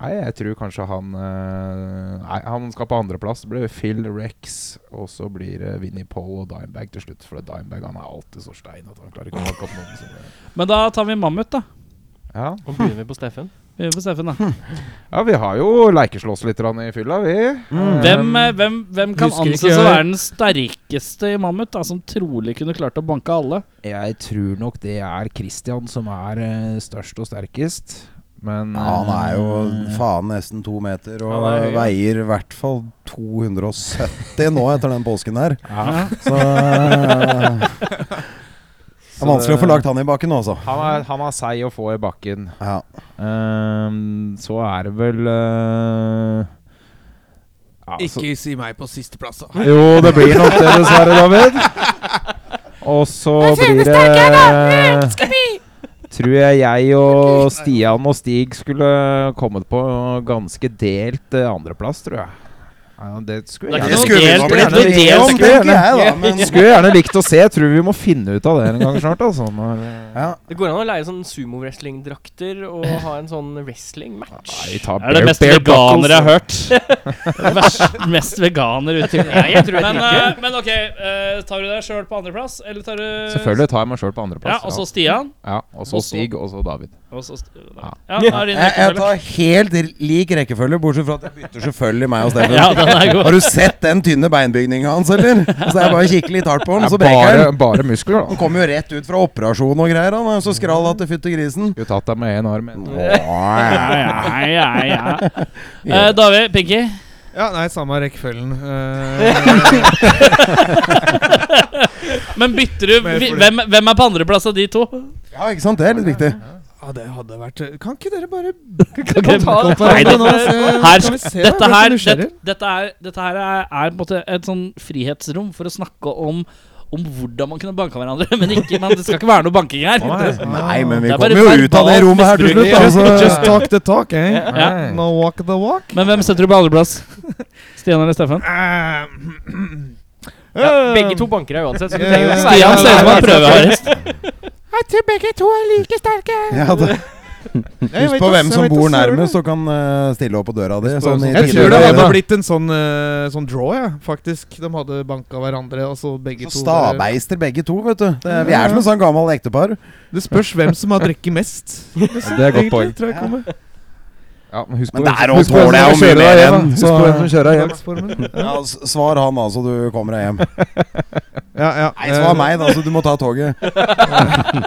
Nei, jeg tror kanskje han eh, Nei, han skal på andreplass. Det blir Phil Rex, og så blir det Vinnie Paul og Dimebag til slutt. For det er Dimebag han er alltid så stein at han klarer ikke å hakke opp noen. som-
Men da tar vi Mammut, da.
Ja.
Og begynner vi på Steffen.
Vi gjør på Steffen, da.
ja, vi har jo leikeslåss litt grann i fylla, vi.
Hvem, eh, hvem, hvem kan
Husker
anses
ikke
å
jeg.
være den sterkeste i Mammut, da, som trolig kunne klart å banke alle?
Jeg tror nok det er Christian som er eh, størst og sterkest. Men
ja, han er jo
eh,
faen nesten to meter og
Han er høy, ja.
veier i hvert fall 270 nå etter den påsken her.
ja.
Så
*laughs*
eh, Det er vanskelig å få lagt han i bakken nå, altså.
han, er, han er seig å få i bakken.
Ja.
Ehm, så er det vel eh, ja, så-
Ikke si meg på sisteplass, da.
Jo, det blir nok det, dessverre, David. Og så blir det Tror jeg jeg og Stian og Stig skulle kommet på ganske delt eh, andreplass, tror jeg. Ja, det skulle
Det er
jeg
ikke
Det
noe
gjerne
skulle vi
delt-
nå
det er ikke noe
blitt enige om,
delt-
tenker jeg, da. Men
skulle jeg gjerne likt å se. Jeg tror vi må finne ut av det en gang snart. Altså, når, eh,
ja.
Det går an å leie sånn sumo-wrestling-drakter og ha en sånn wrestling-match.
nei, vi tar
Er det
bare
mest
bare
veganer jeg har
buckles.
hørt. Vers- mest veganer ute.
Nei, jeg tror jeg
Men,
ikke.
eh, men ok, eh, tar du deg sjøl på andreplass, eller tar du
Selvfølgelig tar jeg meg sjøl på andreplass.
Ja, og så Stian.
ja, og så
og så-
Stig, og så David.
Og så St-
Ja.
Ja, da er din
jeg, jeg
rekkefølge.
tar helt lik rekkefølge, bortsett fra at jeg bytter selvfølgelig meg og Steffen.
Ja, den er god.
Har du sett den tynne beinbygninga hans,
*laughs*
eller? Så jeg bare kikker litt hardt på den,
Det
så
er
breker
bare,
den.
bare muskler, da.
Han kom jo rett ut fra operasjon og greier, han er jo så skral at det fytter
*laughs*
grisen.
Skulle tatt deg med én arm. en-
Ja,
Åh,
ja, ja, ja. Eh, David, Pinky.
Ja, nei, samme rekkefølgen. Eh,
Men bytter du
Men jeg får-
hvem, hvem er på andreplass av de to?
Ja, ikke sant? Det er litt viktig.
ja, det hadde vært eh, Kan ikke dere *laughs* bare
Nei, det, her,
eh, Kan vi
dette,
se, da? Jeg
her,
er så
dette,
nysgjerrig.
dette, er, dette her er, er på en måte et sånn frihetsrom for å snakke om om hvordan man kunne banka hverandre. *laughs* Men ikke, man, det skal ikke være noe banking her.
Nei, men vi
Det er bare
kommer jo ut av det
verbalt
rommet her til
misbruk.
slutt, altså.
Just talk the talk, eh?
Ja.
No walk the walk.
Men hvem setter du på andreplass? *laughs* Stian eller Steffen?
Ja, begge to banker deg uansett. Så du
Ja,
trenger ikke
ja, ja.
Stian ser ut som han
være-
prøver hardest.
*laughs* Ja, det. Husk på hvem som bor nærmest og kan eh, stille opp på døra di. Sånn i
Jeg
tidligere
tror det
dager.
hadde blitt en sånn, eh, sånn draw, ja. faktisk. De hadde banka hverandre. Og så begge
Så
to bare-
Stabeister begge to, vet du. Det, vi er som et sånn gammelt ektepar.
Det spørs hvem som har drukket mest.
Det er et godt poeng.
Tror jeg kommer.
Ja, men husk på
Men
hvem
der
som-
òg
husk på hvem
tåler jeg jo
som
mye
kjører
mer
deg
enn
hjem, da. Husk
så
på hvem som kjører deg hjem.
ja, s- Svar han, altså. Du kommer deg hjem.
*laughs*
Eh.
Ja, ja. Eh,
Nei, svar meg, da. Så du må ta toget.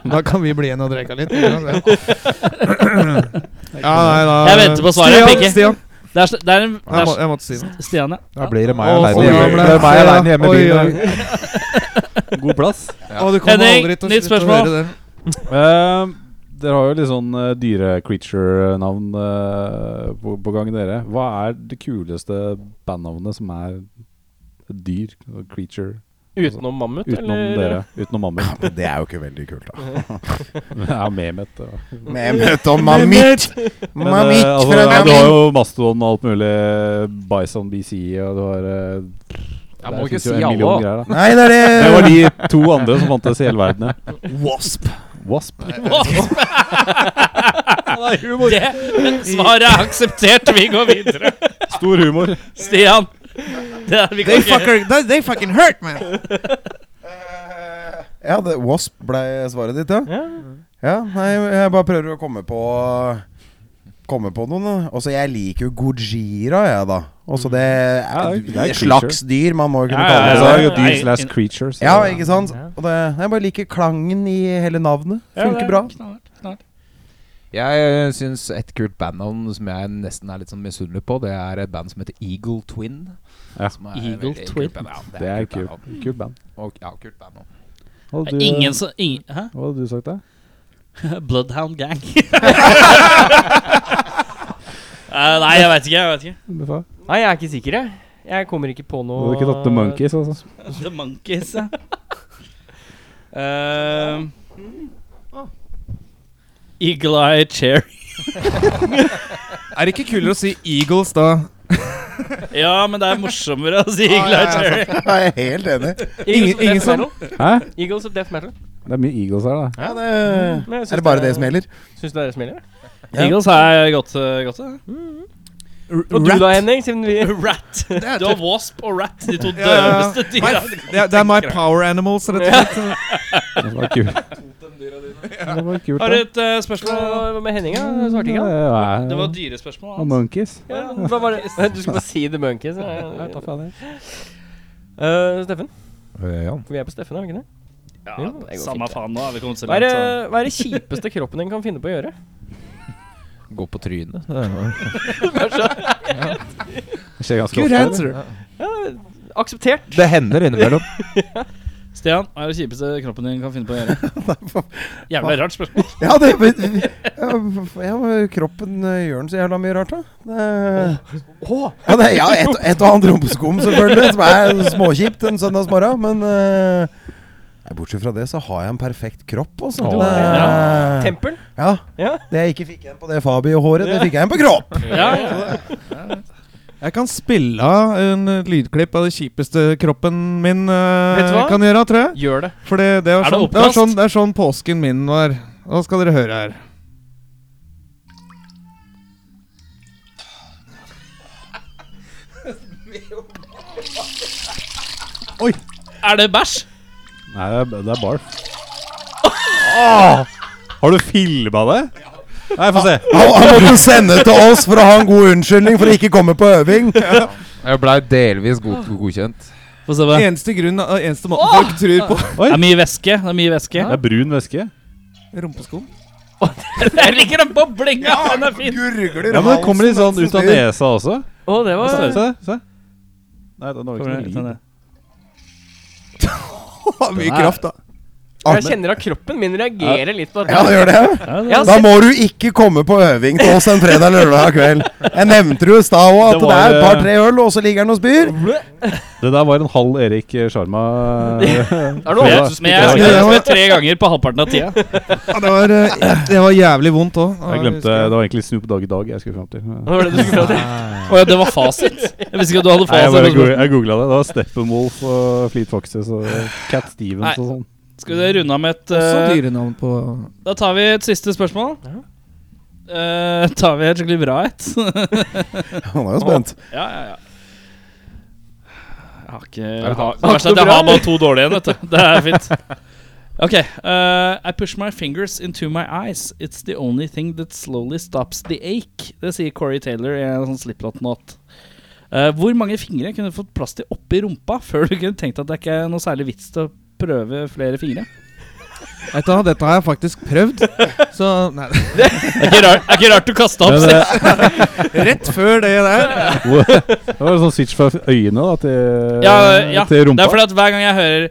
Da kan vi bli igjen og drikke litt. Ja, nei, da
Jeg venter på svaret,
Stian,
Pikke.
Stian.
Det er, s- det er en det
Jeg,
er,
må, jeg måtte si noe.
s- Stian, ja.
Da blir det meg
Å,
alene
så
hjemme.
jævla.
Det er meg alene hjemme i
Oi,
bilen.
oi.
God plass.
Å, du kommer
Henning,
aldri til å
nytt
slutte å
spørsmål.
høre det.
Eh, dere har jo litt sånn eh, dyre-creature-navn eh, på, på gang, dere. Hva er det kuleste bandnavnet som er dyr? Creature?
Utenom mammut,
Utenom
eller?
dere. Utenom Mammut.
*laughs* Det er jo ikke veldig kult, da.
*laughs* ja, Mehmet. Ja.
Mehmet og Mamit.
Men, eh,
Mamit
altså,
fra
ja, du har
Mamit.
jo Mastodon og alt mulig. Bison BC og du har eh,
Jeg
der
må ikke
finnes jo
si
en
alle.
million
da.
greier, da.
Nei, det er
Det var
det.
de to andre som fantes i hele verden. Ja. Wasp.
*laughs* Det, men svaret er akseptert. Vi går videre.
Stor humor.
Stian. Det er, vi kan
They,
ikke
fucker, they, they fucking hurt, man!
Ja, det, Wasp ble svaret ditt, ja. Ja, nei, jeg bare prøver å komme på Komme på noen. da. Altså, jeg liker jo Gojira, jeg, da. Altså, det
Mm. Ja, det er- det er
er et slags dyr, man må jo kunne
Ja,
Ja,
kalle
det
det
er
seg.
jo dyr
Nei,
slash creature. så-
Ja, ikke sant? Og det, jeg bare liker klangen i hele navnet. Funker bra.
Jeg eh, syns et kult bandnavn som jeg nesten er litt sånn misunnelig på, det er et band som heter Eagle Twin.
Ja.
Som er
Eagle
veldig
Twin.
kult band. Ja,
Det er
et kult
kult,
bandnavn.
kult band.
Og, ja, kult bandnavn.
Hva hadde
Det er
du-
Ingen som ingen, Hæ?
Hva hadde du sagt, da?
Bloodhound
*laughs*
Gang. Eh, nei, jeg veit ikke. jeg vet ikke
Beffa?
Nei, jeg er ikke sikker, jeg. Jeg kommer ikke på
Du
noe
hadde ikke tatt The Monkeys, altså?
The Monkeys, ja. *laughs* Eh, Eagle Eye Cherry.
*laughs* Er det ikke kulere å si Eagles, da?
*laughs* Ja, men det er morsommere å si Eagle Eye Cherry.
*laughs* Jeg er helt enig.
Eagles of
Ingen- ingen
Death
som-
Metal.
Hæ?
Eagles of Death Metal.
Det er mye Eagles her, da.
Ja, det,
Men jeg syns
er det bare det som gjelder?
Syns du det er det som gjelder?
Ja.
Eagles er godt, eh, godt det.
Og du da, Henning? Siden vi
*laughs* Rat. Du har wasp og rat, de to
Ja, ja, ja.
døveste dyra.
Det, er- det er My Power Animals, rett og slett.
Det var
*laughs*
kult. Det var kult,
Har
da.
du et eh, spørsmål?
Hva med Henning, da? Du Svarte ikke, han?
Mm, Ja,
Det var
ja.
dyrespørsmål.
Og
altså.
Monkeys.
Ja, hva var det? Du skulle bare si The Monkeys.
Ja, ta
Uh,
faen i.
Eh, Steffen?
Eh,
For vi er på Steffen, er vi ikke det?
Ja,
Jo, det går
samme
fint, det.
faen nå. Har vi kommet så
Hva er
langt,
det,
så.
hva er det kjipeste kroppen din kan finne på å gjøre?
Gå på trynet. *laughs* Det er jo-
Det skjer ganske ofte. eller?
Akseptert.
Det hender innimellom.
Stian, hva er det kjipeste kroppen din kan finne på å gjøre? Jævla rart spørsmål.
Ja, det men- ja, ja, men Kroppen eh, gjør den så jævla mye rart, da. Det, ja, det, ja et, et og annet rumpeskum, selvfølgelig, som er småkjipt en søndagsmorgen. Men eh, nei, bortsett fra det, så har jeg en perfekt kropp, altså.
Åh.
Det,
Tempel.
ja.
Ja.
Det jeg ikke fikk igjen på det Fabio-håret, det fikk jeg igjen på kropp.
Ja, ja. *laughs*
Jeg kan spille av en eh, lydklipp av det kjipeste kroppen min eh,
Vet du hva?
kan gjøre, tror jeg.
Gjør det.
For det, det,
Er
var
det
sånn, det, var
opplast?
sånn, det er sånn påsken min var. Nå skal dere høre her.
Er det bæsj?
Nei, det er, det er
*laughs*
barf. Har du filma det? Nei, få se.
Han, han måtte sende det til oss for å ha en god unnskyldning for å ikke komme på øving.
Jeg blei delvis god, godkjent.
Få se på det.
Eneste grunn av- Eneste måten folk tror på
Det er mye væske. Det er mye væske. *laughs*
Det er brun væske.
Rumpeskum.
Der ligger den boblinga! Den er fin.
Gurgler
Ja, men det kommer litt sånn ut av nesa også.
Å, det var
Se, se. Nei, den
Kommer
har jo ikke
det-
noe
sånn
lyd.
det.
Mye kraft, da.
Jeg kjenner at kroppen min reagerer litt på dette.
Ja, det gjør det.
Jeg har
Altså,
Da
sett-
må du ikke komme på øving til oss en fredag eller lørdag kveld. Jeg nevnte det jo i stad òg, at
Det
det
var,
er et
eh,
par-tre øl, og så ligger han og spyr.
Det der var en halv Erik
*laughs*
Sjarma.
Er det noe annet som
Men
spiker?
jeg
Ja,
spiste det tre ganger på halvparten av tida.
Ja, det, var, eh, det var jævlig vondt òg.
Jeg glemte Det var egentlig Snoop Dogg i dag jeg skulle fram til.
Hva var det du skulle prate om?
Å ja, det var fasit? Jeg visste ikke at du hadde
Nei, jeg bare
fasit.
go- jeg googla det. Det var Steppenwolf og Fleet Foxes og Cat Stevens
Nei.
og sånn.
Skal vi runde av med et
Også
eh,
dyrenavn på
Da tar vi et siste spørsmål. Eh, tar vi et skikkelig bra et?
*laughs*
*laughs*
Han er jo spent.
Ja, ja, ja. Jeg har ikke
det
jeg
ha-
har, Det verste er at jeg har bare to dårlige igjen, vet du. Det er fint. Ok. eh, I push my fingers into my eyes. It's the only thing that slowly stops the ache. Det sier Corey Taylor i en sånn sliplott-not. hvor mange fingre kunne du fått plass til oppi rumpa før du kunne tenkt at det ikke er noe særlig vits til å prøve flere fingre?
Vet du hva, dette har jeg faktisk prøvd. Så nei,
Det er ikke rart, det er ikke rart du kasta opp.
Men, eh,
Rett før det der
hvor- det var en sånn switch fra øyene da, til,
Ja, ja.
til rumpa.
Det er fordi at hver gang jeg hører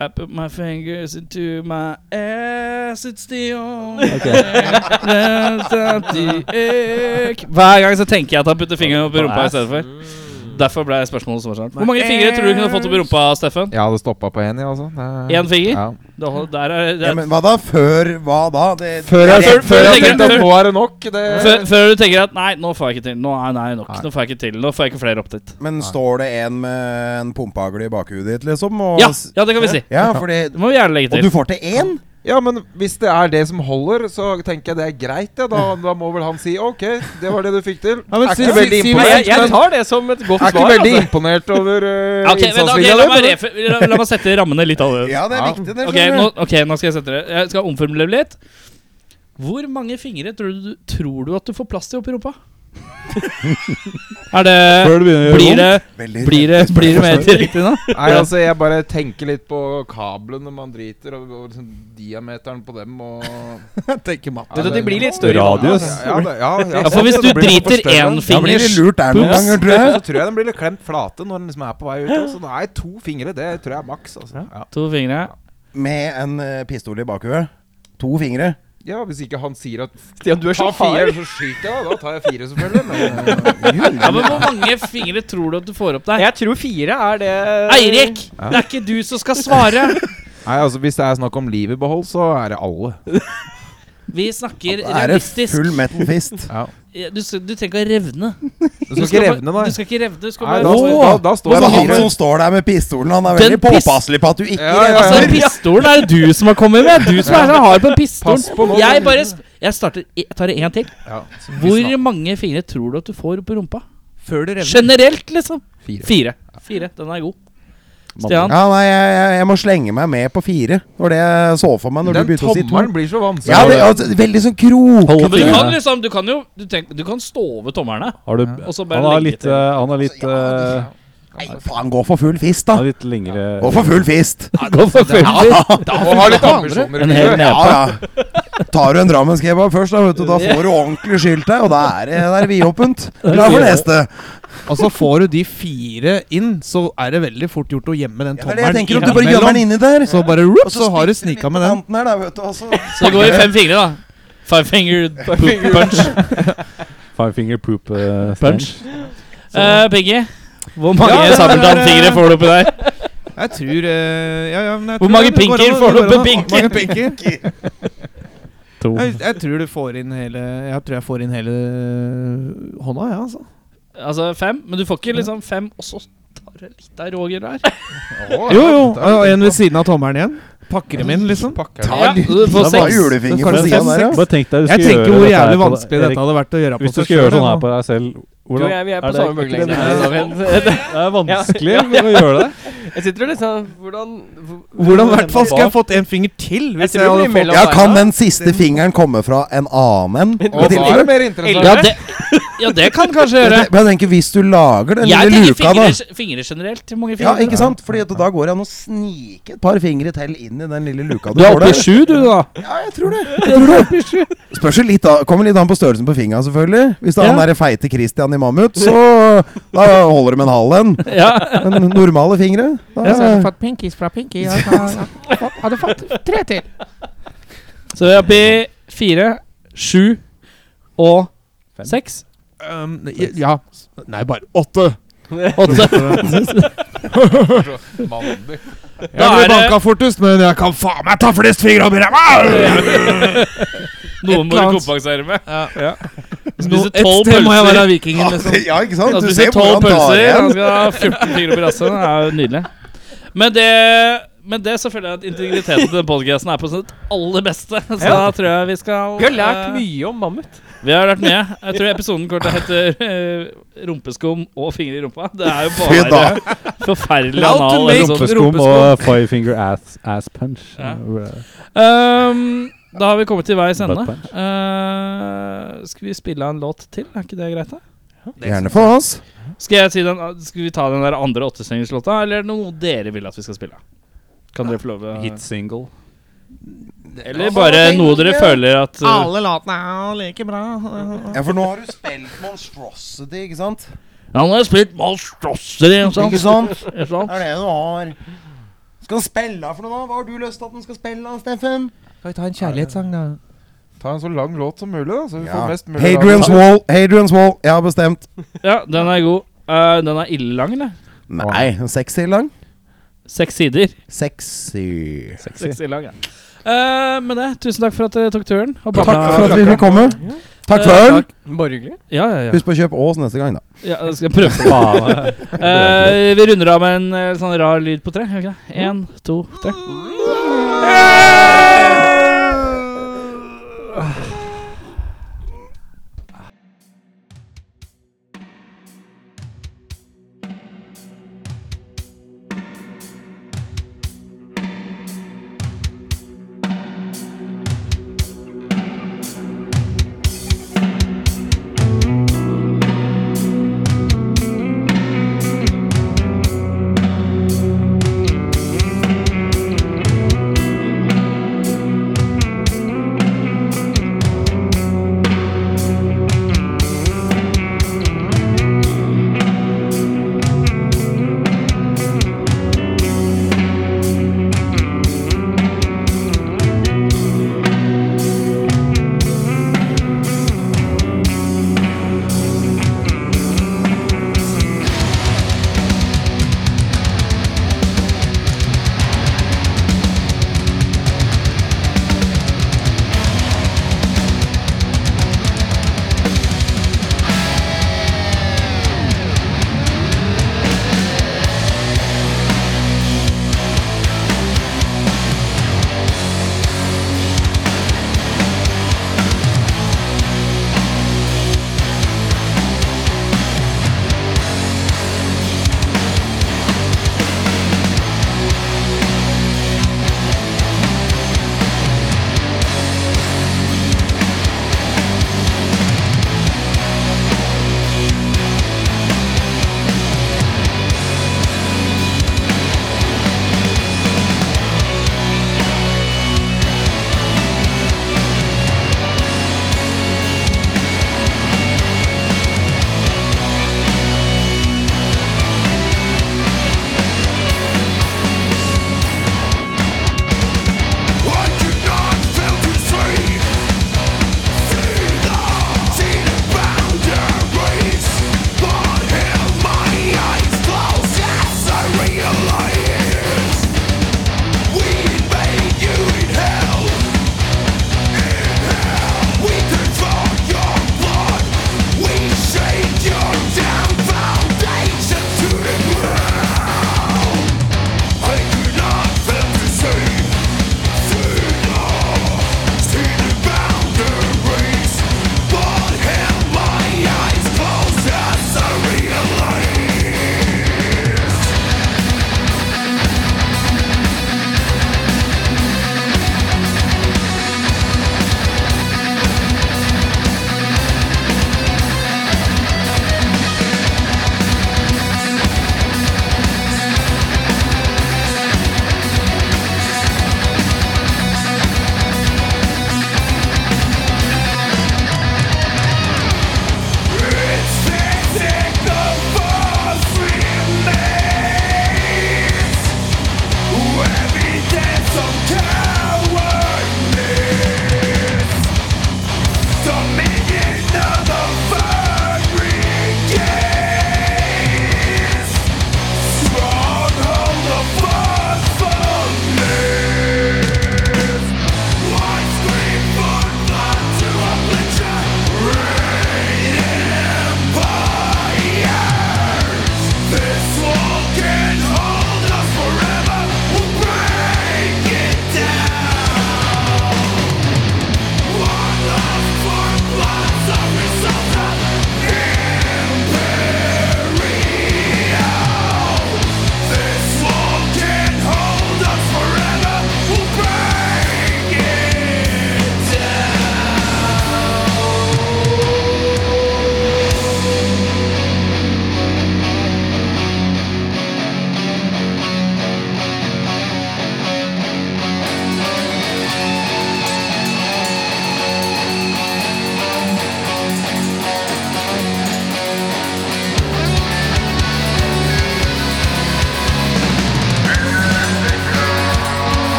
I put my fingers into my ass, it's the only thing that the ache. *laughs* Hver gang så tenker jeg at han putter fingeren opp i rumpa i stedet for. Derfor ble spørsmålet så svært. Hvor mange fingre tror du kunne fått opp i rumpa, Steffen?
Jeg hadde stoppa på én, jeg, altså. Det-
Én finger?
Ja.
Det hold- Der er,
Ja,
der.
men hva da? Før hva da? Det,
Før jeg-
før-
det-
før jeg tenker-
Nå er det nok. Det
Før, før du tenker at Nei, nå får jeg ikke til. Nå er nei, nok.
Nei.
Nå får jeg ikke til. Nå får jeg ikke flere opp dit.
Men står det en med en pumpehagle i bakhudet ditt, liksom? Og,
Ja, ja det kan vi si.
ja, fordi
Det må vi gjerne legge
Og
til.
du får til én?
Ja, men hvis det er det som holder, så tenker jeg det er greit. Ja. Da, da må vel han si OK, det var det du fikk til.
Ja, men
er
si-
ikke
si-
veldig
si-
Nei, jeg,
imponert,
jeg
men-
tar det som et godt
er ikke
svar.
veldig
Altså.
imponert over uh,
Ok,
sånn
men, ok,
innsatsvilja
la, meg
di, men-
refe- la, la meg sette rammene litt annerledes.
Ja, det er
Ja.
viktig, det.
Ok,
skjønner
nå,
du.
ok, nå skal jeg sette det. Jeg skal omformulere litt. Hvor mange fingre tror du, tror du at du får plass til oppi
*laughs*
rumpa? er det
Før det begynner å gjøre
Blir det,
Veldig
blir det, blir det mer direkte nå?
Nei, altså, jeg bare tenker litt på kablene man driter, og, og liksom, diameteren på dem og
Vet du at de blir litt større. i
Radius.
Ja, det- ja, ja,
Ja, for hvis
sånn,
du
da blir det
driter
for større.
én
Da blir
fingers
det lurt der noen
pups.
ganger, tror jeg.
*laughs*
Så tror jeg den blir litt klemt flate når den liksom er på vei ut. Også. Nei, to fingre, det tror jeg er maks. Altså. Ja.
To fingre.
Med en eh, pistol i bakhuet. To fingre.
ja, hvis ikke han sier at
bakhånd. Stian, du er
ta
så
fire,
hard.
så skyter jeg. Da tar jeg fire, selvfølgelig. Men, uh,
Ja, men Hvor mange fingre tror du at du får opp deg?
Jeg tror fire er det
Eirik, det er ikke du som skal svare!
*laughs* Nei, altså Hvis det er snakk om livet i behold, så er det alle.
Vi
*laughs*
snakker
Da er det
realistisk.
full metal fist.
Du, s- du trenger ikke å revne.
Du skal ikke revne,
Du
nei.
skal ikke revne, du skal
nei
bare
da,
Åh!
da, da står
Og
jeg med
så sånn han
fire.
som står der med pistolen, han er
Den
veldig
pis-
påpasselig på at du ikke
Ja, ja, ja.
redder
Altså, pistolen er det du som har kommet med. Du som er så hard på pistolen.
Pass på nå.
Jeg bare sp Jeg starter Jeg tar det en til.
Ja, så vi
Hvor
snakker
mange fingre tror du at du får oppi rumpa?
Før det revner.
Generelt, liksom.
fire.
Fire. Fire, Den er god.
Mann.
Stian?
Ja, nei, jeg, jeg, jeg må slenge meg med på fire. Det var det jeg så for meg når du
Den
begynte å si to.
tommelen blir så vanskelig.
Ja, det, altså, veldig sånn
Hold
Men du
krokete.
fingeren.
kan liksom Du kan jo Du, tenk, du kan stå over tommerne.
Har du,
Og så bare
han har
legge
litt,
til.
eh, han har litt, eh,
Nei, faen, gå for full fist,
han har
da.
litt lengre
Gå for full fist.
Gå for fem.
Og har litt ambisjoner. i
En hel
livet.
neve.
Ja, ja. Tar du en Drammenskebabb først, da, vet du, da får du ordentlig skylt deg, og da er det, da er det
*laughs*
vidåpent. Klar for neste.
Og så får du de fire inn, så er det veldig fort gjort å gjemme den
Ja, det er det jeg
tommelen
tenker, om du bare gjemmer den inni der.
Så bare rup,
Og
så har du snika
stikker den inn
med
på
den.
kanten her, da, vet du, og så-
Så det går i fem fingre, da. Five finger poop punch.
five finger poop eh,
Punch.
stand.
*laughs* Eh, Peggy? Hvor mange
Ja, det er-
sabeltannfingre får du oppi der?
Jeg tror eh, ja, ja, men jeg
Hvor
tror
mange
det går
pinker
an å-
får du
det går
på
an å-
pinker?
mange pinker?
*laughs*
To.
Jeg, jeg tror du får inn hele Jeg tror jeg får inn hele hånda, ja, altså.
Altså fem? Men du får ikke liksom fem, og så tar du litt av Roger der.
Å,
Jo, jo.
det er-
Og en ved siden av tommelen igjen. Pakker dem inn, liksom.
Pakker
Ta
det.
Ja,
litt-
du får
da var
seks.
julefinger
Så kan
på
du
siden
få
der, ja.
Bare tenk deg du
Jeg
skulle
tenker
gjøre
hvor
dette her
jævlig
på-
vanskelig dette hadde vært å gjøre på
Hvis du skal gjøre sånn her på deg selv
Du
hvordan,
og jeg, vi er på
det-
samme
ikke det-
bølgelengde.
Det er vanskelig å gjøre *laughs* det.
Jeg sitter og liksom Hvordan hvor-
Hvordan i hvert fall skal jeg fått en finger til? Hvis
Jeg tror
jeg
det
hadde
blir
fått
mellom
Ja, kan
beina.
den siste fingeren komme fra en annen en?
Og
I
da er det
tillegg.
mer interessant.
Ja, det, ja, det kan kanskje gjøre.
Men jeg tenker, hvis du lager den
Jeg
lille
tenker
luka, da
fingre, fingre generelt. Hvor mange
Ja,
fingre?
ikke sant? Fordi at da går det an å snike et par fingre til inn i den lille luka
du er
får
oppe i
der.
sju, du, da.
Ja, jeg tror det. Jeg tror det. Spørs jo litt da, Kommer litt an på størrelsen på fingra, selvfølgelig. Hvis det er
Ja.
han der feite Christian i Mammut, så da holder det med en halv en.
Ja.
Men normale fingre da,
fått pinkies fra Pinky. Og så hadde du fått tre til.
Så vi er oppe i fire, sju og seks.
um, Ja. Nei, bare åtte.
*laughs* Åtte.
Mandig.
Da
Jeg
er det-
blir banka fortest, men jeg kan faen meg ta flest fingre opp i ræva!
Noe må
eller
du
annet.
kompensere med.
No,
Spiser
et
tolv
sted må jeg være
pølser.
vikingen, liksom.
Ja, ikke sant?
Han
Du
spiser
ser hvor
Altså, tolv
han tar
pølser, han
igjen.
skal ha 14 fingre opp i rasset. Det er jo nydelig. Men det med det så føler jeg at integriteten til den podcasten er på sitt aller beste. Så
Ja.
da tror jeg vi skal
Vi har lært
eh,
mye om mammut.
Vi har lært mye. Jeg tror episoden kort heter eh, 'Rumpeskum og fingre i rumpa'. Det er jo
Fy da.
bare forferdelig
How to
anal.
make
episode.
Rumpeskum og five finger ass, ass punch.
Ja.
Eh,
Ehm, da har vi kommet til veis ende.
Butt punch.
Eh, skal vi spille av en låt til? Er ikke det greit? da?
Gjerne for oss.
Skal, jeg si den, ah, skal vi ta den der andre åttestengerslåta, eller er det noe dere vil at vi skal spille? Kan dere få lov å
Hit single.
Eller bare noe dere føler at eh,
Alle låtene er like bra.
Ja, for nå har du spilt Monstrosity, ikke sant?
Han har spilt Malstrosser i en sånn.
*laughs* Ikke sant?
En sånn.
Det er det du har. Skal han spille av for noe, da? Hva har du lyst til at han skal spille av, Steffen?
Skal vi ta en kjærlighetssang, da?
Ta en så lang låt som mulig, da, så vi får mest mulig
Hadrian's Wall, Hadrian's Wall. Jeg har bestemt.
Ja, den er god. Eh, den er ille lang, eller?
Nei, sexy lang.
Seks sider.
Sexy.
Seks sider lang, ja. Eh, med det, tusen takk for at dere tok turen. Og
Takk
babla-
for at vi fikk komme. Takk for øl.
Bare hyggelig.
Ja, ja, ja.
Husk på å kjøpe Ås neste gang, da.
ja jeg skal prøve. Eh, vi runder av med en eh, sånn rar lyd på tre. gjør vi ikke det? Én, to, tre.